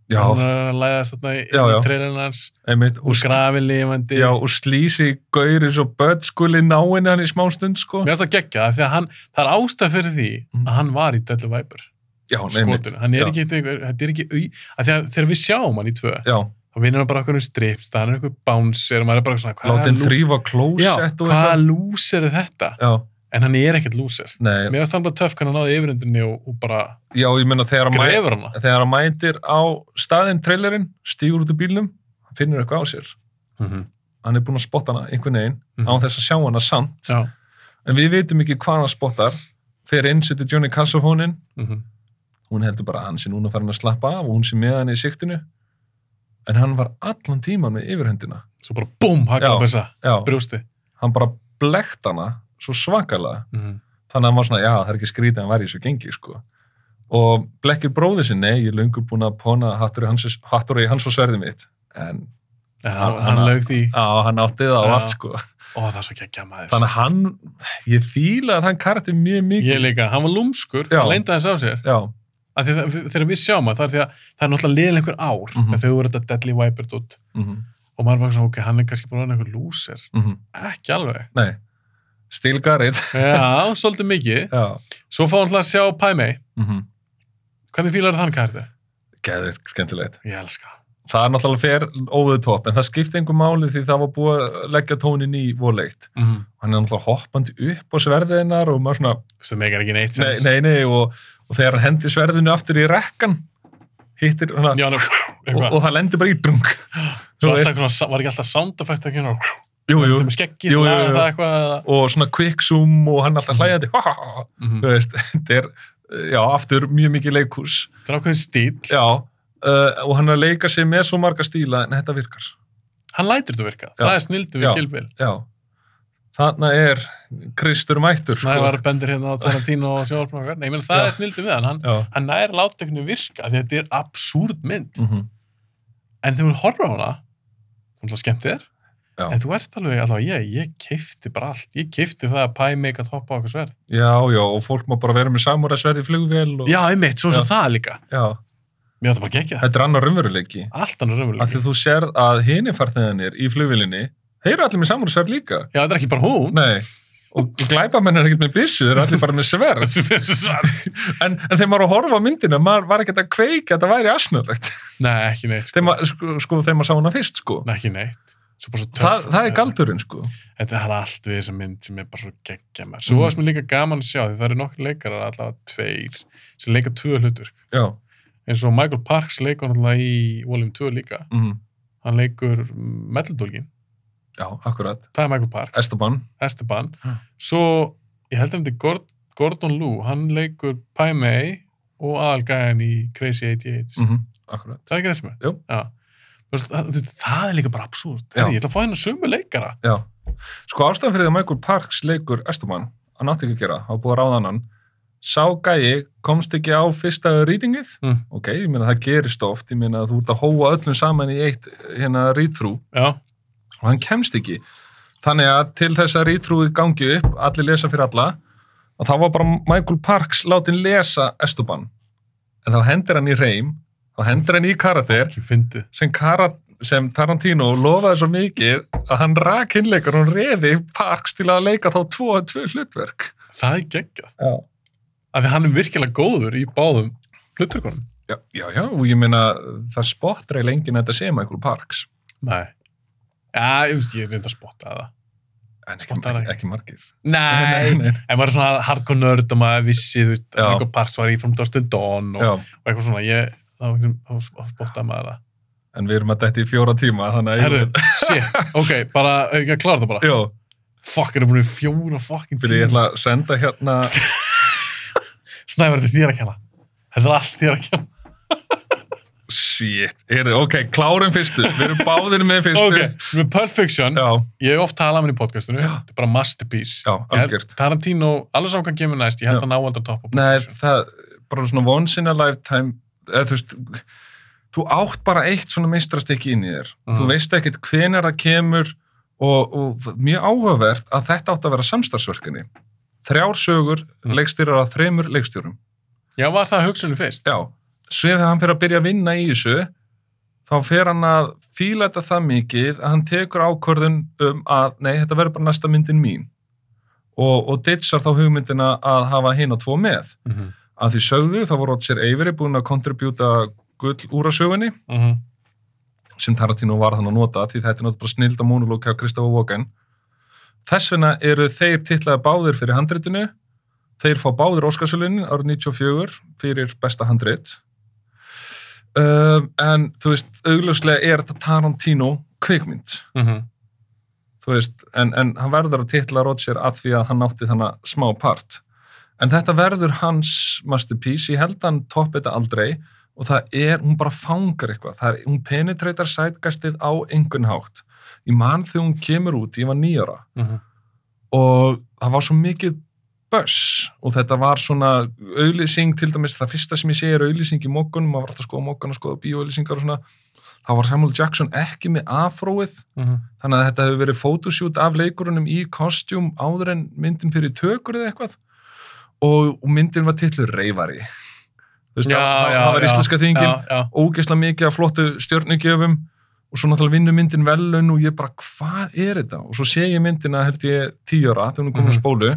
já,
Hún er að læðast þarna í-
Já, já.
inn í trelunum hans.
einmitt
Hún
sk-
grafin lifandi.
Já, og slísi gauri svo börn skuli náinn hann í smá stund, sko.
Mér finnst það geggjað af því að hann, það er ástæð fyrir því
Mhm.
að hann var í Döllu Væpur.
Já, einmitt.
Skotinu. Hann er
Já.
ekki, einhver- þetta er ekki, au- af því að þegar við sjáum hann í tvö,
Já,
þá vinnur hann bara okkur um strips, það er eitthvað bánser og maður er bara svona, hvaða
látið
lú-
þrýfa
Já,
klósett og
hvaða lúser er þetta?
Já,
En hann er ekkert lúser.
nei,
Mér finnst hann bara töff hvernig hann náði yfirundinni og, og bara
já, ég meina þegar hann mæ...
grefur hana.
þegar hann mætir á staðinn trailerinn, stígur út úr bílnum, hann finnur eitthvað á sér.
Mm
Mhm.
-hmm.
Hann er búinn að spotta hana einhvern veginn,
Mhm.
án þess að sjá hana samt.
Já.
En við vitum ekki hvað hann spottar. Fyrir inn setur Johnny Kassafónin,
Mm
hún heldur bara að hann sé núna farin að slappa af og hún sé með hann í siktinu. En hann var allan tíman með yfirhundina.
Svo bara búm,
Já.
hakla þessa
Já.
brjósti.
hann bara blekt hana svo svakalega
Mm -hmm.
þannig að hann var svona, já, það er ekki skrítið að hann væri í svo gengi, sko og blekkir bróðið sinni, ég er löngu búin að pona hattur í hans, hattur í hans og sverðið mitt en
Hann,
Hann-
hann
hann-
lög því.
á, hann átti það á
Já.
allt, sko
Ó, það er svo geggjað maður.
þannig að hann, ég fíla að hann karakter mjög
Ég
mikið
líka, hann var lúmskur,
Já.
hann leinda þess á sér.
já,
Af því að Þegar við sjáum að það er því að það er náttúrulega liðin einhver ár
Mhm.
þegar þau voru þetta Deadly Viper dút
mm -hmm.
og maður er bara svona, ok, hann er kannski bara einhver lúser.
Mm -hmm.
Ekki alveg.
nei stílgarið,
Já, svolítið mikið.
já
Svo fá hann til að sjá Paimei.
mm -hmm.
Hvernig fílar þann kartið?
geðið, skemmtilegt
Ég elska hann.
það er náttúrulega fer óður topp en það skipti einhver máli því það var búið að leggja tónin í voleitt
Mm.
hann er náttúrulega hoppandi upp á sverðinar og maður svona,
Það megar ekki neitt
nei,
sens.
nei, nei og, og þegar hann hendi sverðinu aftur í rekkan hittir hana
Já, nú,
og,
eitthvað.
og það lendir bara í drung
Svo
þú
alltaf
veist.
eitthvað, svona- var ekki alltaf sound effect ekki hérna,
jú, jú,
með skeggið,
Jú, jú,
laga
jú.
það eitthvað eða...
og svona quick zoom og hann alltaf hlægjandi ha, ha, ha, þú
Mhm.
veist, þetta er já, aftur mjög mikið leikús
Það er ákveðin stíl.
já, uh, og hann er að leika sig með svo marga stíla en þetta virkar
Hann lætur þetta virka.
Já.
Það er snildu
Já.
við kilbil.
já, þarna er Kristur mættur sko.
Snævar bendir hérna á Tarantino og sjónvarpinu og okkar. Nei, ég meina, það
Já.
er snildu við hann. Hann,
já,
hann nær látteknu virka því þetta er absúrd mynd.
mhm,
En þegar við horfa á hana, hún er skemmt þér,
Já.
en þú ert alveg allavega, ég, ég keifti bara allt. Ég keifti það að Pæmi ekki að hoppa á okkur sverð.
já, já, og fólk má bara vera með samúræðsverði flugvél og,
Já, einmitt, svo
Já.
sem það líka.
já,
Mér átti bara að gegja það.
þetta er annar raunveruleiki
Allt annar
að því
raunveruleik.
þú sérð að hinni farþeganir í flugvilinni, þeir eru allir með samúrsverð líka.
Já, þetta er ekki bara hún.
Nei, og glæpamenn er ekkert með byssu, þeir eru allir bara með sverð. En, en þegar maður á að horfa á myndina, maður var ekkert að kveika að það væri asnulegt.
Nei, ekki neitt. Sko.
Þegar maður, sko, sko, þegar maður sá hana fyrst, sko.
Nei, ekki neitt. Svo bara svo töff.
Það, það er galdurinn, sko.
Þetta er allt við þessa mynd sem er bara svo geggja mér. Svo
Mhm.
mm. varst mér líka gaman að sjá því það eru nokkri leikarar allavega tveir sem leika tvö hlutverk.
Já,
En svo Michael Parks leikur náttúrulega í Volume 2 líka.
mm,
Hann leikur melludólgin.
já, akkurat.
Það er Michael Parks,
Esteban,
Esteban.
Já.
Svo, ég held að þetta er Gord- Gordon Liu, hann leikur Pai Mei og aðalgæðan í Crazy 88.
mm akkurat.
Það er ekki þessum er?
Jú.
Já. Þú veist, Það, þú- það er líka bara absúrt.
Já.
Ég ætla að fá hennar sömu leikara.
Já, sko ástæðan fyrir því að Michael Parks leikur Esteban, hann átti ekki að gera, hafa búið að ráða hann, sá gæi komst ekki á fyrsta rýtingið,
Mm.
ok, ég meina það gerist oft, ég meina þú ert að hóa öllum saman í eitt hérna rýtrú
Já.
og hann kemst ekki. Þannig að til þess að rýtrúi gangi upp, allir lesa fyrir alla, og þá var bara Michael Parks látin lesa Esteban, en þá hendir hann í reym, þá hendir hann í karatir,
Ekki fyndið.
sem, Kara, sem Tarantino lofaði svo mikið að hann rak innleikar og reði Parks til að leika þá tvo, tvö hlutverk.
Það er geggjað.
Já.
Af því hann er virkilega góður í báðum hlutverkunum.
Já, já, já, og ég meina það spottra í lengin að þetta sé Michael Parks.
Nei. Já, ég veist, ég reyndi að spotta það.
En ekki,
Spottar
ekki,
það
ekki margir.
Nei.
nei.
en maður er svona hardcore nörd og maður vissi, þú veist,
Já.
Michael Parks var í From Dust Till Dawn og,
Já,
og eitthvað svona, ég, þá einhvern- þá spottaði maður það.
en við erum að dætti í fjóra tíma, þannig að...
Herðu, shit, ok, bara, eh, ég að klára það bara.
Já,
Fuck, erum búin í fjóra fucking
fyrir ég ætla að senda hérna...
Snævar, þetta er þér að kenna. Þetta er allt þér að kenna.
Shit, heyrðu, ok, klárum fyrstu, við erum báðir með fyrstu.
Ok, með Perfection,
Já,
ég hef oft talað um hann í podcastinu,
Já.
þetta er bara masterpiece.
já,
Ég held-
algjört.
Tarantino, alveg saman hvað kemur næst, ég held
Já.
að ná aldrei topp á
Nei,
Perfection.
það, bara svona once in a lifetime, eða þú veist, þú átt bara eitt svona mistrastykki inn í þér.
Mhm.
Þú veist ekkit hvenar það kemur og, og mjög áhugavert að þetta átt að vera samstarfsverkefni. Þrjár sögur,
Mhm.
leikstýrar að þremur leikstýrum.
Já, var það hugsunum fyrst?
já, svo þegar hann fyrir að byrja að vinna í þessu þá fer hann að fíla þetta það mikið að hann tekur ákvörðun um að nei, þetta verður bara næsta myndin mín og, og ditchar þá hugmyndina að hafa hinn og tvo með
Mm -hmm.
að því sögðu þá voru Roger Avery búin að kontribjúta gull úr að sögunni
Mhm,
sem Tarantino var þannig að nota því þetta er náttúrulega bara snild að mónulóki á Kristofa Walken þess vegna eru þeir titlaði báðir fyrir handritinu þeir fá báðir Óskarsölunin árið 94 fyrir besta handrit um, en þú veist, augljóslega er þetta Tarantino kvikmynd
mhm,
þú veist, en, en hann verður að titla Roger að því að hann átti þannig smá part en þetta verður hans masterpiece, ég held að hann topp þetta aldrei og það er, hún bara fangar eitthvað, það er, hún penetreitar sætgastið á einhvern hátt ég man þegar hún kemur út, ég var nýjara
mhm,
og það var svo mikið börs og þetta var svona auðlýsing, til dæmis það fyrsta sem ég sé er auðlýsing í mokkunum, maður var alltaf að skoða mokkun og skoða bíóauðlýsingar og svona þá var Samuel Jackson ekki með afróið
mhm.
þannig að þetta hefur verið fótosjút af leikurunum í kostjúm áður en myndin fyrir tökur eða eitthvað og, og myndin var titlu reyfari þú veist,
Já,
það,
já,
það var
já,
íslenska þingin
Já, já.
ógeðslega mikið af flottu stjörnugjöfum og svo náttúrulega vinnur myndin velun og ég bara, hvað er þetta? Og svo sé ég myndina, held ég, tíu ára, þegar hún er komin
Mhm.
að spólu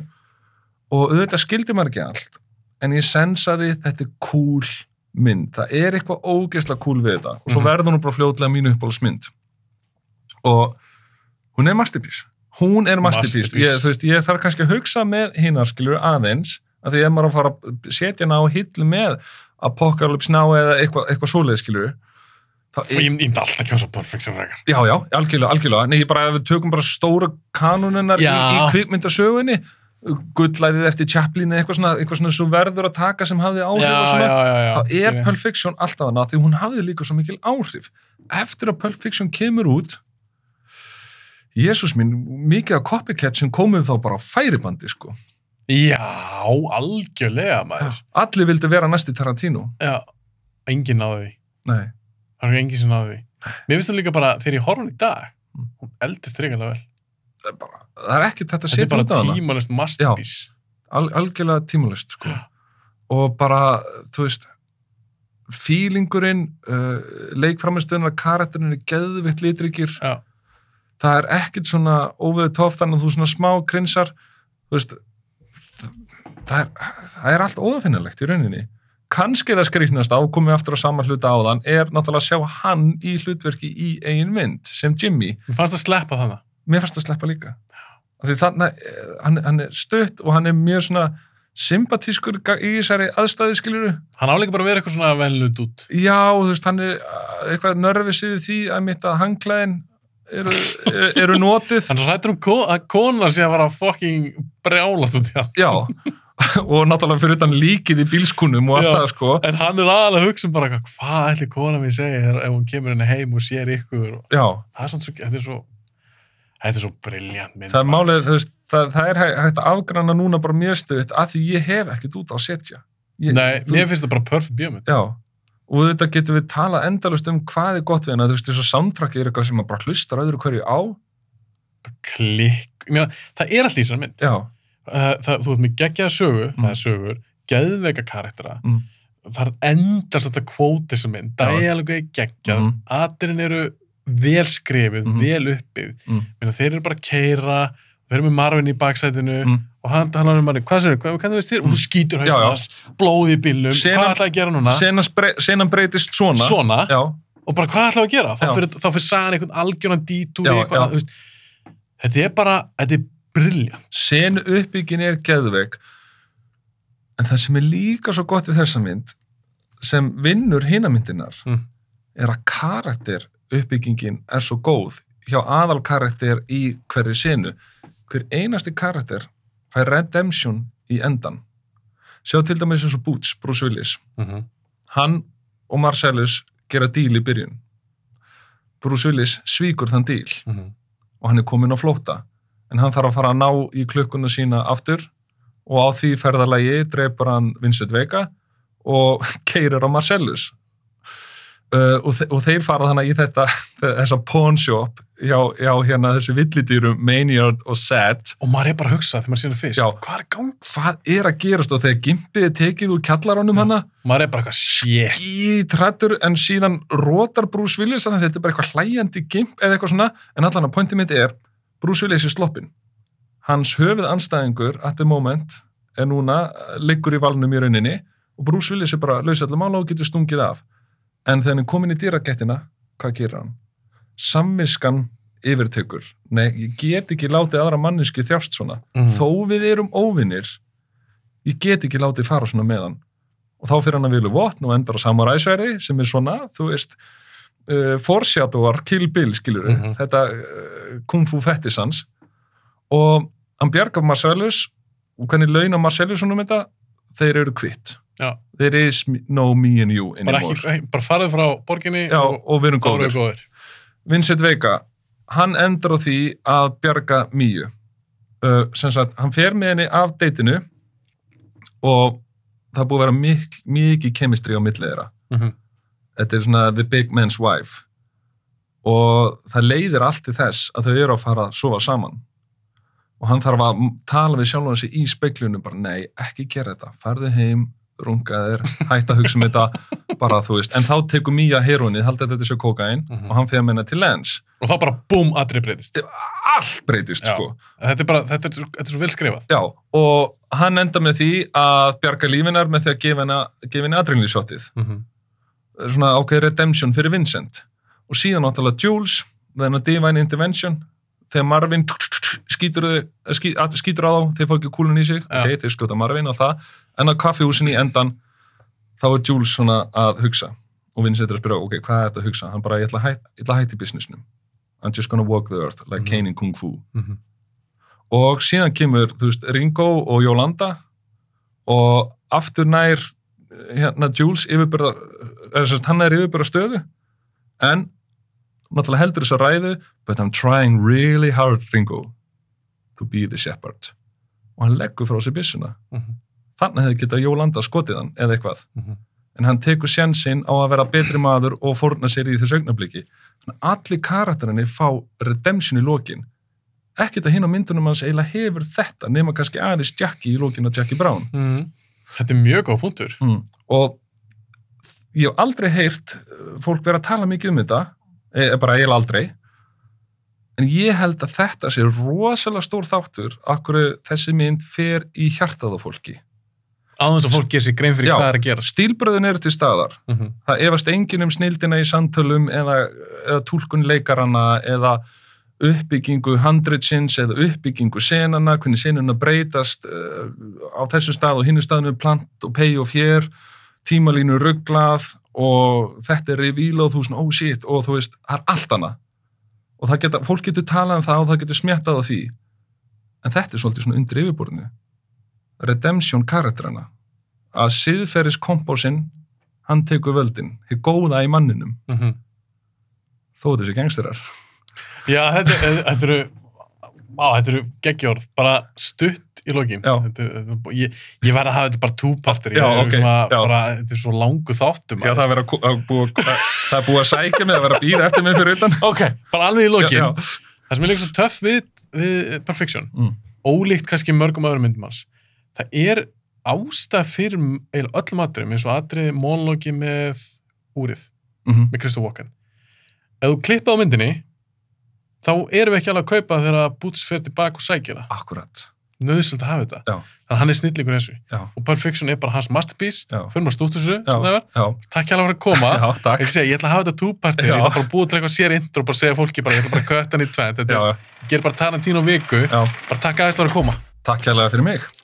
og auðvitað skildi maður ekki allt, en ég sensaði þetta er cool mynd, það er eitthvað ógeðslega cool við þetta og svo
Mhm.
verður hún bara fljótlega mínu uppáhaldsmynd og hún er masterpiece hún er masterpiece,
Masterpiece.
Ég, þú veist, ég þarf kannski að hugsa með hinnar skilur aðeins að því ef maður á að fara að setja hana á hillu með Apocalypse Now eða eitthvað eitthva svoleið skilur
Ég ég myndi alltaf kjósa Perfection frekar.
Já, já, algjörlega, algjörlega Nei, ég bara ef við tökum bara stóra kanunennar í,
Já.
í kvikmyndasögunni gullæðið eftir Chaplin eða eitthvað svona, eitthvað svona svo verður að taka sem hafði áhrif og svona,
já, já.
þá
Sé
er
ég.
Perfection alltaf hana því hún hafði líka svo mikil áhrif eftir að Perfection kemur út Jésús minn, mikið af copycat sem komum þá bara á færibandi sko.
Já, algjörlega maður.
Allir vildi vera næsti Tarantino
Já, enginn náði því.
Nei
Það er enginn sem náði því. Mér finnst það líka bara, þegar ég horf hún í dag,
Mm.
hún eldist reyngarlega vel.
það er bara, það er ekkert þetta
Þetta
að
er
setja
bara
út af hana.
tímalist masterpiece.
Al, algjörlega tímalist, sko. Og bara, þú veist, feelingurinn, uh, leikframistöðunar, karakterinn er geðvitt litrikir.
Já.
Það er ekkert svona óveðu tóft, þannig að þú svona smá grinsar, þú veist, þ- það er, það er allt óðafinnilegt í rauninni. Kanski það skrýknast á, komið aftur á sama hluta áðan, er náttúrulega að sjá hann í hlutverki í eigin mynd, sem Jimmy.
Mér fannst það sleppa þannig.
mér fannst að sleppa líka Af því þannig, hann, hann er stutt og hann er mjög svona sympatískur ga- í þessari aðstæði skiljuru
Hann áleika bara að vera eitthvað svona venlut út.
já, þú veist, hann er uh, eitthvað nervis yfir því að mitt að hangklæðin eru, eru- eru notuð
Hann rættur um ko að kona sé að vara fucking brjálast út í hann.
já, og náttúrulega fyrir utan líkið í bílskunum og allt
Já.
það sko
En hann er aðalega að hugsa um bara hvað, hvað ætli kona mín segir þegar- ef hún kemur henni heim og sér ykkur. Og
já,
það er svona, svo- þetta er svo, þetta er svo briljant mynd.
það er
maður.
málið, þú veist það, það er hæ- hægt að afgrana núna bara mjög stutt af því ég hef ekkert út á að setja ég,
Nei,
þú-
mér finnst það bara perfect bíómynd.
Já, og þetta getum við talað endalust um hvað er gott við hana, þú veist, þessu soundtracki er eitthvað sem maður bara hlustar öðru hverju á.
Klikk. Ég meina, Það er allt í þessari mynd.
Já,
Uh, það, þú ert með geggjaða sögu,
Mm.
eða sögur, geðveika karaktera,
Mm.
það er endast þetta kvóti sem minn,
Já.
dæjalega er geggjað, mm.
Mhm.
atirinn eru vel skrifið,
Mhm.
vel uppið,
Mm.
Meina, þeir eru bara að keira, þeir eru með Marvin í baksætinu
Mm.
og hann talar um manni, hvað sér, hvað kannum við styrir? Og hún skýtur
Já, já.
hausnars, blóði í bílnum,
Senan-
hvað ætlaði að gera núna?
senan, bre senan breytist svona.
Svona,
Já,
og bara hvað ætlaði að gera? Þá
Já.
fyrir, þá fyrir sagan einhvern algjöran dítúri,
Já, já.
eitthvað, þú veist, þetta er bara, þetta er brilja.
senu uppbyggin er geðveik. En það sem er líka svo gott við þessa mynd, sem vinnur hinamyndinar,
Mm.
er að karakter uppbyggingin er svo góð hjá aðal karakter í hverri senu. Hver einasti karakter fær redemption í endan. Sjá til dæmis eins og Boots, Bruce Willis.
Mm -hmm.
hann og Marcellus gera díl í byrjun. Bruce Willis svíkur þann díl og hann er kominn á flóta en hann þarf að fara að ná í klukkuna sína aftur og á því ferðalagi dreipur hann Vincent Vega og keirir á Marcellus uh, og, þe og þeir fara þannig í þetta þessa pawn shop hjá, hjá hérna þessu villidýrum Maynard og Sad
Og maður er bara að hugsa þegar maður sér það fyrst.
Já.
Hvað er gang?
hvað er að gerast og þegar gimpið er tekið úr kjallaranum
Já.
hana
Maður er bara eitthvað shit.
gítrættur en síðan rótar Bruce Willis þannig að þetta er bara eitthvað hlæjandi gimp eða eitthvað svona en allan að pointi mitt er Bruce Willis er sloppin hans höfuð anstæðingur at the moment er núna eh, liggur í valnum í rauninni og Bruce Willis er bara laus allar mála og getur stungið af en þegar hann er komin í dýragettina hvað gerir hann? Samviskan yfirtökur nei, ég get ekki látið aðra manniski þjást svona
Mhm.
þó við erum óvinnir ég get ekki látið fara svona með hann og þá fyrir hann að vilja votn og endar á samuræsverði sem er svona, þú veist uh, foreshadowar Kill Bill, skilur
Mhm.
þetta uh, kung fu fettis hans og hann bjargar Marcellus og hvernig launa Marcellus honum þetta, þeir eru kvitt
Já.
there is no me and you
Bara,
anymore
ekki, bara farið frá borginni
Já,
og
og við erum
þá eru
góður
við góðir.
Vincent Vega, hann endur á því að bjarga Míu uh, sem sagt, hann fer með henni af deitinu og það er búið að vera mik mikið kemistri á milli þeirra
Mhm.
þetta er svona The Big Man's Wife og það leiðir allt til þess að þau eru að fara að sofa saman og hann þarf að m- tala við sjálfan sig í speiklunum bara nei, ekki gera þetta, farðu heim rungaðir, hætt að hugsa um þetta bara þú veist, en þá tekur Mía heroinnið, haldið að þetta sé kokain
Mhm.
og hann fyrir með henni til lens
Og þá bara búm, atrið breytist.
allt breytist
Já.
sko
Þetta er bara, þetta er, svo- þetta er svo vel skrifað.
Já, og hann enda með því að bjarga lífinar með því að gefa henni- gefa henni adrenalínsjóttið svona ákveð redemption fyrir Vincent og síðan náttúrulega Jules þannig að Divine Intervention þegar Marvin skýtur, þau- eh, ský- að- skýtur á þá, þeir fá ekki kúlun í sig
Já.
ok, þeir skjóta Marvin og það en á kaffihúsin í endan þá er Jules svona að hugsa og Vincent er að spyrja, ok, hvað er þetta að hugsa hann bara, ég ætla að hætt- ég ætla að hætta í businessnum I'm just gonna walk the earth, like
Mhm.
Kane in Kung Fu og síðan kemur, þú veist, Ringo og Jólanda og aftur nær hérna Jules yfirbyrða, eða sem sagt, hann er yfirbyrða stöðu en náttúrulega heldur þess að ræðu but I'm trying really hard Ringo to be the shepherd og hann leggur frá sér byssuna þannig hefði getað Jólanda skotið hann eða eitthvað en hann tekur sjansinn á að vera betri maður og fórna sér í þessu augnabliki. Þannig að allir karakterinni fá redemption í lokin. Ekkert að hinn á myndunum hans eiginlega hefur þetta, nema kannski aðeins Jackie í lokin á Jackie Brown.
Þetta er mjög góð punktur.
Mm. Og ég hef aldrei heyrt eh, fólk vera að tala mikið um þetta, e, bara eiginlega aldrei, en ég held að þetta sé rosalega stór þáttur akkur þessi mynd fer í hjartað á fólki.
Áðan þess að fólk gerir sér grein fyrir
Já.
hvað er að gerast.
Stílbröðin eru til staðar,
Mhm.
það efast enginn um snildina í samtölum eða, eða túlkun leikaranna eða uppbyggingu handritsins eða uppbyggingu senana, hvernig senuna breytast uh, á þessum stað og hinnu staðinu plant og pei og fér tímalínu rugglað og þetta er revíla og þú svona, oh shit og þú veist, það er allt hana og það geta, fólk getur talað um það og það getur smjattað á því en þetta er svolítið svona undir yfirborðinu redemption karakterana að siðferðis kompósinn hann tekur völdin, hér góða í manninum
Mhm.
þó þessi gangsterar
Já, þetta, eh, þetta eru á, þetta eru geggjórð, bara stutt í lokin.
Já.
Þetta, er- þetta, er- ég, ég verði að hafa þetta bara túpartir.
Já, ok, já.
Bara, þetta er svo langu þáttum.
Já, það er verið að kú- að búa- það- það er búið að sækja mig að vera að býða eftir mig fyrir utan
Ok, bara alveg í lokin.
já, já.
Það sem er líka svo töff við, við Perfection,
Mm.
ólíkt kannski mörgum öðrum myndum hans, það er ástæð fyrir m- eiginlega öllum atriðum eins og atrið mónlóki með úrið,
Mhm.
með Kristof Walken. Ef þú klippað á myndinni, þá erum við ekki alveg að kaupa þegar að Boots fer tilbaka og sækir það.
Akkurat
Nöðsöld að hafa þetta.
Já.
Þannig að hann er snillingur í þessu.
Já.
Og Perfection er bara hans masterpiece.
Já,
Fyrir maður stútt þessu, sem
já,
það var.
já,
Takk hérlega fyrir að koma.
já, takk
Ég, segi, ég ætla að hafa þetta túpartir, ég
Já.
ætla bara að búa til eitthvað sér intro og bara segja fólki bara, ég ætla bara að kötta hann í tvend. Þetta
Já,
er, ger bara Tarantino viku
já,
bara takk aðeins fyrir að koma
takk hérlega fyrir mig